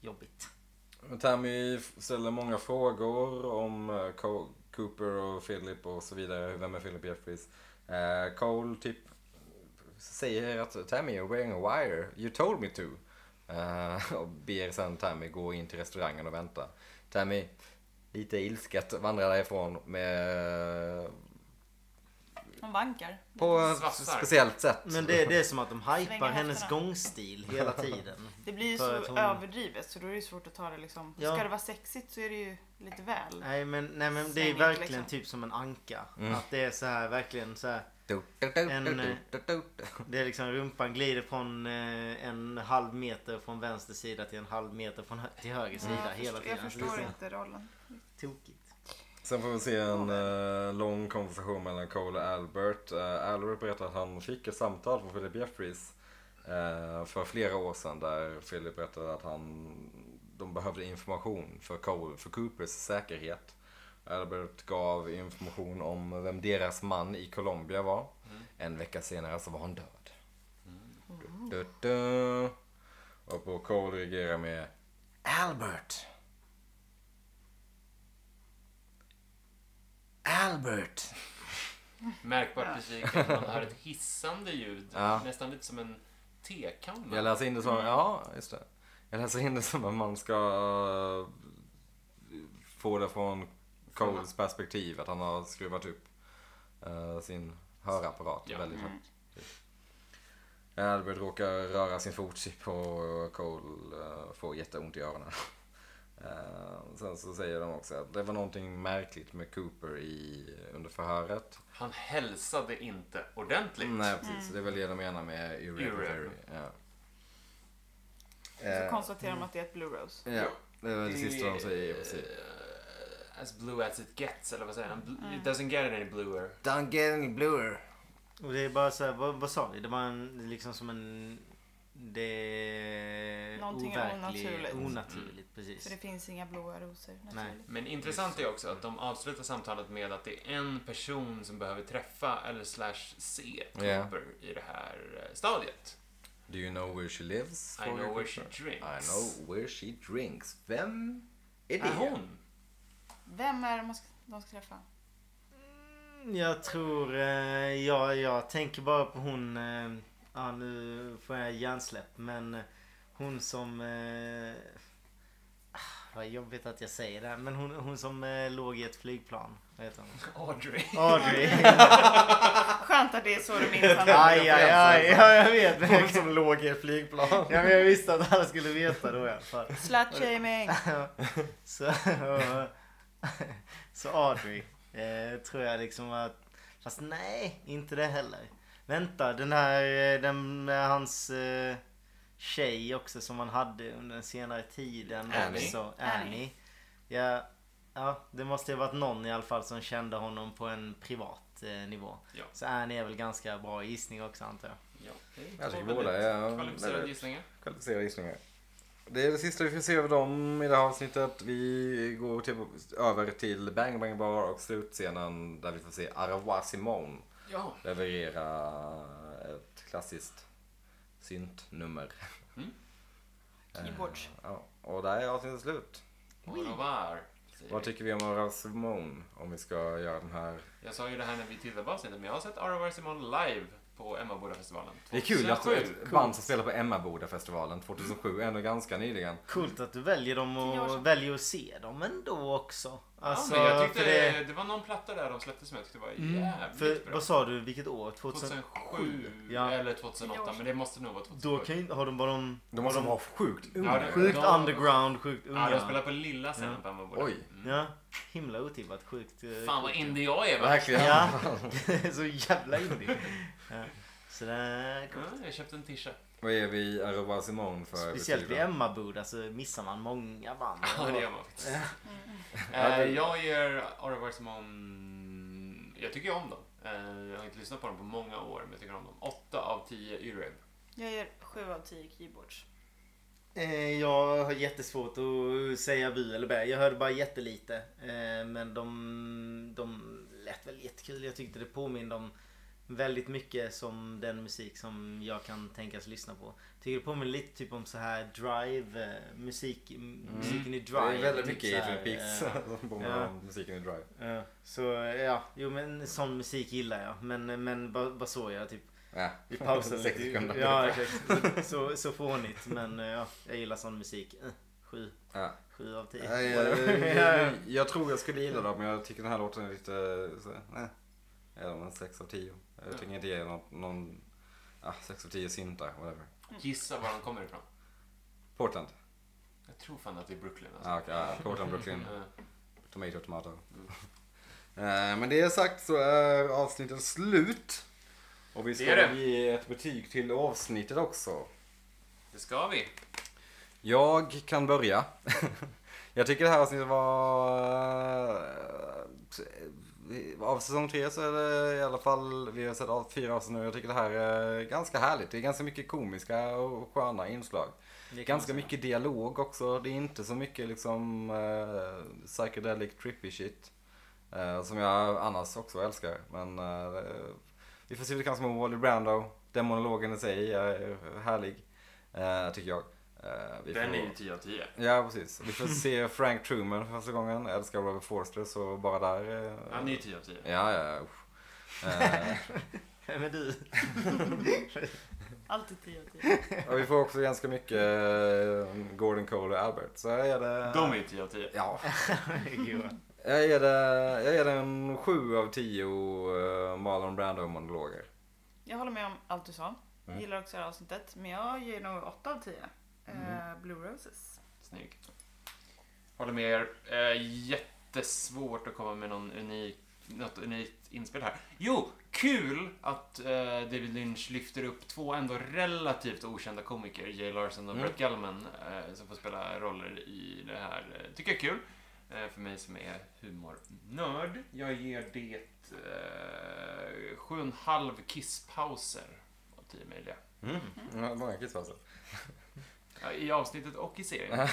jobbigt.
Men Tammy f- ställer många frågor om eh, Co- Cooper och Philip och så vidare. Vem är Philip Jeffries? Eh, Cole typ säger att Tammy you're wearing a wire. You told me to. Eh, och ber sen Tammy gå in till restaurangen och vänta. Tammy lite ilsket vandrar därifrån med
Hon vankar.
på ett
Svassar.
speciellt sätt.
Men det, det är som att de
Svänga
hypar hennes
höfterna.
gångstil hela tiden.
Det blir ju
För
så
att hon-
överdrivet så då är det ju svårt att ta det liksom.
Ja.
Ska det vara sexigt så är det ju lite väl.
Nej men, nej, men det är
Svängigt,
verkligen
liksom.
typ som en anka. Att det är så här verkligen så här.
Du, du, du,
En,
du, du,
eh,
du, du.
Det är liksom rumpan glider från eh, en halv meter från vänster sida till en halv meter från hö- till höger sida
jag
hela
förstår, jag
tiden. det är
förstår
så
inte rollen.
Tokigt.
Sen får vi se en eh, lång konversation mellan Cole och Albert. Eh, Albert berättar att han fick ett samtal från Philip Jeffries eh, för flera år sedan där Philip berättade att han, de behövde information för Cole, för Coopers säkerhet. Albert gav information om vem deras man i Colombia var. En vecka senare så var han död. Du, du, du. Och på Cole reagerar med Albert. Albert.
Märkbart besviken. Man hör ett hissande ljud.
Ja.
Nästan lite som en tekanna.
Jag läser in det som, ja just det. Jag läser in det som att man ska eh, få det från Coles perspektiv. Att han har skruvat upp eh, sin hörapparat
Ja.
väldigt högt. Albert råkar röra sin fotchip och Cole eh, får jätteont i öronen. Eh, sen så säger de också att det var någonting märkligt med Cooper i, under förhöret.
Han hälsade inte ordentligt.
Nej precis, det är väl det de menar med
Irreparable.
irreparable. Ja.
Så
Eh,
konstaterar man att det är ett Blue Rose.
Ja, det var det sista de säger i
Eh,
princip.
Mm. As blue as it gets, eller vad säger han? Bl- It doesn't get any bluer.
Don't get any bluer.
Och det är bara så här, vad, vad sa vi? Det var en, det är liksom som en... Det är
Någonting onaturligt.
onaturligt
För
precis.
det finns inga blåa rosor naturligt.
Men intressant är också att de avslutar samtalet med att det är en person som behöver träffa eller slash se Cooper
Ja.
i det här eh, stadiet.
Do you know where she lives?
I
frågar
know where she
Cooper. I
drinks.
know where she drinks. Vem är det?
Är hon?
Vem är det man ska, de ska träffa?
Jag tror... Eh, ja, jag tänker bara på hon... Eh, ja, nu får jag hjärnsläpp men eh, hon som... Eh, ah, vad jobbigt att jag säger det här men hon, hon som eh, låg i ett flygplan. Vad heter hon?
Audrey.
Audrey.
Ah.
Skönt att det är så du minns henne.
aj, aj, aj. Ja, jag vet. Men jag, som låg i ett flygplan. Ja, men jag visste att alla skulle veta då i alla fall.
Slutshaming.
Ah.
Så, så Audrey eh, tror jag liksom att... Fast nej, inte det heller. Vänta, den här... eh, Den med hans eh, tjej också som han hade under den senare tiden
Annie.
också.
Annie.
Annie. Ja, ja, det måste ju varit någon i alla fall som kände honom på en privat eh, nivå.
Ja.
Så Annie är väl ganska bra gissning också antar jag.
Ja,
Jag
två
tycker
väldigt
båda är-
Kvalificerade
väldigt-
gissningar.
Kvalificerade gissningar. Det är det sista vi får se av dem i det här avsnittet. Vi går till, över till Bang Bang Bar och slutscenen där vi får se Arwa Simone
Ja.
leverera ett klassiskt syntnummer.
Keyboards.
Ja, och där är avsnittet slut.
Och var.
Vad tycker vi om Arwa Simone? Om vi ska göra den här...
Jag sa ju det här när vi tittade på avsnittet, men jag har sett Aravar Simon live på Emmabodafestivalen.
Det är kul att
2007.
ett band som spelar på Emmabodafestivalen 2007,
Mm.
ändå ganska nyligen.
Coolt att du väljer dem
Tio år
och
sedan.
väljer att se dem ändå också. Alltså,
ja, men jag tyckte
för Mm,
det... var någon platta där de släppte som jag tyckte var jävligt
För,
bra.
vad sa du, vilket år? 2000?
2007
Ja.
eller 2008, men det måste nog vara 2007.
Då kan ju, har de bara de...
De måste vara sjukt
Ja, det-
Sjukt
de-
underground, sjukt
Ja,
unga.
de spelar på lilla scenen på Emmaboda.
Oj.
Ja, himla otippat. Sjukt... eh,
Fan vad indie jag är va?
Verkligen.
Ja, så jävla indie. Ja. Så det är
Ja, jag köpte en tisha.
Vad är vi Arwa Simone för
Speciellt i
betyg då?
Emmaboda så missar man många band.
Ja, det gör man faktiskt.
Ja,
Eh,
det-
jag ger Aravar Simon... Jag tycker ju om dem. Eh, jag har inte lyssnat på dem på många år, men jag tycker om dem. 8 av 10 Yreb.
Jag ger 7 av 10 keyboards.
Eh, Jag har jättesvårt att säga bu eller bä. Jag hörde bara jättelite. Eh, Men de, de lät väl jättekul. Jag tyckte det påminde om väldigt mycket som den musik som jag kan tänkas lyssna på. Tycker det påminner lite typ om så här Drive, eh, musik, m- musiken i
Mm. Det
Drive.
är väldigt
typ
mycket
så
i
här,
Twin Peaks
eh,
som påminner om musiken i Drive.
eh, Så eh, ja, jo men sån musik gillar jag. Men, eh, men bara, bara så jag typ.
Ja.
Vi pausar
Sex
lite.
sekunder.
Ja, exakt. Så, så fånigt. Men eh, ja, jag gillar sån musik. Eh, Sju.
Ja.
Sju av tio.
Ja, ja, ja. eh, Jag tror jag skulle gilla dem men jag tycker den här låten är lite så, nej. Eller om en 6 av 10. Jag tycker inte det är någon, någon ah, 6 av 10 syntar, whatever.
Gissa var de kommer ifrån.
Portland.
Jag tror fan att det är Brooklyn alltså.
Ah, okay, ah, Portland, Brooklyn.
Eh,
Tomato, tomato.
Mm.
Eh, men det sagt så är avsnittet slut. Och vi ska
Det är det.
ge ett betyg till avsnittet också.
Det ska vi.
Jag kan börja. jag tycker det här avsnittet var... eh, Av säsong tre så är det i alla fall, vi har sett av fyra avsnitt nu, jag tycker det här är ganska härligt. Det är ganska mycket komiska och sköna inslag.
Det kan
Ganska
man säga.
mycket dialog också. Det är inte så mycket liksom eh, psychedelic trippy shit. Eh, som jag annars också älskar. Men eh, vi får se hur det kan som med Wally Brando. Den monologen i sig är härlig. Eh, tycker jag. Eh, vi
Den
får-
är ju 10 av 10.
Ja precis. Vi får se Frank Truman för första gången. Jag älskar Robert Forster så bara där. eh,
Han är ju 10 av 10.
Ja, ja, ja. usch. Eh,
Men du.
Alltid 10 av 10.
och vi får också ganska mycket eh, Gordon Cole och Albert. Så jag är det...
De är ju 10 av 10.
Ja.
Gud.
Jag ger det, jag ger det en 7 av 10 eh, Marlon Brando-monologer.
Jag håller med om allt du sa.
Mm.
Jag gillar också det här avsnittet. Men jag ger nog 8 av 10.
Mm.
Eh, Blue Roses.
Snygg. Håller med er. Eh, jättesvårt att komma med någon unik, något unikt inspel här. Jo, kul att eh, David Lynch lyfter upp två ändå relativt okända komiker, Jay Larson och
Mm.
Brett Gallman, eh, som får spela roller i det här. Eh, tycker jag är kul. Eh, för mig som är humornörd. Jag ger det eh, sju och en halv kisspauser av tio möjliga.
Mm. Ja, många kissfasor.
Ja, I avsnittet och i serien.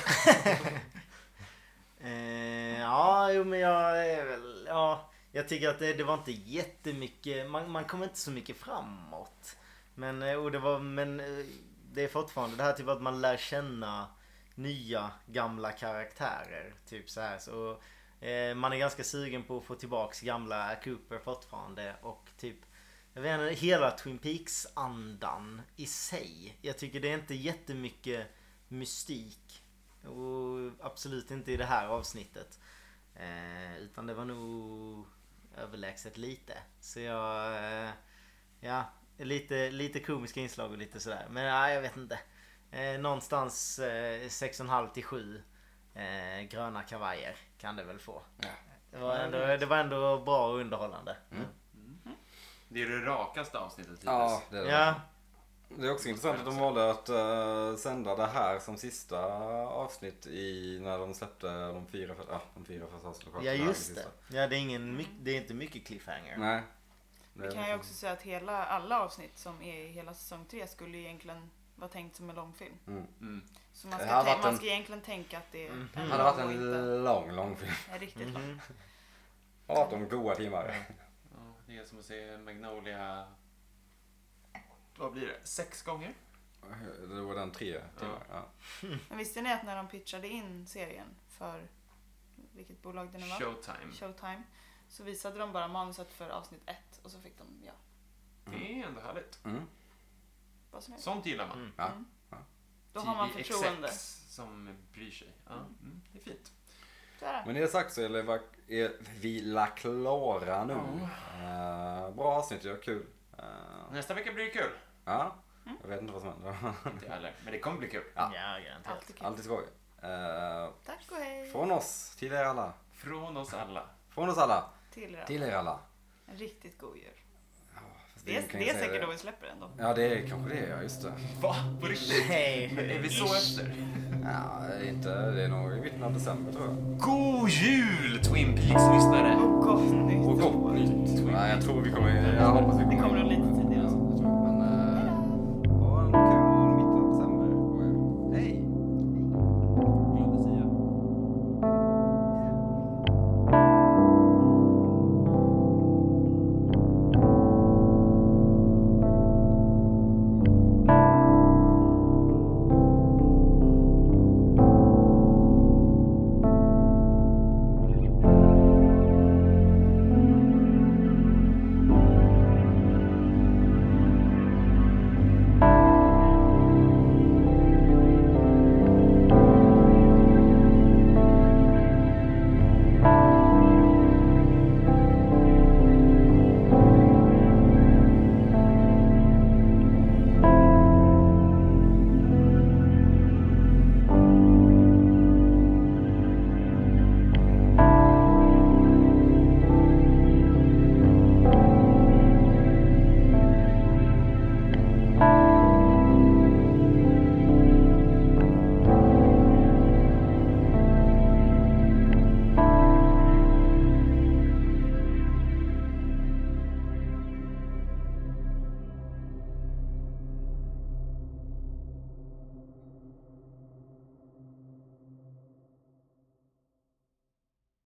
Eh, ja, jo men jag är väl... Ja, jag tycker att det, det var inte jättemycket... Man, man kom inte så mycket framåt. Men, eh, och det var, men eh, det är fortfarande det här typ att man lär känna nya gamla karaktärer. Typ så här. Så, eh, man är ganska sugen på att få tillbaks gamla Cooper fortfarande. Och typ jag vet inte, hela Twin Peaks-andan i sig. Jag tycker det är inte jättemycket mystik. Och absolut inte i det här avsnittet. Eh, utan det var nog överlägset lite. Så jag... Eh, ja, lite, lite komiska inslag och lite sådär. Men nej, jag vet inte. Eh, någonstans eh, 6,5 till 7 eh, gröna kavajer kan det väl få. Det, var ändå, det var ändå bra och underhållande.
Det är det rakaste avsnittet hittills.
Ja, det är det.
Ja,
Det är också intressant att de valde att eh, sända det här som sista avsnitt i när de släppte de fyra, för, ja, de fyra första avsnitten.
ja
här är
just det.
sista.
Ja, det är, ingen, my- det är inte mycket cliffhanger.
Nej.
Vi kan ju också säga att hela, alla avsnitt som är i hela säsong tre skulle ju egentligen vara tänkt som en långfilm.
Mm.
Så man
Det
ska,
hade
tän-
varit
man
en-
ska egentligen tänka att det är en
Det
lång
hade varit
och
en Mm.
inte
lång, lång film.
en riktigt lång.
18 goda timmar.
Ja, Det är som att se Magnolia... Vad blir det? Sex gånger?
Det var den tre timmar. Ja.
Men visste ni att när de pitchade in serien för vilket bolag det nu var?
Showtime.
Showtime. Så visade de bara manuset för avsnitt ett och så fick de, ja,
Det är ändå härligt.
Mm.
vad som helst.
Sånt gillar man.
Mm.
Ja.
Då har man
Tidig
förtroende.
exex som bryr sig. Ja, mm. Det är fint.
Så är det.
Men det sagt så är, det vack- är vi la klara nu. Eh, bra avsnitt, ja, kul. Eh,
Nästa vecka blir det kul.
ja, jag vet inte vad som händer.
Inte jag heller, men det kommer bli kul.
Ja, garanterat.
Alltid kul.
Alltid skoj. Eh,
Tack och hej
från oss till er alla.
Från oss alla.
Från oss alla.
till er.
Till er alla.
En riktigt god jul.
Fast
Det
ingen
är,
kan
det
ju
är
säga
säkert då vi släpper den då.
Ja, det är kanske det. Ja, just det.
Va? På riktigt?
Hej!
Är vi så efter?
Ja, det är inte, det är nog i mitten av december tror jag.
God jul Twin Peaks-lyssnare!
Och gott nytt
Och gott nytt. Nej, jag tror vi kommer... Jag hoppas vi eh,